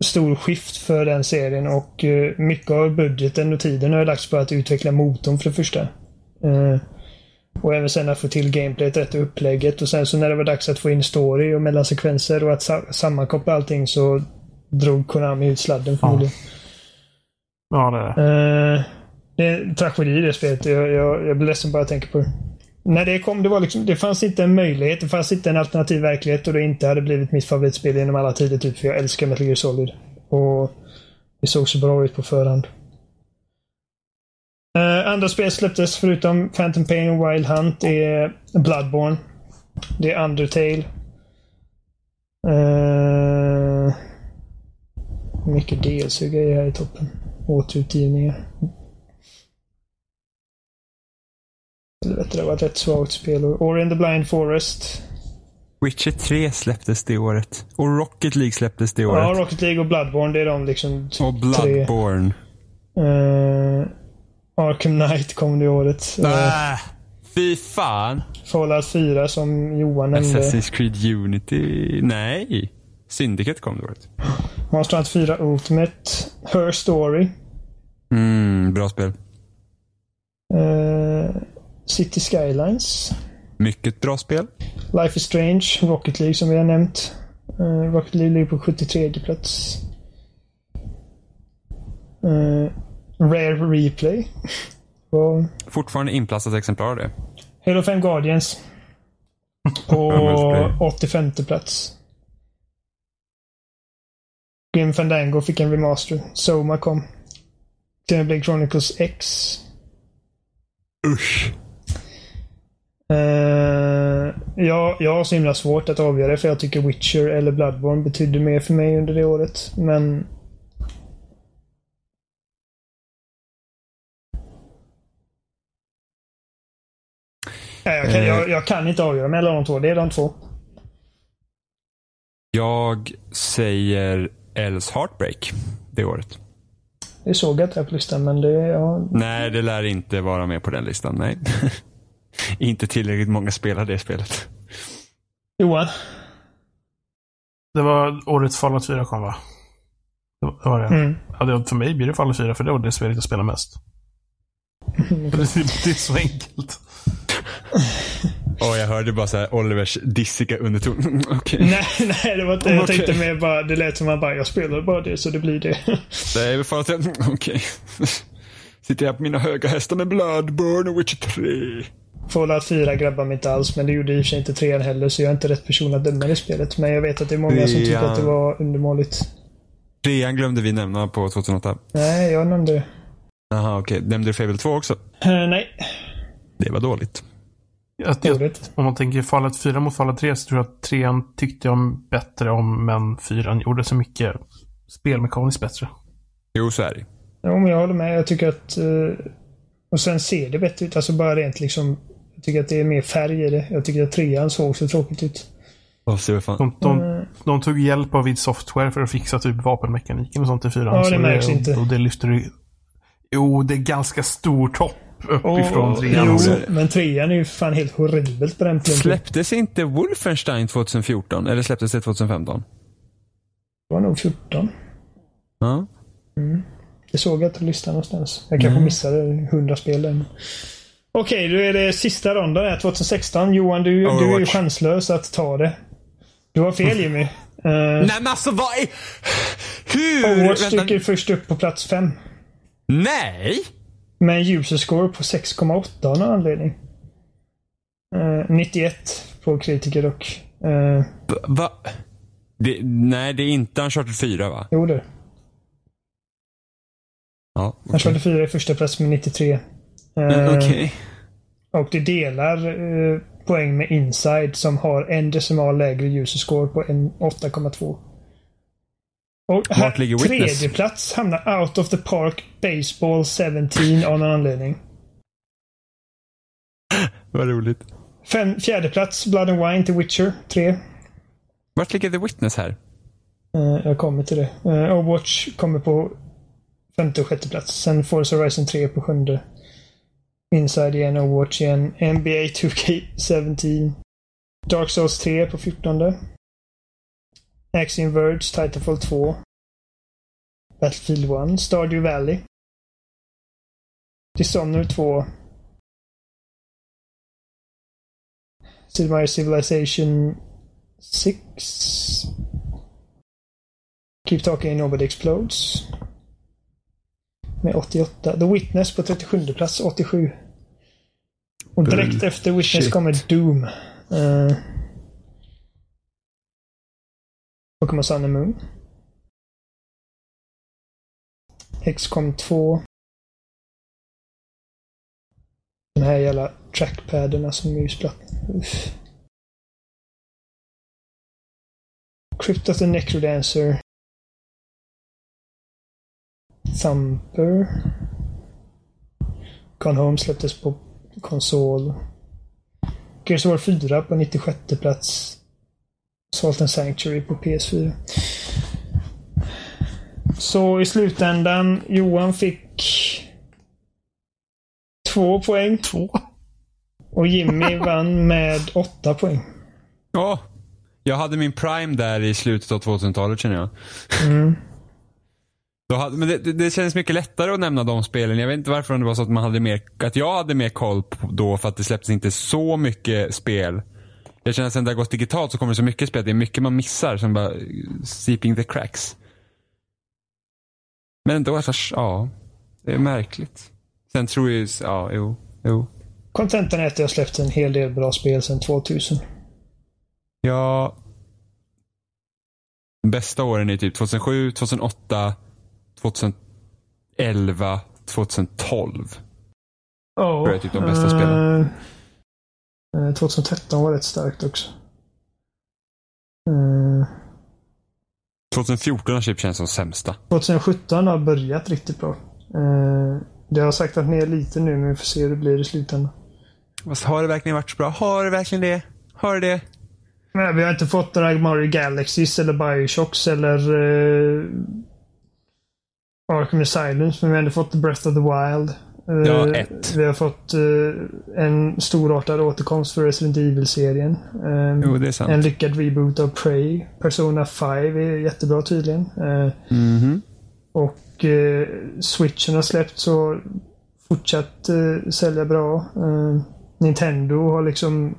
Speaker 3: stor skift för den serien och eh, mycket av budgeten och tiden har lagts på att utveckla motorn för det första. Eh, Och även sen att få till gameplayet rätt och upplägget. Och sen så när det var dags att få in story och mellansekvenser och att sa- sammankoppla allting så drog Konami ut sladden förmodligen.
Speaker 2: Ja, det är det.
Speaker 3: Eh, det är en tragedi i det spelet. Jag, jag, jag blir ledsen bara jag tänker på det. När det kom, det, var liksom, det fanns inte en möjlighet. Det fanns inte en alternativ verklighet och det inte hade blivit mitt favoritspel genom alla tider. Typ, för jag älskar Metal Gear Solid. Och det såg så bra ut på förhand. Eh, andra spel släpptes förutom Phantom Pain och Wild Hunt är Bloodborne. Det är Undertale. Eh, mycket DLC-grejer här i toppen. Återutgivningar. Helvete, det var ett rätt svagt spel. Ori and the Blind Forest.
Speaker 1: Witcher 3 släpptes det året. Och Rocket League släpptes det
Speaker 3: Ja,
Speaker 1: året.
Speaker 3: Rocket League och Bloodborne, det är de liksom t-
Speaker 1: och Bloodborne.
Speaker 3: tre. Eh, Arkham Knight kom det året. Eh,
Speaker 1: Äh, fy fan.
Speaker 3: Fallout 4 som Johan nämnde.
Speaker 1: Assassin's Creed Unity. Nej. Syndicate kom det året.
Speaker 3: Monster Hunter 4 Ultimate. Her Story.
Speaker 1: Mm, bra spel.
Speaker 3: Eh, City Skylines.
Speaker 1: Mycket bra spel.
Speaker 3: Life is Strange, Rocket League som vi har nämnt. Eh, Rocket League ligger på 73 plats. Eh, Rare Replay. Och
Speaker 1: Fortfarande inplastat exemplar av det.
Speaker 3: Halo 5 Guardians. På
Speaker 1: Multiplayer.
Speaker 3: 85 plats. Grim Fandango fick en remaster. Soma kom. Xenoblade Chronicles X.
Speaker 1: Usch.
Speaker 3: Eh, jag, jag har så himla svårt att avgöra för jag tycker Witcher eller Bloodborne betydde mer för mig under det året. Men... Nej, jag, kan,
Speaker 1: Eh.
Speaker 3: jag, jag kan inte avgöra mellan de två. Det är de två.
Speaker 1: Jag säger Els Heartbreak det året.
Speaker 3: Det såg jag inte här på listan, men det... Ja,
Speaker 1: Nej, det lär inte vara med på den listan. Nej. inte tillräckligt många spelar det spelet.
Speaker 3: Johan?
Speaker 2: Det var årets Fallout 4 kom va? Det var- det var det.
Speaker 3: Mm.
Speaker 2: Ja, det för mig blir det Fallout 4 för det var det spelet jag spelar mest.
Speaker 3: Mm.
Speaker 2: För det, det är så enkelt.
Speaker 1: Och jag hörde bara så här Olivers dissiga underton. Okej.
Speaker 3: Nej, nej, det var inte, jag
Speaker 1: Okej.
Speaker 3: tänkte mer bara... Det lät som att man bara, jag spelar bara det så det blir det.
Speaker 1: Det är väl för att jag... Okej. Sitter jag på mina höga hästar med Bloodborne och Witcher 3.
Speaker 3: Fallout 4 grabbar mig inte alls, men det gjorde i och för sig inte 3 heller, så jag är inte rätt person att döma det spelet. Men jag vet att det är många som tycker
Speaker 1: Trean.
Speaker 3: att det var undermåligt.
Speaker 1: Trean glömde vi nämna på 2008.
Speaker 3: Nej, jag nämnde det.
Speaker 1: Jaha, okej. Nämnde du Fable 2 också?
Speaker 3: Eh, nej,
Speaker 1: Det var dåligt.
Speaker 2: Att
Speaker 3: det
Speaker 2: jag,
Speaker 3: gjorde jag inte.
Speaker 2: om man tänker Fallout 4 mot Fallout 3 så tror jag att 3 tyckte jag bättre om, men 4 gjorde så mycket spelmekaniskt bättre.
Speaker 1: Jo, så är det.
Speaker 3: Jo, men jag håller med. Jag tycker att... eh, och sen ser det bättre ut. Alltså bara rent liksom... Jag tycker att det är mer färg i det. Jag tycker att trean såg så tråkigt ut.
Speaker 1: Åh, se vad fan.
Speaker 2: De, de,
Speaker 3: Eh,
Speaker 2: de tog hjälp av id Software för att fixa typ vapenmekaniken och sånt i 4
Speaker 3: Ja, det märks inte.
Speaker 2: Och det lyfter ju... Jo, det är ganska stor topp
Speaker 3: och-
Speaker 2: uppifrån
Speaker 1: Åh,
Speaker 2: trean.
Speaker 3: Jo,
Speaker 1: så är det.
Speaker 3: men trean är ju fan helt horribelt på den punkten.
Speaker 1: Släpptes inte Wolfenstein 2014? Eller släpptes det 2015?
Speaker 3: Det var nog 14.
Speaker 1: Ja.
Speaker 3: Det såg jag inte på listan någonstans. Jag kanske missade 100 spel där. men- Okej, då är det sista ronden här 2016. Johan, du, du är ju
Speaker 1: Overwatch. Mm.
Speaker 3: chanslös att ta det. Du har fel Jimmy. Uh,
Speaker 1: Nej men alltså vad är... Hur?
Speaker 3: Overwatch
Speaker 1: Vänta.
Speaker 3: dyker först upp på plats 5.
Speaker 1: Nej!
Speaker 3: Med en user score på 6,8 av någon anledning. Eh, 91 på kritiker dock. Uh,
Speaker 1: B- va? Det, nej, det är inte Uncharted 4 va?
Speaker 3: jo du.
Speaker 1: Ja,
Speaker 3: Han körde 4 i första plats med 93. Eh,
Speaker 1: Okej.
Speaker 3: Och det delar eh, poäng med Inside som har en decimal lägre user score på en 8,2. Och här,
Speaker 1: Vart ligger Witness?
Speaker 3: tredje plats hamnar Out of the Park Baseball 17 av någon anledning.
Speaker 1: Vad roligt.
Speaker 3: Fem, fjärde plats Blood and Wine till Witcher 3.
Speaker 1: Vart ligger The Witness här?
Speaker 3: Eh, jag kommer till det. Eh, Overwatch kommer på femte och sjätte plats. Sen Forza Horizon 3 på sjunde. Inside igen, Overwatch igen. NBA 2K17. Dark Souls 3 på fjortonde. Axiom Verge, Titanfall 2. Battlefield 1, Stardew Valley. Dishonored 2. Super Mario Civilization 6. Keep Talking Nobody Explodes. Med 88. The Witness på 37 plats, 87. Och direkt
Speaker 1: Bull.
Speaker 3: efter Witness
Speaker 1: Shit.
Speaker 3: kommer Doom. Uh, Pokémon Sun and Moon. XCOM 2. De här jävla trackpaderna som är ju spratt. Uff. Crypt of the Necrodancer. Thumper. Gone Home släpptes på konsol. Gears of War 4 på 96 plats. Salt and Sanctuary på PS4. Så i slutändan, Johan fick två poäng
Speaker 2: Två.
Speaker 3: och Jimmy vann med åtta poäng.
Speaker 1: Ja. Jag hade min prime där i slutet av 2000-talet känner jag. Mm. Då hade, men det, det- det känns mycket lättare att nämna de spelen. Jag vet inte varför om det var så att man hade mer, att jag hade mer koll på då för att det släpptes inte så mycket spel. Jag känner att sen det har gått digitalt så kommer det så mycket spel. Det är mycket man missar som bara eh, seeping the cracks. Men då, alltså, ja. Det är märkligt. Sen tror jag, ju- ja, jo, jo.
Speaker 3: Kontentan är att jag släppt en hel del bra spel sedan 2000.
Speaker 1: Ja. De Bästa åren är typ 2007, 2008, 2011, 2012.
Speaker 3: Ja.
Speaker 1: Tror jag är typ de bästa spelen.
Speaker 3: eh, eh, 2013 var rätt starkt också. Eh,
Speaker 1: 2014 har typ känts som sämsta.
Speaker 3: 2017 har börjat riktigt bra. Eh, det har saktat ner lite nu, men vi får se hur det blir i slutändan.
Speaker 1: Fast har det verkligen varit så bra? Har det verkligen det? Har det
Speaker 3: Men vi har inte fått några Mario Galaxies eller Bioshocks eller uh, Arkham Asylum. Men vi har ändå fått Breath of the Wild. Eh,
Speaker 1: Ja, ett.
Speaker 3: Vi har fått eh, en storartad återkomst för Resident Evil-serien. Eh,
Speaker 1: Jo, det är sant.
Speaker 3: en lyckad reboot av Prey. Persona 5 är jättebra tydligen. Eh,
Speaker 1: Mhm.
Speaker 3: och eh, switchen har släppt så fortsatt eh, sälja bra. Eh, Nintendo har liksom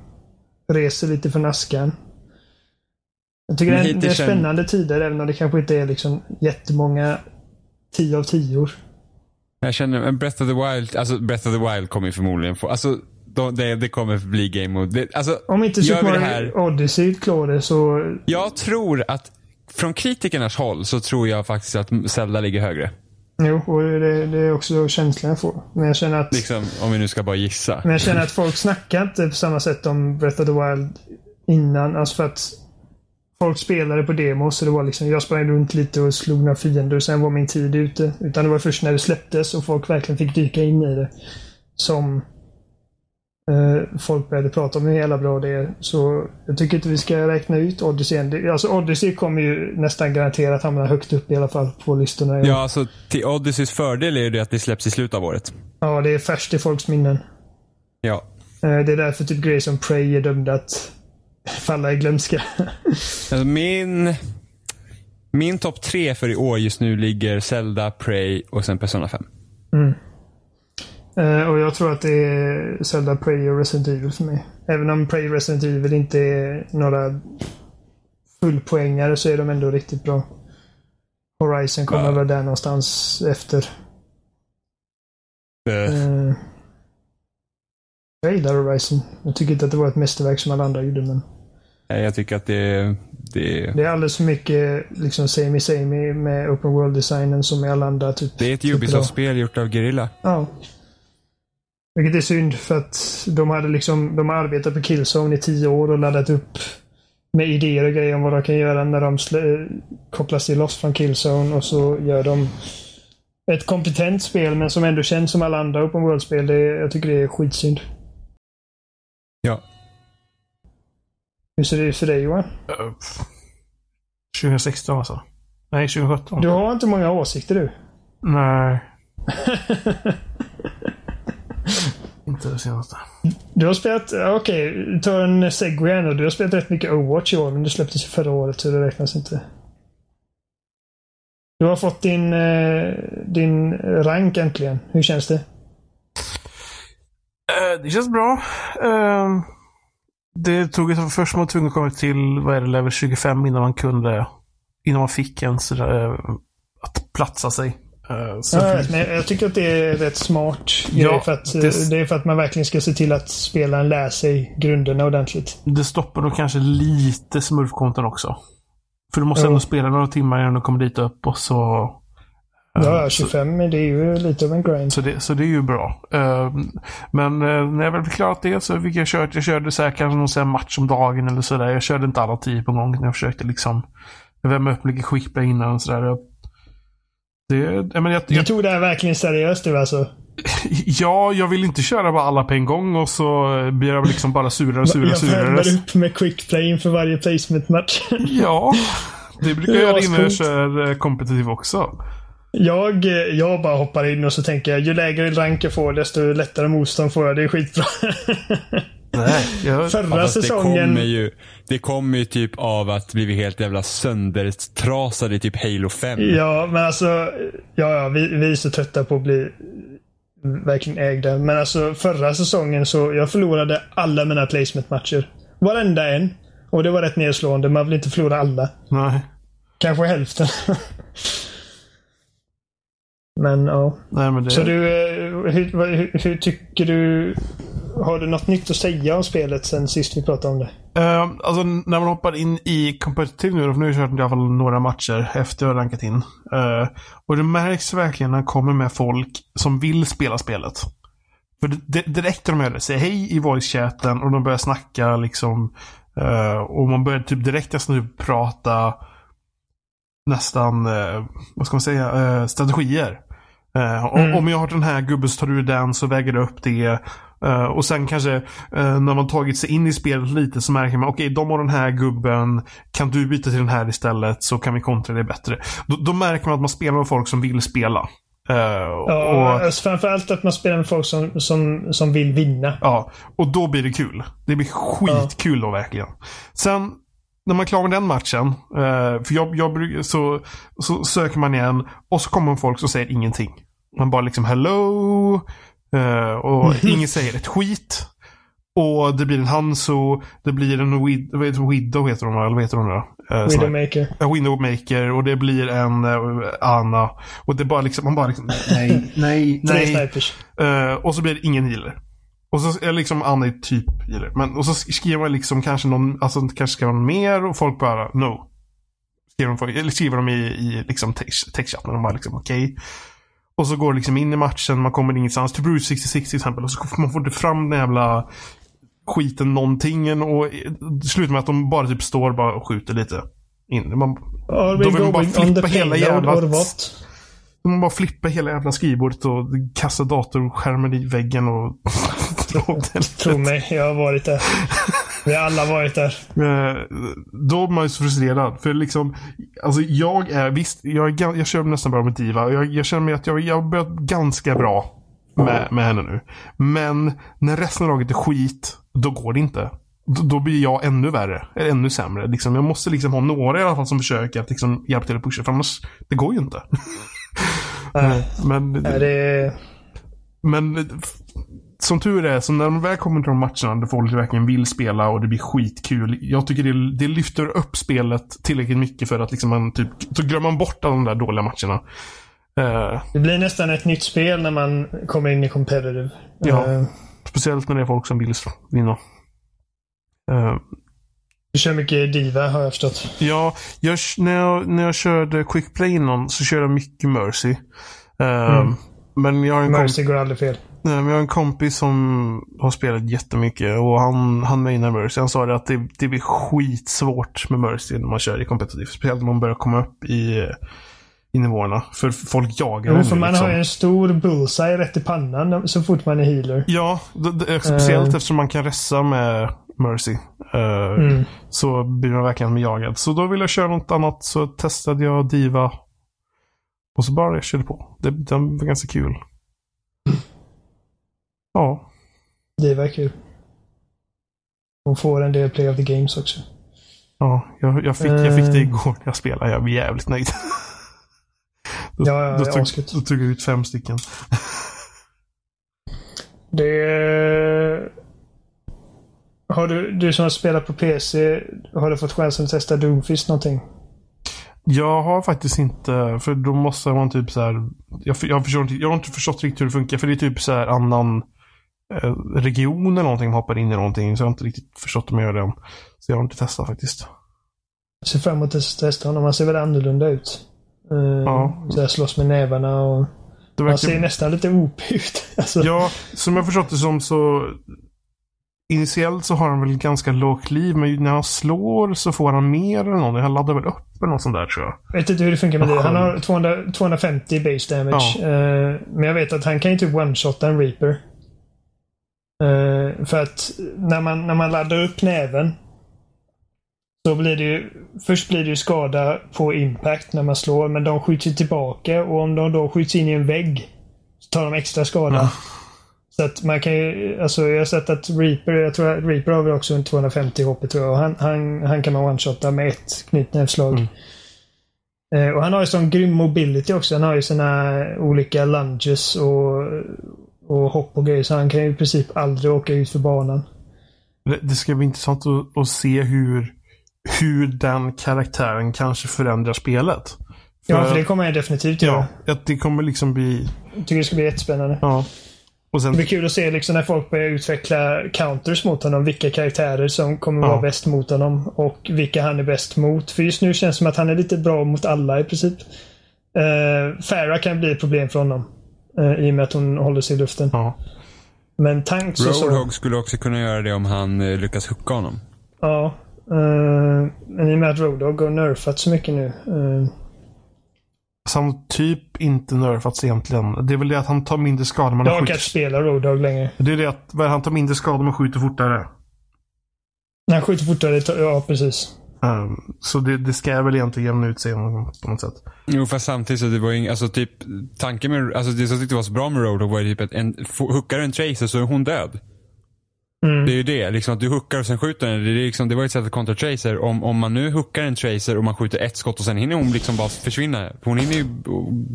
Speaker 3: reser lite från askan. Jag tycker
Speaker 1: Men
Speaker 3: det är, det är
Speaker 1: hittills känn-
Speaker 3: spännande tider även om det kanske inte är liksom jättemånga 10 av 10
Speaker 1: Jag känner, men Breath of the Wild, alltså Breath of the Wild kommer ju förmodligen få, alltså de- det, det kommer bli game mode. Det, alltså,
Speaker 3: Om inte
Speaker 1: gör
Speaker 3: Super
Speaker 1: vi det
Speaker 3: Mario
Speaker 1: här
Speaker 3: Odyssey klarar det så...
Speaker 1: Jag tror att från kritikernas håll så tror jag faktiskt att Zelda ligger högre.
Speaker 3: Jo, och det, det är också känslan jag får. Men jag känner att...
Speaker 1: Liksom, om vi nu ska bara gissa.
Speaker 3: Men jag känner att folk snackar inte på samma sätt om Breath of the Wild innan. Alltså för att folk spelade på demo så det var liksom, jag sprang runt lite och slog några fiender sen var min tid ute. Utan det var först när det släpptes och folk verkligen fick dyka in i det som eh, folk började prata om hur jävla bra det är. Så jag tycker inte vi ska räkna ut Odyssey än. Det- Alltså Odyssey kommer ju nästan garanterat hamna högt upp i alla fall på listorna.
Speaker 1: Ja, alltså till Odysseys fördel är ju det att det släpps i slutet av året.
Speaker 3: ja det är färskt i folks minnen.
Speaker 1: Ja.
Speaker 3: Eh, Det är därför typ grejer som Prey är dömda att falla i glömska.
Speaker 1: Alltså min min topp tre för i år just nu ligger Zelda, Prey och sen Persona 5.
Speaker 3: Eh, och jag tror att det är Zelda, Prey och Resident Evil för mig. Även om Prey och Resident Evil inte är några fullpoängare så är de ändå riktigt bra. Horizon kommer
Speaker 1: Ja.
Speaker 3: väl där någonstans efter. Eh, jag gillar Horizon. Jag tycker inte att det var ett mästerverk som alla andra gjorde men
Speaker 1: Eh, Jag tycker att det, det,
Speaker 3: det är alldeles för mycket liksom samey samey med open world-designen som i alla andra typ
Speaker 1: det är ett
Speaker 3: typer av-
Speaker 1: Ubisoft-spel gjort av Guerrilla.
Speaker 3: Ja. Vilket är synd för att de hade liksom, de har arbetat på Killzone i tio år och laddat upp med idéer och grejer om vad de kan göra när de slä- kopplas till loss från Killzone och så gör de ett kompetent spel men som ändå känns som alla andra Open World-spel. Det, jag tycker det är skitsynd.
Speaker 1: Ja.
Speaker 3: Hur ser det ut för dig Johan?
Speaker 2: Eh, 2016 alltså. Nej, 2017.
Speaker 3: Du har inte många åsikter du.
Speaker 2: Nej. Inte det senaste.
Speaker 3: Du har spelat, ja, okej, ta en segway här nu. Du har spelat rätt mycket Overwatch i år, men det släpptes ju förra året så det räknas inte. Du har fått din, eh, din rank äntligen. Hur känns det?
Speaker 2: Eh, det känns bra. Ehm, Det tog ett först man var tvungen att komma till, vad är det, level 25 innan man kunde, innan man fick ens eh, att platsa sig. Eh, så-
Speaker 3: Ja, men jag tycker att det är rätt smart grej
Speaker 2: Ja,
Speaker 3: för att, eh,
Speaker 2: det-
Speaker 3: det är för att man verkligen ska se till att spelaren lär sig grunderna ordentligt.
Speaker 2: Det stoppar då kanske lite smurfkonton också. För du måste
Speaker 3: Jo.
Speaker 2: ändå spela några timmar innan du kommer dit upp och så
Speaker 3: Ja, ja, 25 det är ju lite av en grind.
Speaker 2: Så det, så det är ju bra. Ehm, men eh, när jag väl förklarat det så fick jag kört. Jag körde så här, kanske någon så här match om dagen eller sådär. Jag körde inte alla tio på en gång. utan Jag försökte liksom värma upp lite skickbra innan och sådär. Jag- Det, jag, men jag,
Speaker 3: Du
Speaker 2: jag,
Speaker 3: tog det här verkligen seriöst du alltså.
Speaker 2: ja, jag vill inte köra bara alla på en gång och så blir jag liksom bara surare och surare och
Speaker 3: Jag
Speaker 2: surare.
Speaker 3: värmer upp med quick play inför varje placement-match.
Speaker 2: Ja, det brukar jag
Speaker 3: Det är
Speaker 2: göra innan jag
Speaker 3: ascoolt.
Speaker 2: kör eh, kompetitiv också.
Speaker 3: Jag, eh, jag bara hoppar in och så tänker jag ju lägre rank jag får desto lättare motstånd får jag. Det är skitbra.
Speaker 2: Nej, jag,
Speaker 3: Förra
Speaker 1: fast Det
Speaker 3: säsongen...
Speaker 1: kommer, ju, det kommer ju typ av att bli helt jävla söndertrasade i typ Halo 5.
Speaker 3: Ja, men alltså. Ja, ja vi, vi är så trötta på att bli verkligen ägda. Men alltså förra säsongen så jag förlorade alla mina placement-matcher. Varenda en. Och det var rätt nedslående. Man vill inte förlora alla.
Speaker 2: nej.
Speaker 3: Kanske hälften. men ja.
Speaker 2: Nej, men det,
Speaker 3: Så du, eh, hur, vad- hur, hur tycker du... Har du något nytt att säga om spelet sen sist vi pratade om det?
Speaker 2: Ehm, alltså när man hoppar in i competitive nu, då, för nu har jag kört i alla fall några matcher efter jag har rankat in. Eh, och det märks verkligen när man kommer med folk som vill spela spelet. För det- det- direkt när de gör det, säger hej i voice-chatten och de börjar snacka liksom. eh, och man börjar typ direkt nästan nu prata nästan, eh, vad ska man säga, eh, strategier. Eh, om-
Speaker 3: Mm.
Speaker 2: Om jag har den här gubben så tar du den så väger du upp det. Eh, och sen kanske eh, när man tagit sig in i spelet lite så märker man okej, de har den här gubben. Kan du byta till den här istället så kan vi kontra det bättre. Då, då märker man att man spelar med folk som vill spela. Eh,
Speaker 3: Ja,
Speaker 2: och,
Speaker 3: alltså framförallt att man spelar med folk som, som, som vill vinna.
Speaker 2: Ja, och då blir det kul. Det blir skitkul då verkligen. Sen när man klarar den matchen, eh, för jag, jag, bruk- så, så söker man igen och så kommer folk som säger ingenting. Man bara liksom hello eh,
Speaker 3: Mm.
Speaker 2: och ingen säger ett skit. Och det blir en Hanso, det blir en Wid- vad heter- Widow heter hon va? eller vad heter hon då? Eh, sån här-
Speaker 3: Widowmaker.
Speaker 2: en Windowmaker och det blir en eh, Anna. Och det bara liksom, man bara liksom nej, nej,
Speaker 3: Tre
Speaker 2: nej.
Speaker 3: snipers.
Speaker 2: Eh, och så blir det ingen healer. Och så är liksom Anna är typ healer. Men, och så skriver man liksom kanske någon, alltså kanske skriver någon mer och folk bara no. Skriver de, folk- eller skriver de i, i liksom text- textchatten. De bara liksom okej. Och så går det liksom in i matchen, man kommer ingenstans. Till Bruce 66 till exempel. Och så får man får inte fram den jävla skiten någontingen. Och eh, det slutar med att de bara typ står bara och skjuter lite. In. Man,
Speaker 3: Or
Speaker 2: Då vill man bara flippa hela jävla-
Speaker 3: or what?
Speaker 2: Man bara flippar hela jävla skrivbordet och kastar datorskärmen i väggen och... och den-
Speaker 3: Tro mig, jag har varit där. Vi har alla varit där.
Speaker 2: Eh, Då är man ju så frustrerad. För liksom, alltså jag är, visst, jag, är, gan- jag kör nästan bra med Diva. Jag, jag känner mig att jag, jag har börjat ganska bra med, med henne nu. Men när resten av laget är skit, då går det inte. Då, då blir jag ännu värre. Eller ännu sämre. Liksom, jag måste liksom ha några i alla fall som försöker att liksom hjälpa till att pusha. För annars, det går ju inte.
Speaker 3: Nej.
Speaker 2: Men,
Speaker 3: Nej, det är...
Speaker 2: Men eh, f- som tur är, så när de väl kommer till de matcherna där folk verkligen vill spela och det blir skitkul. Jag tycker det, det lyfter upp spelet tillräckligt mycket för att liksom man typ, så glömmer man bort alla de där dåliga matcherna. Eh,
Speaker 3: Det blir nästan ett nytt spel när man kommer in i competitive.
Speaker 2: Ja.
Speaker 3: Eh,
Speaker 2: speciellt när det är folk som vill s- vinna. Eh,
Speaker 3: Du kör mycket Diva har jag förstått.
Speaker 2: Ja, jag, när, jag, när jag körde Quick Play innan så körde jag mycket Mercy. Eh,
Speaker 3: Mm.
Speaker 2: Men jag har en kompis
Speaker 3: Mercy går aldrig fel.
Speaker 2: Nej, men jag har en kompis som har spelat jättemycket och han, han mainar Mercy. Han sa det att det, det blir skitsvårt med Mercy när man kör i kompetitivt. Speciellt när man börjar komma upp i, i nivåerna. För folk jagar
Speaker 3: Jo,
Speaker 2: en
Speaker 3: för man
Speaker 2: liksom.
Speaker 3: har ju en stor bullseye rätt i pannan så fort man är healer.
Speaker 2: Ja, det, det, är speciellt eftersom man kan ressa med Mercy. Eh,
Speaker 3: Eh. Mm.
Speaker 2: Så blir man verkligen jagad. Så då ville jag köra något annat så testade jag Diva. Och så bara jag körde på. Det, den var ganska kul.
Speaker 3: Mm.
Speaker 2: Ja.
Speaker 3: Det var kul. Hon får en del play of the games också.
Speaker 2: Ja, jag, jag, fick, jag
Speaker 3: Eh.
Speaker 2: fick det igår när jag spelade. Jag blev jävligt nöjd. Då,
Speaker 3: Ja, ja,
Speaker 2: då,
Speaker 3: det är
Speaker 2: tog,
Speaker 3: asgött.
Speaker 2: då tog jag ut fem stycken.
Speaker 3: Det... Har du, du som har spelat på PC, har du fått chansen att testa Doomfist någonting?
Speaker 2: Jag har faktiskt inte, för då måste man typ så här. Jag, jag, förstår inte, jag har inte förstått riktigt hur det funkar, för det är typ så här annan eh, region eller någonting. Man hoppar in i någonting, så jag har inte riktigt förstått om jag gör det. Så jag har inte testat faktiskt.
Speaker 3: Jag ser fram emot att testa honom. Han ser väl annorlunda ut. Eh,
Speaker 2: Ja.
Speaker 3: Så jag slåss med nävarna och...
Speaker 2: Det
Speaker 3: Han
Speaker 2: verkar-
Speaker 3: ser nästan lite OP ut. Alltså,
Speaker 2: Ja, som jag förstått det som så Initiellt så har han väl ganska lågt liv, men ju när han slår så får han mer eller någonting. Han laddar väl upp eller något sånt där tror jag.
Speaker 3: Jag vet inte hur det funkar med det. Han har
Speaker 2: Skönt.
Speaker 3: 200, 250 base damage. Eh, men jag vet att han kan ju typ one-shotta en reaper. Eh, för att när man, när man laddar upp näven så blir det ju... Först blir det ju skada på impact när man slår, men de skjuts ju tillbaka och om de då skjuts in i en vägg så tar de extra skada.
Speaker 2: Ja.
Speaker 3: Så att man kan ju, alltså jag har sett att Reaper, jag tror att Reaper har väl också en 250 HP tror jag. Och han, han, han kan man one-shotta med ett knytnävsslag.
Speaker 2: Mm.
Speaker 3: Eh, och han har ju sån grym mobility också. Han har ju sina olika lunges och, och hopp och grejer. Så han kan ju i princip aldrig åka ut för banan.
Speaker 2: Det- Det ska bli intressant att, att se hur, hur den karaktären kanske förändrar spelet.
Speaker 3: Ja, för det kommer jag definitivt göra.
Speaker 2: ja, att det kommer liksom bli...
Speaker 3: Jag tycker det ska bli jättespännande.
Speaker 2: Ja. Och sen,
Speaker 3: Det blir kul att se liksom när folk börjar utveckla counters mot honom. Vilka karaktärer som kommer vara
Speaker 2: Ja.
Speaker 3: bäst mot honom och vilka han är bäst mot. För just nu känns det som att han är lite bra mot alla i princip. Uh, Farah kan bli ett problem för honom. eh, I och med att hon håller sig i luften.
Speaker 2: ja.
Speaker 3: Men tanks och så.
Speaker 1: Roadhog skulle också kunna göra det om han eh, lyckas hucka honom.
Speaker 3: Ja. eh, men i och med att Roadhog har nerfat så mycket nu. eh,
Speaker 2: Så han typ inte nerfats egentligen. Det är väl det att han tar mindre skada men
Speaker 3: jag
Speaker 2: han
Speaker 3: orkar inte
Speaker 2: skjuter...
Speaker 3: spela Roadhog längre.
Speaker 2: Det är det att vad är det, han tar mindre skada men skjuter fortare.
Speaker 3: När han skjuter fortare. tar- Ja, precis.
Speaker 2: Ehm, så det, det ska väl egentligen jämna ut sig på något sätt.
Speaker 1: Jo, fast samtidigt så det var ju ing- alltså typ tanken med, alltså det som jag tyckte var så bra med Roadhog var ju typ att en, f- hookar du en tracer så är hon död. Det är ju det, liksom att du hookar och sen skjuter den. Det, är liksom, det var ju ett sätt att kontra tracer. Om, om man nu hookar en tracer och man skjuter ett skott och sen hinner hon liksom bara försvinna. Hon hinner ju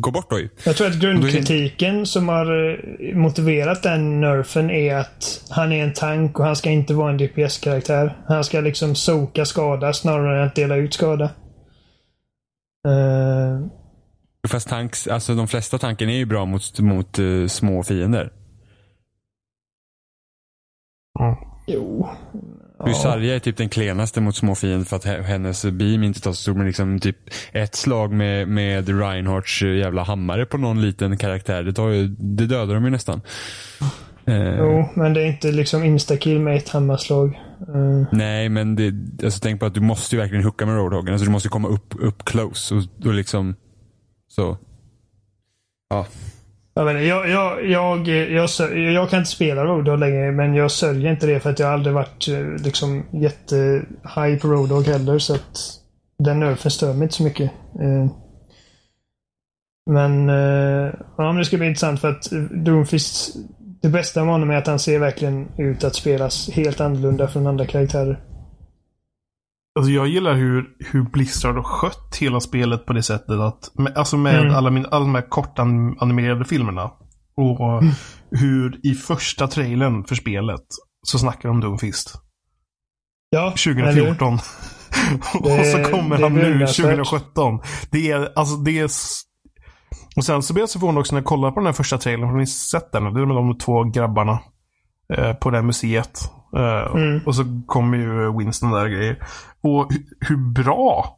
Speaker 1: gå bort då ju.
Speaker 3: Jag tror att grundkritiken som har eh, motiverat den nerfen är att han är en tank och han ska inte vara en DPS-karaktär. Han ska liksom soka skada snarare än att dela ut skada. Eh,
Speaker 1: Fast tanks, alltså de flesta tanken är ju bra mot, mot eh, små fiender.
Speaker 2: Ja.
Speaker 3: jo.
Speaker 1: Ja. Sarja är typ den klenaste mot små fiender för att he- hennes beam inte tar så stor. Men liksom typ ett slag med, med Reinhardts eh, jävla hammare på någon liten karaktär. Det, tar ju, det dödar de ju nästan. Eh,
Speaker 3: jo, men det är inte liksom instakill med ett hammarslag. Eh,
Speaker 1: Nej, men det, alltså, tänk på att du måste ju verkligen hooka med Roadhoggen. Alltså, du måste komma upp, upp close och, och liksom så. Ja.
Speaker 3: jag, vet inte, jag, jag, jag, jag, sör- jag kan inte spela Roadhog längre, men jag sörjer inte det för att jag aldrig varit eh, liksom jätte-high på Roadhog heller. Så att den nerfen stör mig inte så mycket. Eh, Men, eh, ja, men det ska bli intressant för att eh, Doomfist, det bästa med honom är att han ser verkligen ut att spelas helt annorlunda från andra karaktärer.
Speaker 2: Alltså jag gillar hur, hur Blizzard har skött hela spelet på det sättet att, med, alltså med
Speaker 3: Mm.
Speaker 2: alla, min, alla de här kortanimerade filmerna. Och hur i första trailern för spelet så snackar de om Doomfist.
Speaker 3: Ja, eller hur?
Speaker 2: 2014. och så kommer
Speaker 3: det
Speaker 2: han
Speaker 3: är
Speaker 2: nu
Speaker 3: beundransvärt.
Speaker 2: 2017. Det är, alltså det är... s- Och sen så blev jag så förvånad också när jag kollade på den här första trailern. Har ni sett den? Det är med de två grabbarna. Eh, på det här museet. Eh,
Speaker 3: Mm.
Speaker 2: Och så kommer ju Winston där och grejer. Och hu- hur bra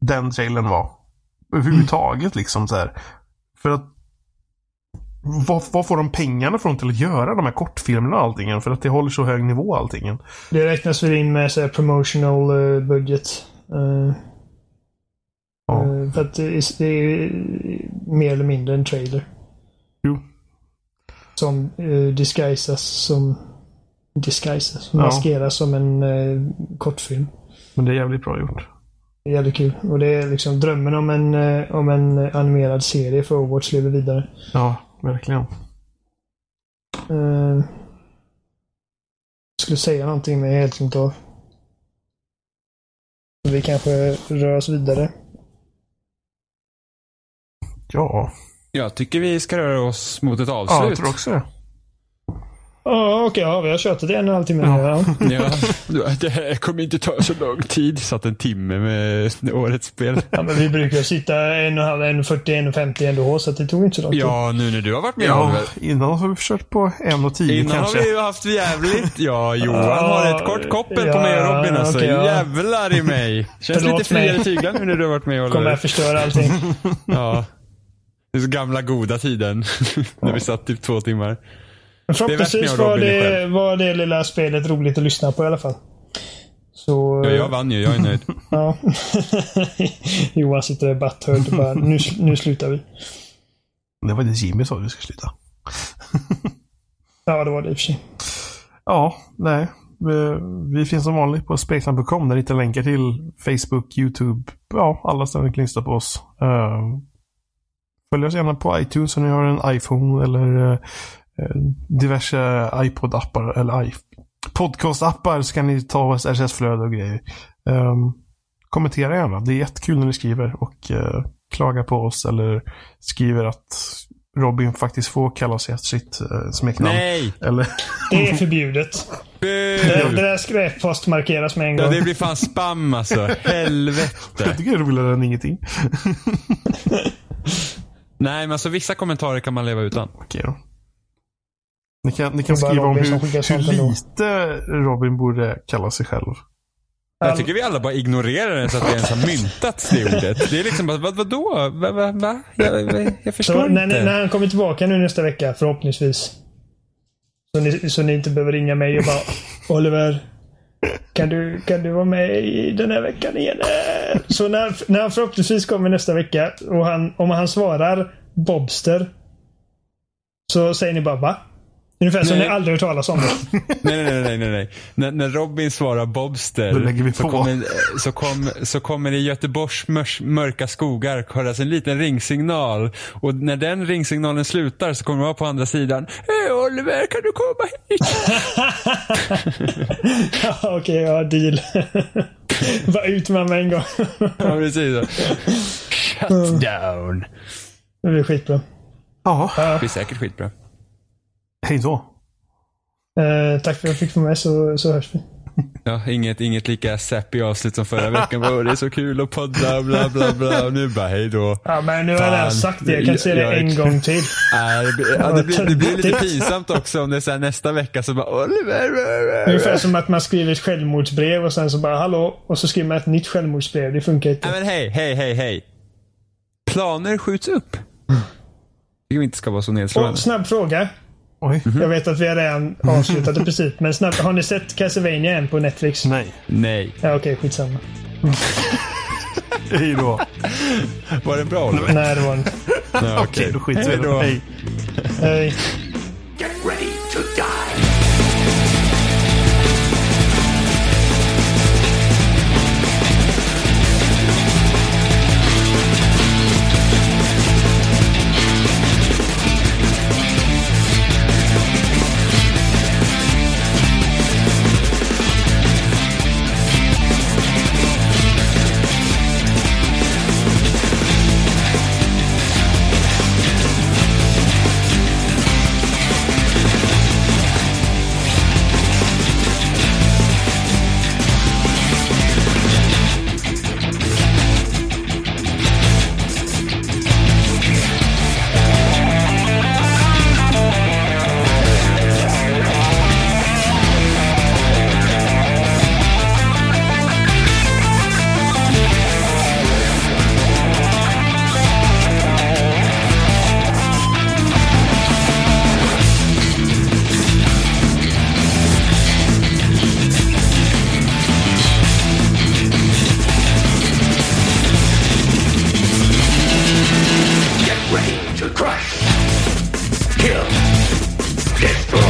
Speaker 2: den trailern var. Överhuvudtaget
Speaker 3: Mm.
Speaker 2: liksom så här. För att vad, vad får de pengarna från till att göra de här kortfilmerna och allting? För att det håller så hög nivå allting.
Speaker 3: Det räknas väl in med så här, promotional eh, budget. Eh,
Speaker 2: Ja.
Speaker 3: eh, för att det är, det är mer eller mindre en trailer.
Speaker 2: Jo.
Speaker 3: Som uh, disguisas som... Disguisas? Som
Speaker 2: Ja.
Speaker 3: Maskeras som en eh, kortfilm.
Speaker 2: Men det är jävligt bra gjort.
Speaker 3: Det är jävligt kul. Och det är liksom drömmen om en, eh, om en animerad serie för Overwatch lever vidare.
Speaker 2: Ja, verkligen.
Speaker 3: Eh, skulle säga någonting men jag har helt glömt av. Vi kanske rör oss vidare.
Speaker 2: Ja,
Speaker 1: Jag tycker vi ska röra oss mot ett
Speaker 2: ja jag
Speaker 1: avslut.
Speaker 2: tror också det.
Speaker 3: Ja, okej, ja, vi har kört det i en och en halv timme nu. Ja.
Speaker 1: Ja, det här kommer inte ta så lång tid. Satt en timme med årets spel.
Speaker 3: Ja, men vi brukar sitta en och en halv, en 40, en 50 ändå, så att det tog inte så lång tid.
Speaker 1: Ja, nu när du har varit med
Speaker 2: Ja,
Speaker 1: Oliver.
Speaker 2: innan har vi försökt på en och tio
Speaker 1: Innan
Speaker 2: kanske.
Speaker 1: har vi ju haft jävligt... Ja, Johan har ett kort koppel på mig och Robin alltså.
Speaker 3: okej, ja.
Speaker 1: Jävlar i mig. Känns
Speaker 3: Förlåt
Speaker 1: lite friare
Speaker 3: mig.
Speaker 1: tyglar nu när du har varit med
Speaker 3: Kommer
Speaker 1: Oliver.
Speaker 3: jag förstöra allting.
Speaker 1: Ja. Det är så gamla goda tiden. när vi satt typ två timmar.
Speaker 3: Men
Speaker 1: värt med
Speaker 3: förhoppningsvis
Speaker 1: att
Speaker 3: var
Speaker 1: Robin är
Speaker 3: det,
Speaker 1: själv.
Speaker 3: var det lilla spelet roligt att lyssna på i alla fall. Så... eh,
Speaker 1: Ja, jag vann ju. Jag är nöjd.
Speaker 3: ja. Johan sitter i butthurt och bara, nu, nu slutar vi.
Speaker 2: Det var det Jimmy sa du skulle sluta.
Speaker 3: Ja, det var det i och för sig.
Speaker 2: Ja, nej. Vi, vi finns som vanligt på spexan.com där ni hittar länkar till Facebook, YouTube, ja, alla ställen ni kan lyssna på oss. Eh, följ oss gärna på iTunes om ni har en iPhone eller eh, eh, diverse iPod-appar eller i- podcast-appar så kan ni ta oss RSS-flöde och grejer. Eh, kommentera gärna. Det är jättekul när ni skriver och eh, klagar på oss eller skriver att Robin faktiskt får kalla sig efter sitt eh, smeknamn.
Speaker 1: Nej!
Speaker 2: Eller
Speaker 3: Det är förbjudet.
Speaker 1: Bu!
Speaker 3: Det, det där ska postmarkeras med en
Speaker 1: Ja,
Speaker 3: gång.
Speaker 1: det blir fan spam alltså. Helvete.
Speaker 2: Jag tycker det är roligare än ingenting.
Speaker 1: Nej, men alltså vissa kommentarer kan man leva utan.
Speaker 2: Okej då. Ni kan, ni kan
Speaker 3: Det är bara
Speaker 2: skriva om
Speaker 3: Robin
Speaker 2: hur,
Speaker 3: som skickar
Speaker 2: hur
Speaker 3: sånt ändå.
Speaker 2: lite Robin borde kalla sig själv.
Speaker 3: Ehm,
Speaker 1: Jag tycker vi alla bara ignorerar den så att vi ens har myntat det ordet. Det är liksom bara, vad, vadå? Va, va, va? Jag, jag, jag
Speaker 3: Så
Speaker 1: förstår
Speaker 3: när, ni- när
Speaker 1: inte.
Speaker 3: han kommer tillbaka nu nästa vecka, förhoppningsvis. Så ni, så ni inte behöver ringa mig och bara Oliver, kan du, kan du vara med i den här veckan igen? Eh, Så när, när han förhoppningsvis kommer nästa vecka och han, om han svarar Bobster. Så säger ni bara va? Ungefär som
Speaker 1: Nej.
Speaker 3: ni aldrig hört talas om det.
Speaker 1: Nej, nej, nej, nej, nej. När, när Robin svarar
Speaker 2: Då
Speaker 1: Bobster
Speaker 2: lägger vi
Speaker 1: så
Speaker 2: på.
Speaker 1: kommer, eh, så, kom, så kommer det i Göteborgs mörs, mörka skogar höras en liten ringsignal. Och när den ringsignalen slutar så kommer det vara på andra sidan. Hej Oliver, kan du komma hit?
Speaker 3: Ja, Okej, ja deal. bara ut med mig en gång.
Speaker 1: Ja, precis. Shut down.
Speaker 3: det blir skitbra.
Speaker 2: Ja,
Speaker 1: Det blir säkert skitbra.
Speaker 2: hej då.
Speaker 3: Eh, tack för att jag fick vara med så, så hörs vi.
Speaker 1: Ja, inget, inget lika sappy avslut som förra veckan. Bara, "Åh, det är så kul att podda, bla bla bla. Och nu bara hej då.
Speaker 3: Ja, men nu har jag
Speaker 1: Fan.
Speaker 3: redan sagt det. Jag kan säga
Speaker 1: Jag-
Speaker 3: det
Speaker 1: jag-
Speaker 3: en gång till.
Speaker 1: Nej, det, blir- ja, det, blir, det blir lite pinsamt också om det är så här nästa vecka så bara Oliver.
Speaker 3: Ungefär som att man skriver ett självmordsbrev och sen så bara hallå och så skriver man ett nytt självmordsbrev. Det funkar
Speaker 1: Nej
Speaker 3: inte.
Speaker 1: men hej, hej, hej, hej. Mm. Planer skjuts upp. Det inte ska vara så
Speaker 3: Och
Speaker 1: nedslående.
Speaker 3: snabb fråga.
Speaker 2: Oj.
Speaker 1: Mhm.
Speaker 3: Jag vet att vi har redan
Speaker 1: Mm.
Speaker 3: avslutat i princip, men snabb, har ni sett Castlevania än på Netflix?
Speaker 2: Nej,
Speaker 1: Nej.
Speaker 3: Ja, okej, skitsamma.
Speaker 2: hej då.
Speaker 1: Var det bra Oliver?
Speaker 3: Nej, det var det inte.
Speaker 1: Nej, Okej,
Speaker 2: Okej, då skiter vi i
Speaker 1: Hej
Speaker 2: det.
Speaker 1: då.
Speaker 2: Hej.
Speaker 3: Hej.
Speaker 4: Get ready to die. Get ready to crush, kill, destroy.